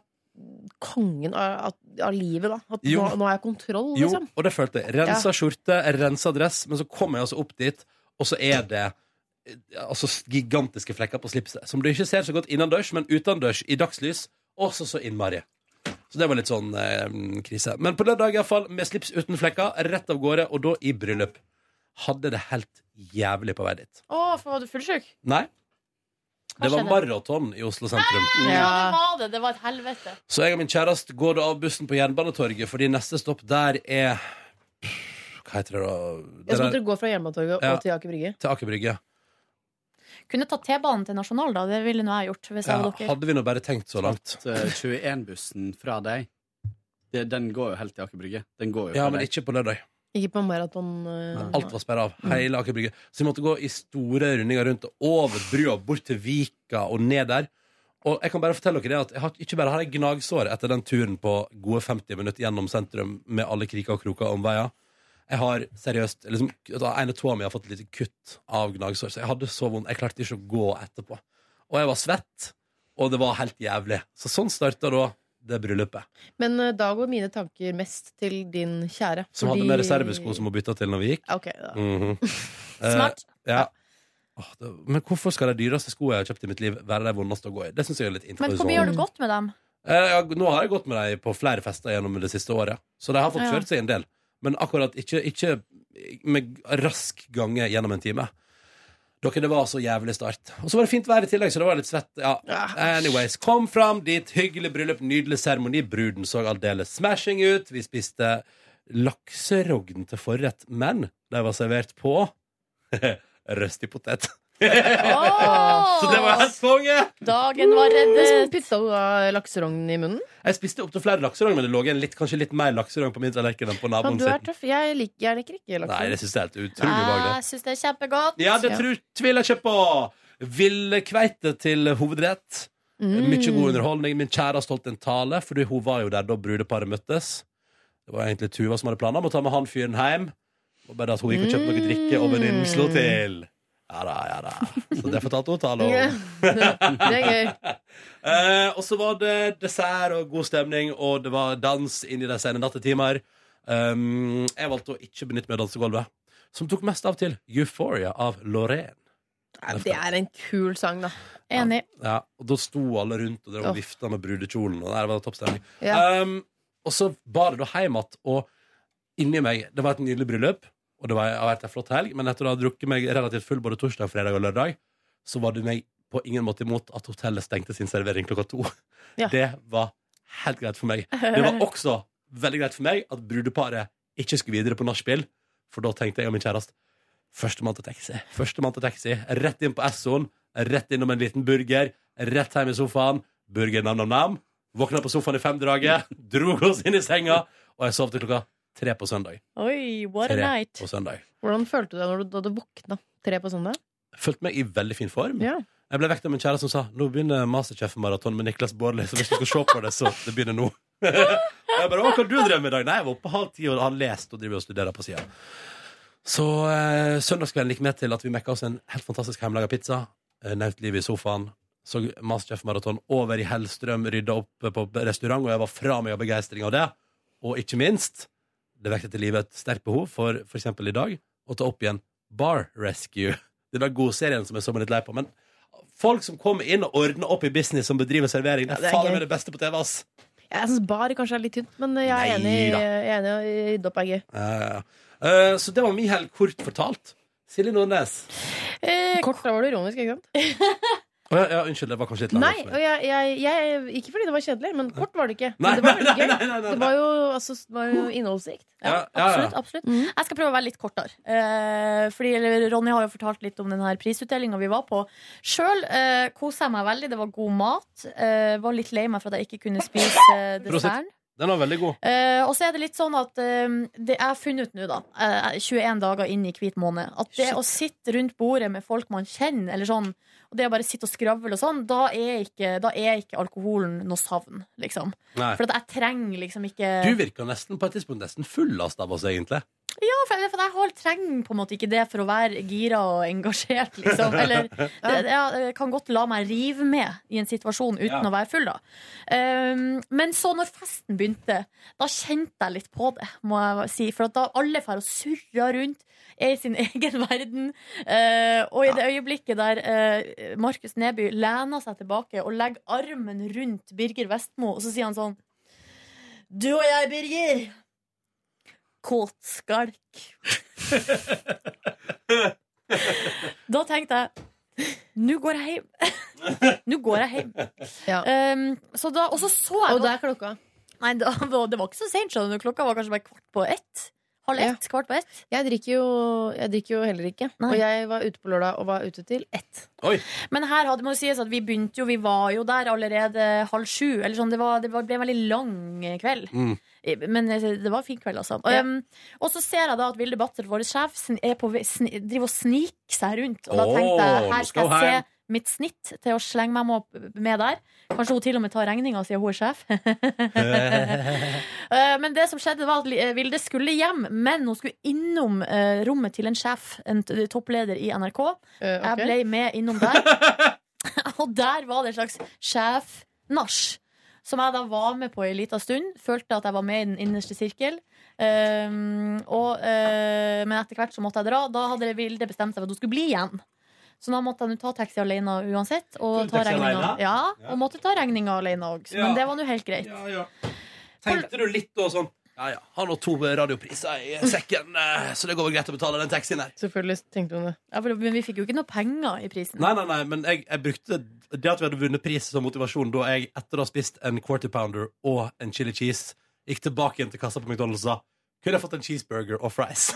kongen av, av- av livet, da? At
Jo.
nå, nå har jeg kontroll,
Jo,
liksom?
og det følte jeg. Rensa
Ja.
skjorte, rensa dress, men så kom jeg altså opp dit, og så er det eh, altså gigantiske flekker på slipset. Som du ikke ser så godt innendørs, men utendørs i dagslys også så innmari. Så det var litt sånn eh, krise. Men på lørdag iallfall, med slips uten flekker, rett av gårde, og da i bryllup. Hadde det helt jævlig på vei dit.
Å, for var du fullsjuk?
Nei. Det var
skjedde?
maraton i Oslo sentrum.
Ja, det var det. Det var et helvete.
Så jeg og min kjæreste går da av bussen på Jernbanetorget, fordi neste stopp der er Hva heter det da?
Jeg
Det
skulle
der-
dere gå fra Jernbanetorget
Ja.
og til Aker Brygge.
til Aker Brygge.
Kunne tatt T-banen til Nasjonal, da. Det ville nå jeg gjort. Hvis jeg
Ja,
var dere.
hadde vi nå bare tenkt så langt.
21-bussen fra deg. Det, den går jo helt til Aker Brygge. Den går jo
Ja,
fra
men
deg.
ikke på lørdag.
Ikke på maraton. eh,
Alt var sperra av. Hele Aker Brygge. Så vi måtte gå i store rundinger rundt og over brua, bort til Vika og ned der. Og jeg kan bare fortelle dere det at jeg har ikke bare har jeg gnagsår etter den turen på gode 50 minutter gjennom sentrum med alle kriker og kroker om veia. Jeg har seriøst liksom, En av tåa mi har fått et lite kutt av gnagsår, så jeg hadde så vondt. Jeg klarte ikke å gå etterpå. Og jeg var svett, og det var helt jævlig. Så sånn starta da det bryllupet.
Men eh, da går mine tanker mest til din kjære.
Som hadde
fordi-
med reservesko som hun bytta til når vi gikk.
Ok, da.
Mhm. Eh,
Smart.
ja. Åh, det, men hvorfor skal de dyreste skoene jeg har kjøpt i mitt liv, være de vondeste å gå i? Det sånn. synes jeg er litt
Men hvor mye har du
interessant.
gått med dem?
Eh, ja, nå har jeg gått med dem på flere fester gjennom det siste året, så de har fått
Ja.
kjørt seg en del. Men akkurat ikke, ikke med rask gange gjennom en time. Dere, det var så jævlig start. Og så var det fint vær i tillegg, så det var litt svett. Ja. Anyways, kom fram dit. Hyggelig bryllup, nydelig seremoni. Bruden så aldeles smashing ut. Vi spiste lakserogn til forrett, men de var servert på røstig potet. Så det var helt konge!
Dagen var reddet.
Putta du da lakserognen i munnen?
Jeg spiste opptil flere lakserogn, men det lå igjen litt, kanskje litt mer lakserogn på min tallerken enn på
Ja,
naboen
du er
sin.
tøff. Jeg liker, jeg liker ikke lakserogn.
Nei, det syns jeg er helt utrolig ubehagelig.
Jeg Ah, syns det er kjempegodt.
Ja, det tror, tviler jeg ikke på. Villkveite til hovedrett.
Mm.
Mye god underholdning. Min kjæreste holdt en tale, fordi hun var jo der da brudeparet møttes. Det var egentlig Tuva som hadde planer om å ta med han fyren hjem. Bare at hun gikk og kjøpte noe drikke, og venninnen slo til. Ja da, ja da. Så det fortalte hun til alle.
Ja, Det er gøy.
Eh, og så var det dessert og god stemning, og det var dans inn i de sene nattetimer. Um, jeg valgte å ikke benytte meg av dansegulvet, som tok mest av til Euphoria av Lorraine.
Det er en kul sang, da.
Enig.
Ja, og da sto alle rundt og drev
Åh.
og vifta med brudekjolen, og der var det topp stemning.
Ja.
Um, og så bar det da hjem igjen, og inni meg Det var et nydelig bryllup, og det var, har vært en flott helg, men etter å ha drukket meg relativt full både torsdag, fredag og lørdag, så var det meg på ingen måte imot at hotellet stengte sin servering klokka to.
Ja.
Det var helt greit for meg. Det var også veldig greit for meg at brudeparet ikke skulle videre på nachspiel, for da tenkte jeg og min kjæreste Førstemann til taxi. Førstemann til taxi. Rett inn på Essoen. Rett innom en liten burger. Rett hjem i sofaen. Burger nam, nam, nam. Våkna på sofaen i femdraget. Drog oss inn i senga. Og jeg sov til klokka tre på søndag.
Oi, what
Tre på søndag.
Hvordan følte du deg når du, da du våkna tre på søndag?
Følte meg i veldig fin form. Jeg ble vekket av min kjære som sa Nå begynner Masterchef-maraton med Niklas Bårdli, så hvis du skal se på det, så det begynner nå. jeg bare, Hva kan du drømme i dag? Nei, jeg var oppe halv ti og har lest og driver og studerer på sida. Så eh, søndagskvelden gikk med til at vi mekka oss en helt fantastisk hjemmelaga pizza. Eh, Naut livet i sofaen. Så Masterchef-maraton over i Hellstrøm, rydda opp på restaurant, og jeg var fra meg av begeistring av det. Og ikke minst, det vekket til livet et sterkt behov for f.eks. i dag å ta opp igjen Bar Rescue. Det var godserien som jeg så meg litt lei på. Men folk som kommer inn og ordner opp i business som bedriver servering, det
det
er
er
faen
gøy.
meg det beste på TV, ass!
Jeg syns bar kanskje er litt tynt, men jeg er enig.
Nei da.
Jeg er enig i rydde opp er gøy.
Ja, ja, ja. Eh, så det var min helg, kort fortalt. Silje Nordnes.
Kort, da var du ironisk, ikke sant?
Å, ja, ja, unnskyld, det var kanskje litt langt.
Nei,
for meg.
og jeg, jeg, jeg, ikke fordi det var kjedelig, men kort var det ikke.
Nei,
Men det var
nei,
veldig gøy.
nei, nei, nei, nei.
Det var jo, altså, det var jo innholdsrikt.
Ja, ja, Mm. ja.
Absolutt. absolutt Jeg skal prøve å være litt kortere. Eh, fordi eller, Ronny har jo fortalt litt om den her prisutdelinga vi var på. Sjøl eh, kosa jeg meg veldig. Det var god mat. Eh, var litt lei meg for at jeg ikke kunne spise eh, desserten.
Prosit. Den var veldig god.
Eh, og så er det litt sånn at eh, det jeg har funnet ut nå, da, eh, 21 dager inn i hvit måned, at det å sitte rundt bordet med folk man kjenner, eller sånn, og det å bare sitte og skravle og sånn, da er ikke, da er ikke alkoholen noe savn, liksom.
Nei.
For at jeg trenger liksom ikke
Du virka nesten på et tidspunkt nesten fullast av oss, egentlig.
Ja, for, for jeg har, trenger på en måte ikke det for å være gira og engasjert, liksom. Eller det, ja, jeg kan godt la meg rive med i en situasjon uten
Ja.
å være full, da. Um, men så, når festen begynte, da kjente jeg litt på det, må jeg si. For at da alle drar og surrer rundt, er i sin egen verden. eh, og i det øyeblikket der eh, Markus Neby lener seg tilbake og legger armen rundt Birger Vestmo, og så sier han sånn Du og jeg, Birger. Kåtskalk. Da tenkte jeg Nå går jeg hjem. Nå går jeg hjem. Um, så da, og så så jeg
Og der klokka?
Nei, da, var- det var ikke så sent. skjønner du. Klokka var kanskje bare kvart på ett. Halv ett, kvart på ett.
Jeg drikker jo, jeg drikker jo heller ikke. Og jeg var ute på lørdag og var ute til ett.
Men her hadde må jo sies at vi begynte jo, vi var jo der allerede halv sju. Eller sånn, det, var, det var- ble en veldig lang kveld.
Mm.
Eh, Men det var en fin kveld, altså.
Ja.
Um, og så ser jeg da at Vilde Batzer, vår sjef, sn- er på, vei- sn driver og sniker seg rundt. Og da
Åh,
tenkte jeg
nå
her
skal
skal
hun
jeg
hjem.
se mitt snitt til å slenge meg med- med der. Kanskje hun til og med tar regninga siden hun er sjef. Eh, Men det som skjedde var at eh, Vilde skulle hjem, men hun skulle innom eh, rommet til en sjef, en t- toppleder i NRK.
Eh, ok.
Jeg ble med innom der. Og der var det en slags sjef-nach. Som jeg da var med på i en liten stund. Følte at jeg var med i den innerste sirkel. Ehm, og, eh, men etter hvert så måtte jeg dra. Da hadde Vilde bestemt seg for at hun skulle bli igjen. Så da måtte jeg nå ta taxi alene uansett. Og, ta
Taxi
regninga.
alene?
Ja, og måtte ta regninga alene òg.
Ja.
Men det var nå helt greit.
Tenkte du litt da sånn Ja, ja, han har to radiopriser i sekken, eh, så det går vel greit å betale den taxien her.
Selvfølgelig tenkte hun det.
Ja, for, men vi fikk jo ikke noe penger i prisen.
Nei, nei, nei, men jeg, jeg brukte det at vi hadde vunnet pris som motivasjon da jeg etter å ha spist en quarter pounder og en chili cheese, gikk tilbake igjen til kassa på McDonald's og sa kunne jeg fått en cheeseburger og fries?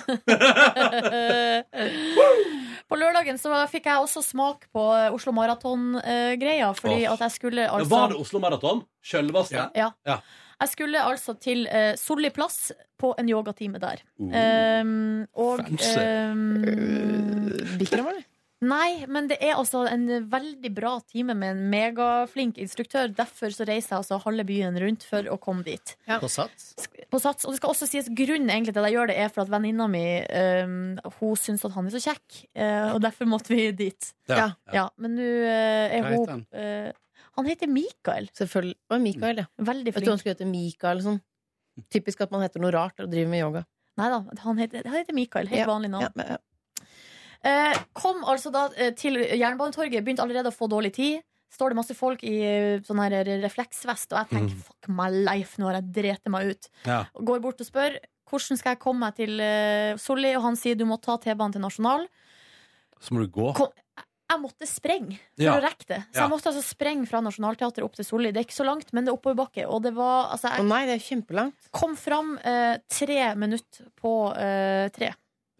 På lørdagen så fikk jeg også smak på eh, Oslo Maraton-greia. Fordi
Åh.
at jeg skulle altså
Var det Oslo Maraton? Sjølvaste?
Ja.
ja.
Jeg skulle altså til uh, Solli plass på en yogatime der.
Uh.
Um, og
Fancy.
um,
Bikram, eller?
Nei, men det er altså en veldig bra time med en megaflink instruktør. Derfor så reiser jeg altså halve byen rundt for å komme dit.
På Sats?
På sats. Og det skal også sies grunnen egentlig til at jeg gjør det, er for at venninna mi øhm, hun syns at han er så kjekk. øh, og derfor måtte vi dit.
Ja.
ja. Men nå øh,
Hva
er
heter
hun øh, Han heter Mikael.
Selvfølgelig. Å, Mikael, ja.
Veldig
Jeg
flink.
tror han skulle hete Mikael. Sånn. Typisk at man heter noe rart og driver med yoga.
Nei da, han heter, han heter Mikael. Helt
Ja, øh,
vanlig navn. Eh, kom altså da eh, til Jernbanetorget, begynte allerede å få dårlig tid. Står det masse folk i eh, sånn her refleksvest, og jeg tenker fuck my life, nå har jeg dreti meg ut.
Mhm. Ja.
Og Går bort og spør hvordan skal jeg komme meg til eh, Solli, og han sier du må ta T-banen til Nasjonal.
Så må du gå.
Kom, jeg måtte sprenge for
Ja.
å rekke det. Så
Ja.
jeg måtte altså sprenge fra Nationaltheatret opp til Solli. Det er ikke så langt, men det er oppoverbakke. Og det var altså, jeg
nei, det er kjempelangt.
Kom fram eh, tre minutter på eh, tre.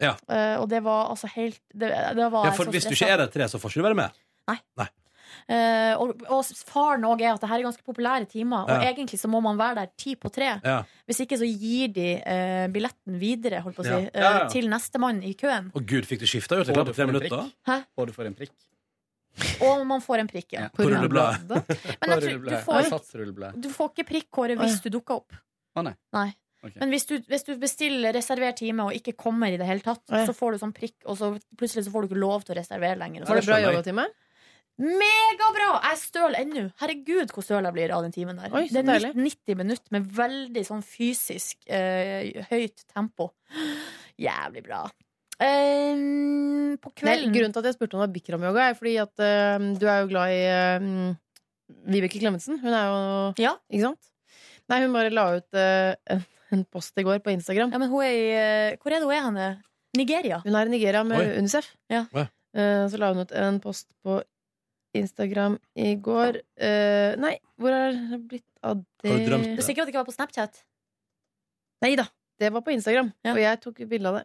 Ja.
Eh, og det var altså helt Det, det
Ja,
var jeg
for
så
hvis du
stresset.
ikke er der tre, så får ikke du være med.
Eh, og, og faren òg er at det her er ganske populære timer. Og
Ja.
egentlig så må man være der ti på tre.
Ja.
Hvis ikke så gir de eh, billetten videre holdt på å si,
Ja. Ja, ja.
eh, til nestemann i køen.
Å gud, fikk du skifta jo til klart på tre minutter?
Hæ?
Og du får en prikk.
Og man får en prikk, ja.
På rullebladet.
Men jeg tror du får-
Satsrullebladet.
Du får ikke prikk, Kåre,
Å,
hvis
ja.
du dukker opp.
Å nei.
Nei.
Ok.
Men hvis du, hvis du bestiller reservert time og ikke kommer i det hele tatt,
Å, ja.
så får du sånn prikk, og så plutselig så får du ikke lov til å reservere lenger.
Var det bra yogatime?
Megabra! Jeg er støl ennå. Herregud, hvor støl jeg blir av den timen der.
Oi, så
det er
deilig.
90 minutter med veldig sånn fysisk eh, høyt tempo. Jævlig bra. Ehm, på kvelden
Nei, grunnen til at jeg spurte om det var Bikram-yoga, er fordi at eh, du er jo glad i eh, Vibeke Klemetsen. Hun er jo Ikke sant? Nei, hun bare la ut eh, en, en post i går på Instagram.
Ja, men hun er i eh, Hvor er det hun er henne? Nigeria?
Hun er i Nigeria med
Oi.
UNICEF.
Ja.
Å, ja.
Eh, så la hun ut en post på Instagram i går. Eh, nei, hvor er det blitt av det?
Har du drømt det? Du er sikker at det ikke var på Snapchat?
Nei da. Det var på Instagram, og jeg tok bilde av det.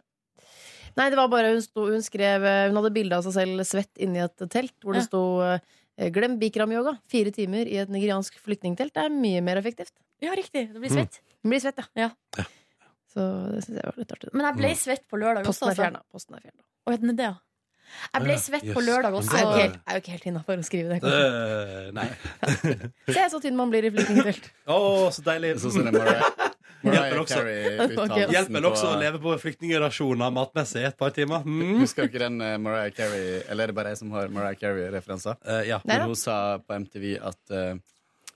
Nei, det var bare hun, sto, hun skrev eh, Hun hadde bilde av seg selv svett inni et telt, hvor det sto eh, 'Glem bikram-yoga'. Fire timer i et nigeriansk flyktningtelt er mye mer effektivt.
Ja, riktig. Det blir svett.
Hun blir svett,
ja.
Så det syns jeg var litt artig. da.
Men jeg
Mm.
ble svett på lørdag
Posten
også. altså.
er fjerna. Posten er fjerna.
Å, heter den det, ja? Jeg ble svett på
Jøss.
lørdag også.
Jeg er jo ikke helt, jeg er jo ikke helt innafor å skrive det. kanskje.
Eh, nei.
Se så tynn man blir i flyktningtelt.
Å, så deilig.
Sånn som det Mariah-
Hjelper også,
Carey-uttalelsen
Hjelper det også
på-
å leve på flyktningrasjoner matmessig i et par timer. Mm.
Husker dere den eh, Mariah Carey Eller er det bare jeg som har Mariah Carey-referanser?
Eh, ja.
Men
Neida.
hun sa på MTV at eh,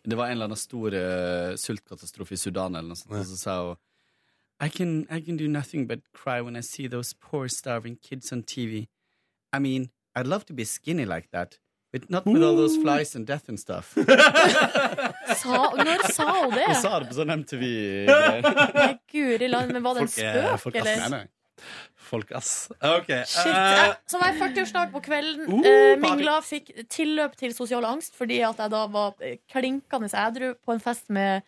det var en eller annen stor eh, sultkatastrofe i Sudan, eller noe sånt, og så sa hun I can, I can do nothing but cry when I see those poor starving kids on TV. I mean, I'd love to be skinny like that, but not with all those flies and death and stuff.
Sa, når sa hun det?
Hun sa det på sånn MTV.
Nei, guri land, men var det en
Folk er-
spøk,
folk er-
eller?
Nei, nei. Folk, ass. OK.
Shit,
eh,
jeg, så var jeg 40-årsdag på kvelden.
Uh,
eh,
party.
mingla, fikk tilløp til sosial angst fordi at jeg da var eh, klinkende ædru på en fest med,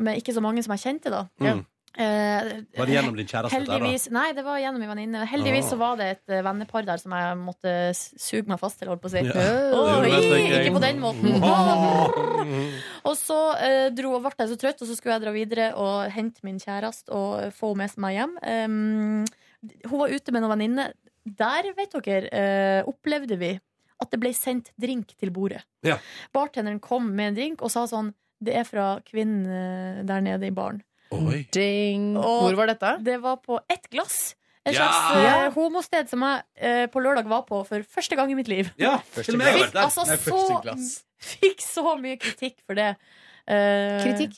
med ikke så mange som jeg kjente, da.
Mm.
Eh,
Var det gjennom din kjæreste der, da?
Heldigvis, nei, det var gjennom min venninne. Heldigvis
Ah.
så var det et eh, vennepar der som jeg måtte s- suge meg fast til, holdt på å si.
Ja.
Åh,
Det vet
i,
jeg ikke.
ikke på den måten. Og så eh, dro og ble jeg så trøtt, og så skulle jeg dra videre og hente min kjæreste og eh, få henne med meg hjem. Em, hun var ute med noen venninne. Der, vet dere, eh, opplevde vi at det ble sendt drink til bordet.
Ja.
Bartenderen kom med en drink og sa sånn Det er fra kvinnen eh, der nede i baren.
Oi.
Ding.
Og
Hvor var dette?
Det var på ett glass. Et
Ja!
slags eh, homosted som jeg eh, på lørdag var på for første gang i mitt liv.
Ja,
Første
til og med jeg har
glass.
vært der.
Altså,
Nei, første glass.
så, fikk så mye kritikk for det. Eh,
Kritikk?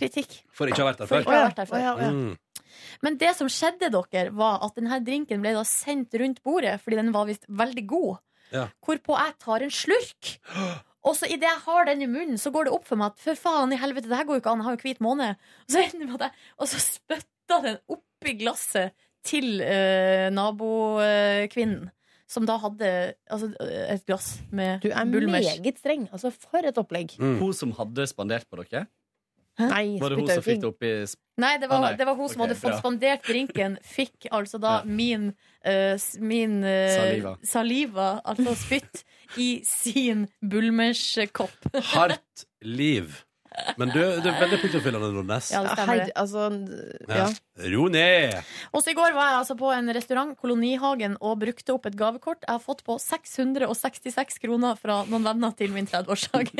Kritikk.
For ikke å ha vært der
For
før.
ikke å ha vært der før.
Mm.
Men det som skjedde, dere, var at denne drinken ble da sendt rundt bordet, fordi den var visst veldig god.
Ja.
Hvorpå jeg tar en slurk. Og så idet jeg har den i munnen, så går det opp for meg at for faen i helvete, det her går jo ikke an, jeg har jo hvit måne. Og så, ender det med at jeg, og så spytta den oppi glasset til eh, nabokvinnen. Som da hadde altså, eh, et glass med
Du er meget streng. Altså, for et opplegg.
Hun som hadde spandert på dere?
Nei,
Var det hun
spytter
som fikk
ikke.
det opp i
Nei, det var,
Ah, nei.
Det var hun
Ok,
som hadde fått
bra.
spandert drinken. Fikk altså da min, eh, s- min eh,
Saliva.
saliva, altså spytt, i sin Bulmers-kopp.
Hardt liv.
Men du, du er veldig pliktoppfyllende, Nordnes.
Ja, det stemmer det.
Ja. Ro ned!
Også i går var jeg altså på en restaurant, Kolonihagen, og brukte opp et gavekort jeg har fått på 666 kroner fra noen venner til min 30-årsdag.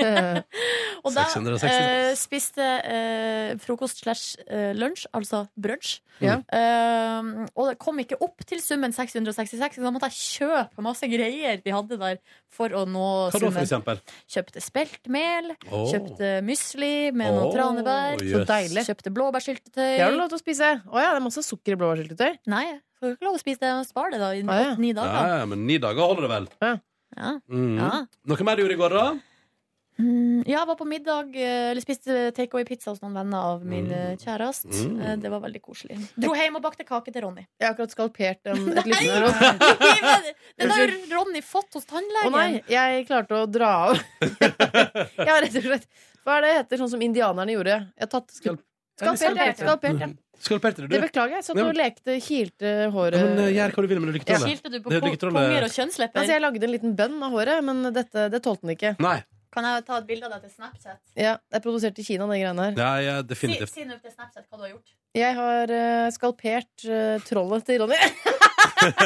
og da
666.
eh, spiste eh, frokost slash eh, lunsj, altså brunsj.
Ja.
Eh, og det kom ikke opp til summen 666, så da måtte jeg kjøpe masse greier de hadde der for å nå
Hva da, for
summen.
eksempel?
Kjøpte speltmel,
Åh.
kjøpte mysli med noen
Åh,
tranebær,
jøs. Så
deilig.
kjøpte blåbærsyltetøy.
Det har du lov til å spise. Å ja, det er masse sukker i blåbærsyltetøy.
Nei, jeg får jo ikke lov å spise det og spare det da i ni
Ja,
dager.
ja, men ni dager holder det vel?
Ja.
Mm.
Ja.
Noe mer du gjorde i går, da?
Mm, ja, jeg var på middag, eh, eller spiste takeaway-pizza hos noen venner av min eh, kjæreste.
Mm.
Eh, Det var veldig koselig. Dro hjem og bakte kake til Ronny.
Jeg har akkurat skalpert en, et lyttebyrå.
Den har jo Ronny fått hos tannlegen.
Å nei, jeg klarte å dra av. jeg har rett og slett Hva er det det heter, sånn som indianerne gjorde? Jeg har tatt skalpert, ja.
Skalpert, ja.
Skalpert, ja.
Skalperte du?
Det beklager jeg. Jeg Satt
Ja,
og
men-
lekte, kilte håret.
Ja, men, eh, gjør hva du vil med det lykketrålet.
Ja.
Kilte du på Det po- lykketrålet-
punger og kjønnslepper?
Altså, jeg lagde en liten bønn av håret, men dette, det tålte den ikke.
Nei.
Kan jeg ta et bilde av deg til Snapchat?
Ja, det er produsert i Kina, de greiene her.
Ja, ja,
Si,
definitivt.
si nå til Snapchat hva du har gjort.
Jeg har eh, skalpert eh, trollet til Ronny.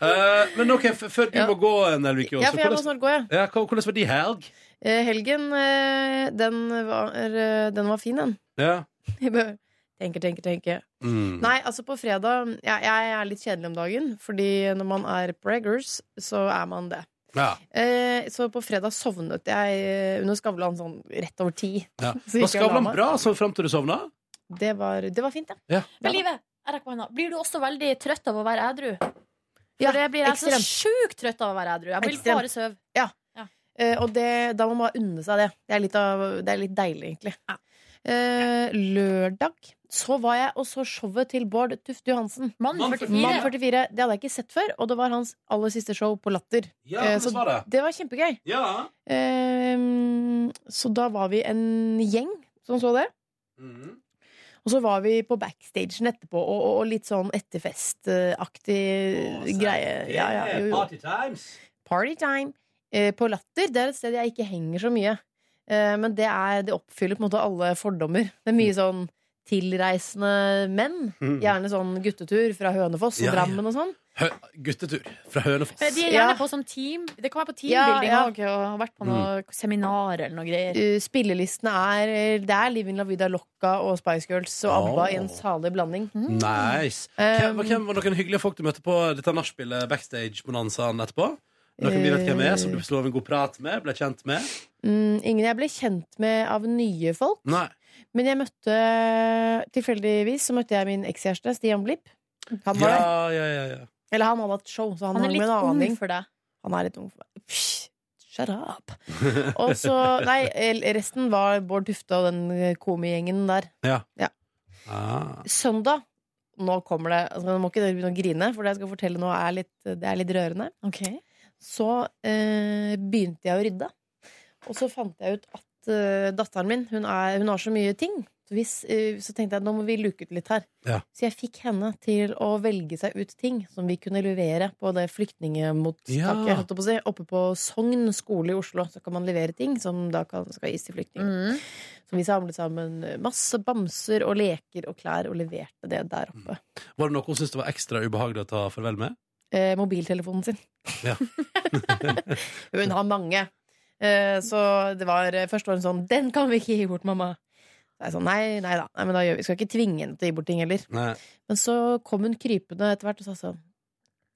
Eh, men OK, f før du må gå, eh, Nelvik
Ja, for jeg må snart gå, jeg.
Ja, hva- hvordan var de helg?
Eh, helgen, eh, den, var, eh, den var fin, den.
Ja.
Jeg bare tenker, tenker, tenker.
Mm.
Nei, altså på fredag ja, Jeg er litt kjedelig om dagen, fordi når man er preggers, så er man det.
Ja.
Eh, så på fredag sovnet jeg eh, under Skavlan sånn rett over ti.
Ja.
Så gikk jeg og
Var
la
Skavlan
meg.
bra sånn fram til du sovna?
Det var, det var fint, ja.
Ja.
Men livet, jeg rekker hånda. Blir du også veldig trøtt av å være ædru? For
Ja,
jeg blir jeg så
ekstremt.
sjukt trøtt av å være ædru. Jeg vil
Ekstremt.
bare sove.
Ja. Eh, og det, da må man bare unne seg det. Det er litt, av, det er litt deilig, egentlig. Eh, lørdag så var jeg og så showet til Bård Tufte Johansen.
Mann 44.
Mann 44. Det hadde jeg ikke sett før, og det var hans aller siste show på Latter.
Ja,
Eh,
hvordan
så
var det?
det var kjempegøy.
Ja.
Eh, så da var vi en gjeng som så det.
Mm.
Og så var vi på backstagen etterpå, og, og, og litt sånn etterfestaktig greie. Ja, ja, jo, jo.
Party times.
Party time. Eh, på Latter det er et sted jeg ikke henger så mye. Eh, men det, er, det oppfyller på en måte alle fordommer. Det er mye sånn tilreisende menn.
Mm.
Gjerne sånn guttetur fra Hønefoss og
Ja, ja.
Drammen og sånn.
Hø guttetur fra Hønefoss.
Eh,
De er gjerne på som team. Det kan være på teambuilding
Ja, ja.
også, og har vært på noe seminar eller noe greier.
Eh, Spillelistene er eh, Det er Livin La Vida Locca og Spice Girls og ABBA i en salig blanding.
Nice.
Um,
Hvem, hvem var noen hyggelige folk du møtte på dette nachspielet backstage-bonanzaen etterpå?
Eh.
Noen vi vet hvem er, som du slo av en god prat med, ble kjent med?
Mm, ingen jeg ble kjent med av nye folk.
Nei.
Men jeg møtte tilfeldigvis så møtte jeg min ekskjæreste, Stian Blipp. Han var der.
Ja, ja, ja, ja.
Eller han hadde hatt show, så han,
Han er
hang med
litt
en annen
ung
gjeng.
for deg.
Han er litt ung for meg. Psh, Shut up! Og så Nei, el- resten var Bård Tufte og den komigjengen der.
Ja.
Ja.
Ah.
Søndag Nå kommer det altså, Nå må ikke dere begynne å grine, for det jeg skal fortelle nå, er litt, det er litt rørende. Så eh, begynte jeg å rydde. Og så fant jeg ut at eh, datteren min hun, er, hun har så mye ting. Så, hvis, eh, så tenkte jeg nå må vi luke ut litt her.
Ja.
Så jeg fikk henne til å velge seg ut ting som vi kunne levere på det flyktningemottaket.
Ja.
holdt jeg på å si. Oppe på Sogn skole i Oslo så kan man levere ting som da kan, skal gis til flyktninger.
Mm.
Så vi samlet sammen masse bamser og leker og klær og leverte det der
Mm.
oppe.
Var det noe hun syntes det var ekstra ubehagelig å ta farvel med?
Eh, mobiltelefonen sin.
Ja.
Hun har mange. Eh, Så det var, først var hun sånn 'Den kan vi ikke gi bort, mamma'. Så jeg sånn, nei, nei da. Nei, men da gjør vi. vi skal ikke tvinge henne til å gi bort ting heller.
Nei.
Men så kom hun krypende etter hvert og sa sånn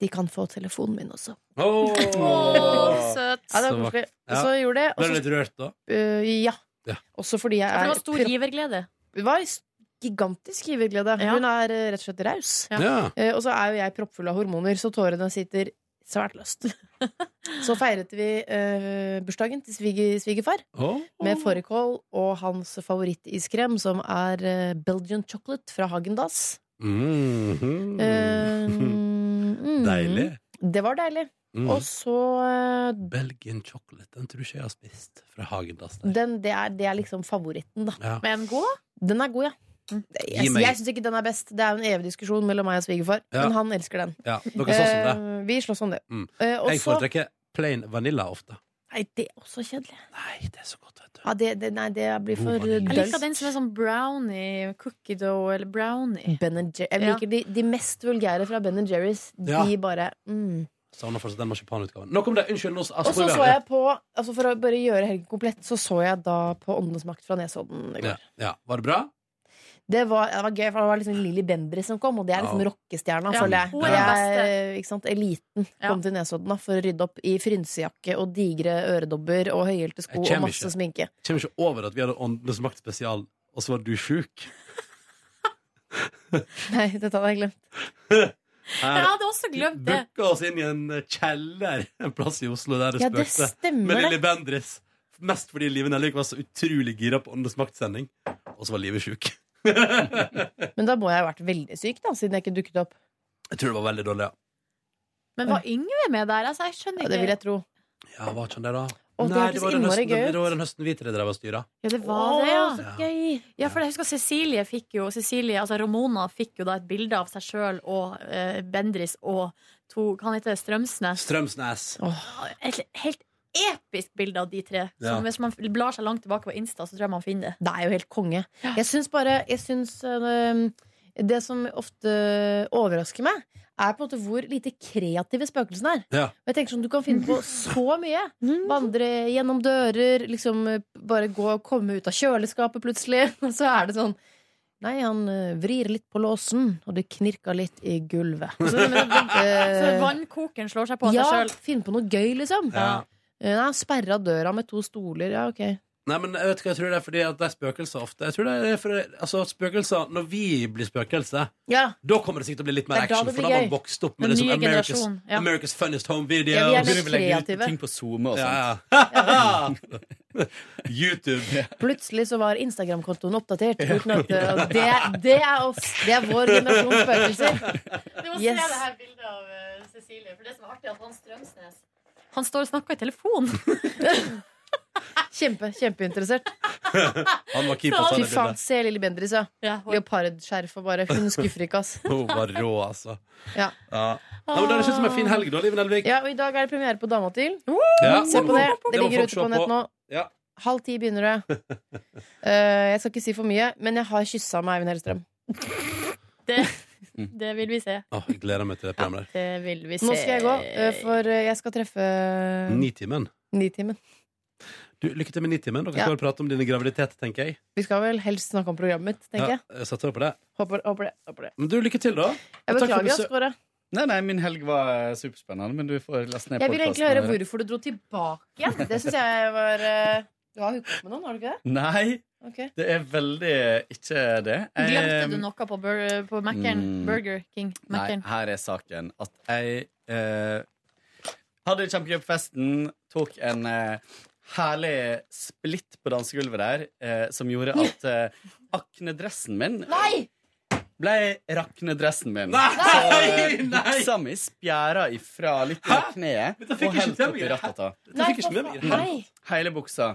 'De kan få telefonen min også'.
Åh,
Åh, søt. Ja, det var
Så
koselig.
vakkert.
Så gjorde det, og
Ble du
så-
litt rørt da?
Eh, ja.
Ja.
Også fordi jeg
Ja, for det
er
var stor
pro-
giverglede.
Det var s- gigantisk giverglede. Hun er eh, rett og slett raus.
Ja. Ja.
Eh, Og så er jo jeg proppfull av hormoner, så tårene sitter svært løst. så feiret vi eh, bursdagen til sviger, svigerfar
Åh.
med fårikål og hans favorittiskrem, som er eh, Belgian chocolate fra Hagendas.
Mhm.
mm.
Deilig.
Det var deilig.
Mm.
Og så eh,
Belgian chocolate, den tror ikke jeg har spist fra Hagendass. der.
den, det, er, det er liksom favoritten, da.
Ja.
Men god?
Den er god, ja.
Mm.
Jeg,
Gi meg-
jeg syns ikke den er best. Det er jo en evig diskusjon mellom meg og svigerfar.
Ja.
Men han elsker den.
Ja, dere slåss om det.
Eh, vi slåss om det.
Mm.
Eh, og
Jeg
så-
foretrekker plain vanilla ofte.
Nei, det er også kjedelig.
Nei, det er så godt, vet
du. Ja, det, det, nei, det blir
God
for
vanilje.
dølt.
Jeg liker den som er sånn brownie, cookie dough eller brownie.
Ben Jerry. Jeg
Ja.
liker de, de mest vulgære fra Ben Jerry's. De
Ja.
bare mm.
Savner fortsatt den marsipanutgaven. Nok om det. Unnskyld. Nå,
Og så så jeg på, altså for å bare gjøre helgen komplett, så så jeg da på Åndenes makt fra Nesodden i går.
ja, ja. Var det bra?
Det var, det var gøy, for det var liksom Lilly Bendriss som kom, og det er liksom
Ja.
rockestjerna,
Ja,
føler jeg.
hun er den
Det
beste.
ikke sant? Eliten kom til Nesodden da, for å rydde opp i frynsejakke og digre øredobber og høyhælte sko
Jeg
og
kommer
masse
ikke.
sminke.
Kommer ikke over at vi hadde Åndenes makt spesial, og så var du sjuk.
Nei, dette hadde jeg glemt.
Jeg
hadde også glemt det.
Booka oss inn i en eh, kjeller en plass i Oslo der det
Ja, det
spøkte.
stemmer
Med
det.
Lilly Bendriss. Mest fordi Live Nelvik var så utrolig gira på Åndenes makt-sending, og så var livet sjuk.
Men da må jeg ha vært veldig syk, da, siden jeg ikke dukket opp.
Jeg tror det var veldig dårlig, ja.
Men var Yngve med der? Altså, jeg skjønner
Ja,
ikke.
det vil jeg tro.
Ja, var ikke han det, da?
Å, det
Nei,
hørtes
det var den
innmari
høsten,
gøy ut.
det var den høsten vi tre drev og styra.
Ja, det var det, ja. Ja, for jeg husker Cecilie fikk jo Cecilie, altså Ramona fikk jo da et bilde av seg sjøl og eh, Bendris og to Han heter Strømsnes.
Strømsnes.
Et helt episk bilde av de tre.
Ja.
Som hvis man blar seg langt tilbake på Insta, så tror jeg man finner det.
Det er jo helt konge. Jeg syns bare jeg syns, øh, Det som ofte overrasker meg, er på en måte hvor lite kreative spøkelsene er.
Ja.
Og jeg tenker sånn, Du kan finne på så mye.
Mm.
Vandre gjennom dører, liksom øh, bare gå og komme ut av kjøleskapet plutselig. Og så er det sånn Nei, han øh, vrir litt på låsen, og det knirka litt i gulvet.
Så, det- men, det- så
Eh,
vannkokeren slår seg på av
ja,
seg sjøl.
finn på noe gøy, liksom.
Ja.
Eh, Nei, Sperra døra med to stoler. Ja, ok.
Nei, men jeg vet ikke, jeg tror det er fordi at det er spøkelser ofte. Jeg tror det er fordi, altså spøkelser, Når vi blir spøkelse,
Ja.
da kommer det sikkert til å bli litt
Det
mer
er da
action.
det
For
blir
da har man
gøy.
vokst opp
Den
med det som
nye
America's,
generasjonen, ja.
America's Funniest Home Video.
Ja, vi er sånn.
Så begynner vi å legge ut
kreative.
ting på SoMe og
Ja,
sånt.
sånn.
YouTube.
Plutselig så var Instagram-kontoen oppdatert. Uten at, og det, det, er oss, det er vår generasjons spøkelser.
Du må
Yes.
se det her bildet av eh, Cecilie, for det som er artig, er at han Strømsnes Han står og snakker i telefon.
Kjempe, kjempeinteressert.
Han var keen på å ta
Fy
det
faen,
bildet.
se Lilly Bendriss, ja. Leopardskjerf og bare Hun skuffer ikke, ass.
Hun var rå, altså.
Ja.
Ja. Ja, men det høres ut som en fin helg, da, Liv Nelvik.
Ja, og I dag er det premiere på Dama til.
Ja.
Se på det.
Det
Det
må
ligger
folk
ute
se
på nett
på.
nå.
Ja.
Halv ti begynner det. Eh, jeg skal ikke si for mye, men jeg har kyssa med Eivind Hellstrøm.
Det, det vil vi se.
Åh, jeg gleder meg til det programmet der.
Det vil vi se.
Nå skal jeg gå, eh, for eh, jeg skal treffe Mm.
Nitimen.
Nitimen.
Du, lykke til med Nitimen. Dere
Ja.
skal vel prate om din graviditet, tenker jeg.
Vi skal vel helst snakke om programmet mitt, tenker
Ja,
jeg.
jeg satser på det.
Håper, håper det. Håper det.
Men du, lykke til, da.
Jeg
Og takk for
beklager, ass,
besøk.
Kåre.
Nei, nei, min helg var superspennende, men du får laste ned
Jeg vil egentlig
podcasten
høre
og-
hvorfor du dro tilbake igjen. Det syns jeg var eh, Du har hooket med noen, har du ikke det?
Nei,
Ok.
det er veldig ikke det.
Glemte du
Em,
noe på, bur på Mac-en?
Mm.
Burger King.
Nei,
Mac-en.
her er saken. At jeg eh, hadde kjempegøy på festen, tok en eh, herlig splitt på dansegulvet der, eh, som gjorde at eh, aknedressen min
Nei!
ble raknedressen min.
Nei!
Så eh,
Nei!
buksa mi spjæra ifra litt under kneet
fikk
og
jeg ikke
helt
til
opp
meg.
i rattata.
Nei, fikk jeg ikke med meg. Nei.
Hele buksa.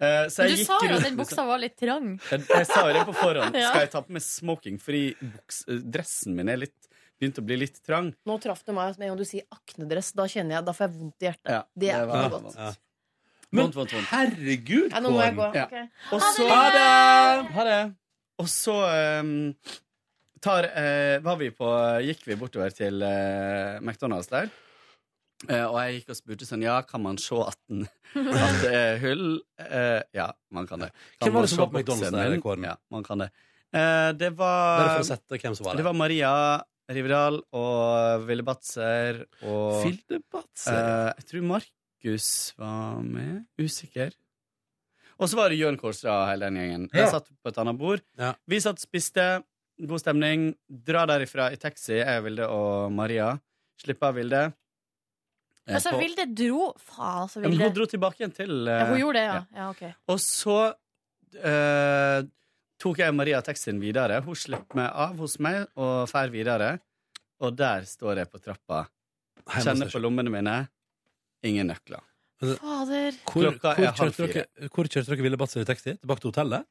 Eh, så
Men
jeg
Du
gikk
sa jo
rundt
at den
med
buksa var litt trang.
jeg, jeg sa jo det på forhånd.
Ja.
Skal jeg ta på meg smoking? Fordi buks, eh, dressen min er litt, begynt å bli litt trang.
Nå traff du meg med en gang du sier aknedress. Da kjenner jeg, da får jeg vondt i hjertet.
Ja,
det er ikke godt.
Ja. Vondt, vondt, vondt.
Herregud,
Ja, nå må jeg gå.
Ja.
Ok.
Og så,
Ha
det! Ha det! Og så ehm, tar, eh, var vi på, gikk vi bortover til eh, McDonald's der. Eh, og jeg gikk og spurte sånn, ja, kan man se at, den, at det er hull? Eh, ja, man kan det. Kan
Hvem var
man
det som
se
var på McDonald's
boksen
der,
min?
Kåren?
Ja, man kan det. Eh, det var
Bare for å sette hvem som Um, var der.
Det var Maria Rivedal og Ville Batzer og
Vilde Batzer, ja.
Eh, Jeg tror Markus var med. Usikker. Og så var det Jørn Kårstad og hele den gjengen. De
Ja.
satt på et annet bord. Vi satt og spiste. God stemning. Dra derifra i taxi, jeg, Vilde og Maria. Slippe av Vilde. Eh,
Altså,
på-
Vilde dro Faen, altså,
Ja, men Hun
Vilde.
dro tilbake igjen til eh,
Ja, hun gjorde det, ja. ja ok.
og så eh, tok jeg Maria taxien videre. Hun slapp meg av hos meg og drar videre. Og der står jeg på trappa.
må
Kjenner
se.
på lommene mine. Ingen nøkler.
Fader.
Hvor, hvor,
Klokka er halv
kjørte
fire.
dere, hvor kjørte dere Ville Batzer i taxi? Tilbake til hotellet?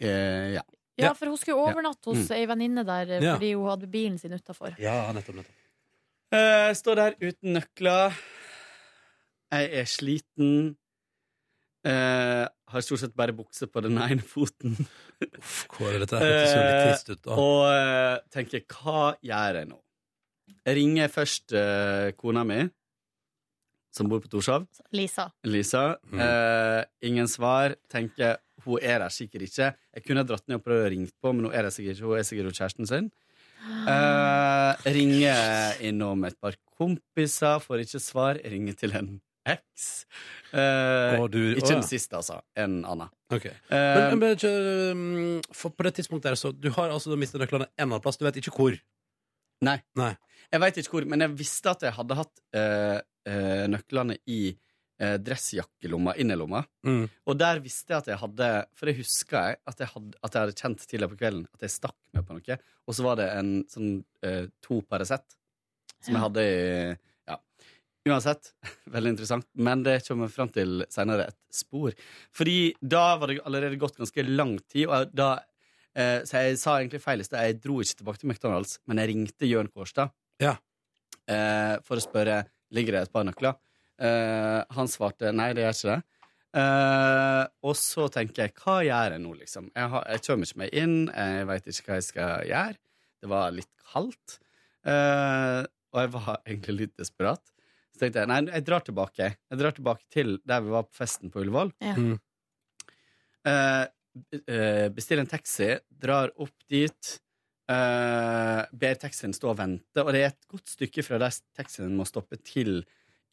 Eh, ja.
Ja, for hun skulle overnatte hos
Mm.
ei venninne der eh,
Ja.
fordi hun hadde bilen sin utafor.
Ja, nettopp, nettopp.
Eh, står der uten nøkler. Jeg er sliten. Eh, har stort sett bare bukse på den ene foten. Uff,
Kåre, dette her hørtes jo litt trist ut, da.
Og eh, tenker, hva gjør jeg nå? Jeg ringer først eh, kona mi, som bor på Torshov.
Lisa.
Lisa.
Mm.
Eh, ingen svar. Tenker hun er der sikkert ikke. Jeg kunne ha dratt ned og prøvd å ringe på, men hun er der sikkert ikke. Hun er sikkert hos kjæresten sin. Eh, ringer innom et par kompiser, får ikke svar. Ringer til en eks. Eh,
Å, du- å,
ikke
ja.
den siste, altså. En annen.
Ok.
Eh,
Men, men ikke, um, for på det tidspunktet der, så du har altså mistet nøklene en eller annen plass, du vet ikke hvor.
Nei. Eh, Jeg veit ikke hvor, men jeg visste at jeg hadde hatt eh, eh, nøklene i eh, dressjakkelomma, innerlomma.
Mm.
Og der visste jeg at jeg hadde For det huska jeg at jeg hadde, at jeg hadde kjent tidligere på kvelden at jeg stakk meg på noe. Og så var det en sånn eh, to Paracet som jeg hadde i Ja. Uansett, veldig interessant, men det kommer vi fram til seinere, et spor. Fordi da var det allerede gått ganske lang tid, og jeg- da eh, Så jeg sa egentlig feil i sted. Jeg dro ikke tilbake til McDonald's, men jeg ringte Jørn Kårstad eh, for å spørre ligger det et par nøkler. Eh, han svarte nei, det gjør ikke det. Eh, og så tenker jeg, hva gjør jeg nå, liksom? Jeg, har, jeg kommer ikke meg inn, jeg veit ikke hva jeg skal gjøre. Det var litt kaldt. Eh, og jeg var egentlig litt desperat. Så tenkte jeg nei, jeg drar tilbake. Jeg drar tilbake til der vi var på festen på Ullevål.
Ja.
Eh, eh, bestiller en taxi, drar opp dit, eh, ber taxien stå og vente. Og det er et godt stykke fra der taxien må stoppe til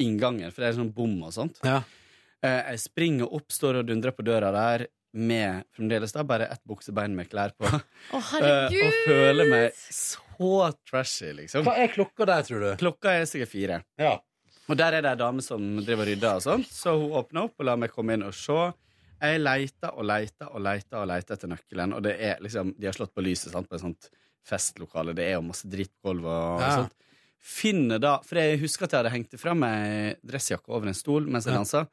inngangen, for det er sånn bom og sånt. Eh, jeg springer opp, står og dundrer på døra der med fremdeles da bare ett buksebein med klær på.
herregud!
Eh, og føler meg så trashy, liksom.
Hva er klokka der, tror du?
Klokka er sikkert fire. Og der er det ei dame som driver og rydder og sånt, så hun åpner opp og lar meg komme inn og se. Jeg leter og leter og leter og leter etter nøkkelen, og det er liksom, de har slått på lyset sant, på et sånt festlokale. Det er jo masse dritt på gulvet og,
Ja.
sånt. Finner da For jeg husker at jeg hadde hengt fram ei dressjakke over en stol mens jeg
Ja.
dansa.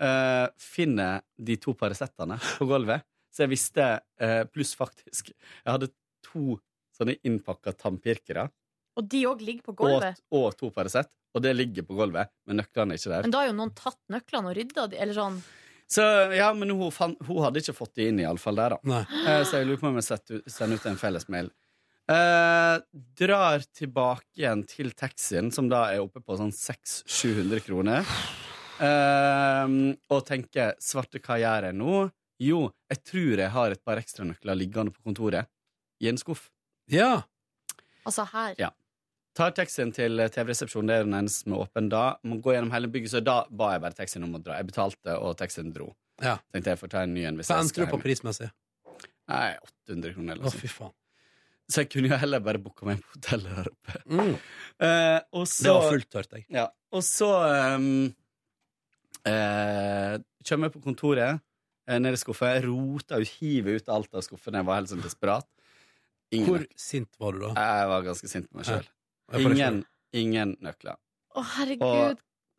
Eh, finner de to Paracetene på gulvet. Så jeg visste eh, Pluss, faktisk, jeg hadde to sånne innpakka tannpirkere.
Og de òg ligger på
Og,
gulvet.
og to Paracet. Og det ligger på gulvet, men nøklene er ikke der.
Men da har jo noen tatt nøklene og rydda de, eller sånn.
Så ja, men hun, fan, hun hadde ikke fått det inn i alle fall der da Eh, Så jeg lurer på om jeg setter ut- sender ut en felles mail eh, Drar tilbake igjen til taxien Som da er oppe på sånn 600-700 kroner eh, Og tenker, svarte hva gjør jeg nå? Jo, jeg tror jeg har et par ekstra nøkler liggende på kontoret I en skuff
Ja
Altså her.
ja. Tar taxien til TV-resepsjonen, det er den eneste som er åpen da. Må gå gjennom hele bygget, så da ba jeg bare taxien om å dra. Jeg betalte, og taxien dro.
Ja.
Tenkte jeg får ta en ny en hvis
Hva
jeg
endte
skal
du
hjem.
på prismessig?
Nei, 800 kroner eller
Å,
noe sånt.
fy faen.
Så jeg kunne jo heller bare booka meg på hotellet der oppe.
Mm.
Eh, og så,
Det var fullt, hørte jeg.
Ja, og så um, eh, kommer jeg på kontoret, eh, ned i skuffa, jeg rota og hiver ut alt av skuffen. Jeg var helt sånn desperat.
Hvor
sint var du da? Jeg var ganske sint på meg sjøl.
Ja. Jeg får det
Ingen, ingen nøkler.
Å, herregud.
Og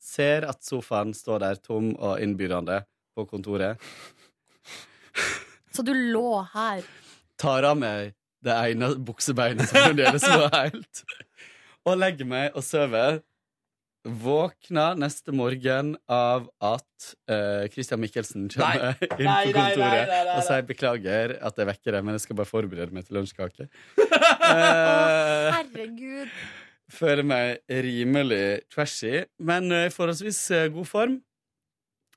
ser at sofaen står der tom og innbydende på kontoret.
Så du lå her.
Tar av meg det ene buksebeinet som fremdeles var helt, og legger meg og sover. Våkner neste morgen av at eh, Christian Michelsen kommer inn på
Nei, nei, nei,
kontoret
nei, nei, nei.
og sier beklager at jeg vekker deg, men jeg skal bare forberede meg til lunsjkake. Eh,
Herregud.
Føler meg rimelig trashy, men eh, forholdsvis eh, god form.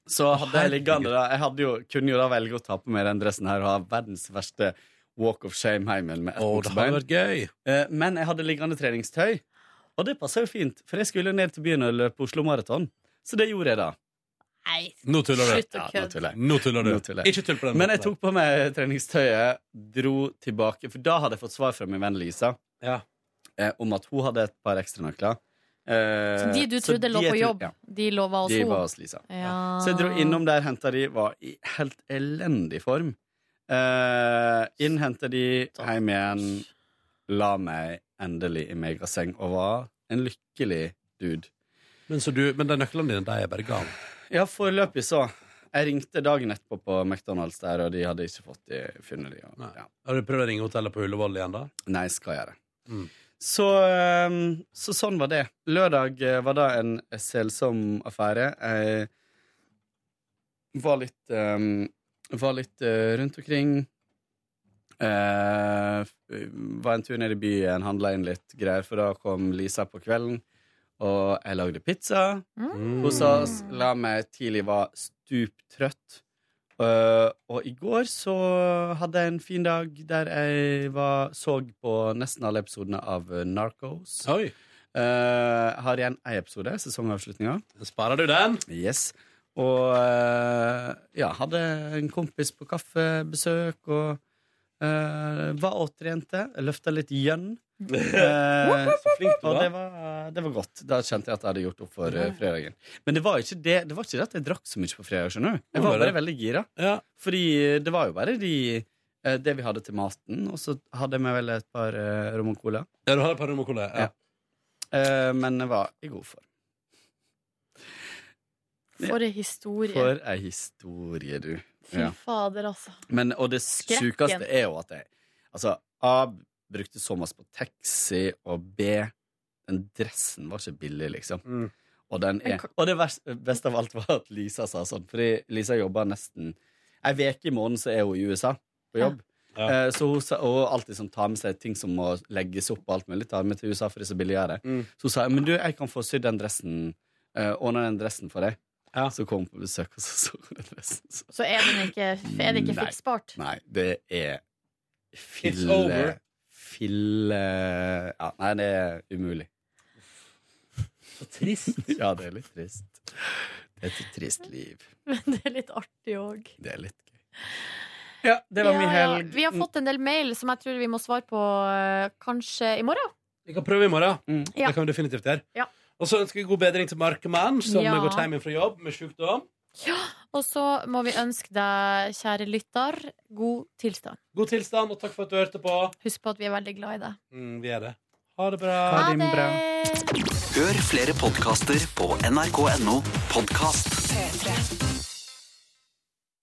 Så hadde jeg liggende da Jeg hadde jo, kunne jo da velge å ta på meg den dressen her og ha verdens verste walk of shame heimen med ett
Å, det hadde
buksebein.
vært gøy.
Eh, Men jeg hadde liggende treningstøy, og det passa jo fint, for jeg skulle ned til byen og løpe Oslo Maraton. Så det gjorde jeg da.
Nei.
Nå tuller du.
Ja, nå tuller jeg.
Nå tuller du.
Nå tuller jeg.
Ikke tull på den
Men jeg
måten
tok på meg treningstøyet, dro tilbake, for da hadde jeg fått svar fra min venn Lisa
Ja.
eh, om at hun hadde et par ekstra nøkler. Eh,
Så de du
så
trodde
de
lå
jeg
på
tro-
jobb,
ja.
de lå var hos Ah.
De
henne?
var hos Lisa.
Ja.
Så jeg dro innom der, henta de, var i helt elendig form. Uh, inn henta de, hjem igjen, la meg endelig i megaseng og var en lykkelig dude.
Men, så du, men de nøklene dine, de er bare gale.
Ja, foreløpig så. Jeg ringte dagen etterpå på McDonald's der, og de hadde ikke fått de, funnet de. Og, ja.
Har du prøvd å ringe hotellet på Ullevål igjen, da?
Nei, skal jeg gjøre. Så, eh, så sånn var det. Lørdag eh, var da en selsom affære. Jeg var litt eh, Var litt eh, rundt omkring. Eh, f- var en tur ned i byen, handla inn litt greier, for da kom Lisa på kvelden. Og jeg lagde pizza Mm. hos oss. La meg tidlig var stuptrøtt. Eh, og i går så hadde jeg en fin dag der jeg var, så på nesten alle episodene av Narcos. Eh,
Oi.
har igjen én episode, sesongavslutninga.
Sparer du den?
Yes. Og eh, ja, hadde en kompis på kaffebesøk og eh, var og trente. Løfta litt gjønn. Eh,
Så flink du
og
var.
det var, det var godt. Da kjente jeg at jeg hadde gjort opp for eh, fredagen. Men det var ikke det Det var ikke det at jeg drakk så mye på fredag. skjønner du Jeg var bare veldig gira. Fordi eh, det var jo bare de eh, det vi hadde til maten, og så hadde jeg med vel et par eh, rom og cola.
Ja, du hadde et par rom og cola, ja.
Eh, men jeg var i god form.
For ei historie.
For ei historie, du.
Fy fader, altså.
Men, og det
Skrekken.
sjukeste er jo at jeg Altså, A brukte så masse på taxi, og B Den dressen var ikke billig, liksom. Og, den
Men
er, og det vers- beste av alt var at Lisa sa sånn, fordi Lisa jobber nesten Ei uke i måneden så er hun i USA på jobb. Eh, Så hun sa, og alltid sånn, tar med seg ting som må legges opp og alt mulig. Tar med til USA for det er så billigere. Så hun sa men du, jeg kan få sydd den dressen. eh, Ordne den dressen for deg. Så kom hun på besøk, og så så hun den dressen. Så
Så er, den ikke, er det ikke
Nei.
fiksbart.
Nei, det er fille
over.
Fille ja, Nei, det er umulig. Så trist. ja, det er litt trist. Det er et trist liv.
Men det er litt artig òg.
Det er litt gøy. Ja, det var min helg.
Vi har fått en del mail som jeg tror vi må svare på eh, kanskje i morgen.
Vi kan prøve i morgen.
Ja.
Det kan vi definitivt gjøre.
Ja.
Og så ønsker vi god bedring til Markemann, som
Ja.
har gått hjem fra jobb med sykdom.
Og så må vi ønske deg, kjære lytter, god tilstand.
God tilstand, og takk for at du hørte på.
Husk på at vi er veldig glad i deg.
Mm, vi er det. Ha det bra.
Hør flere podkaster på nrk.no podkast.
P3.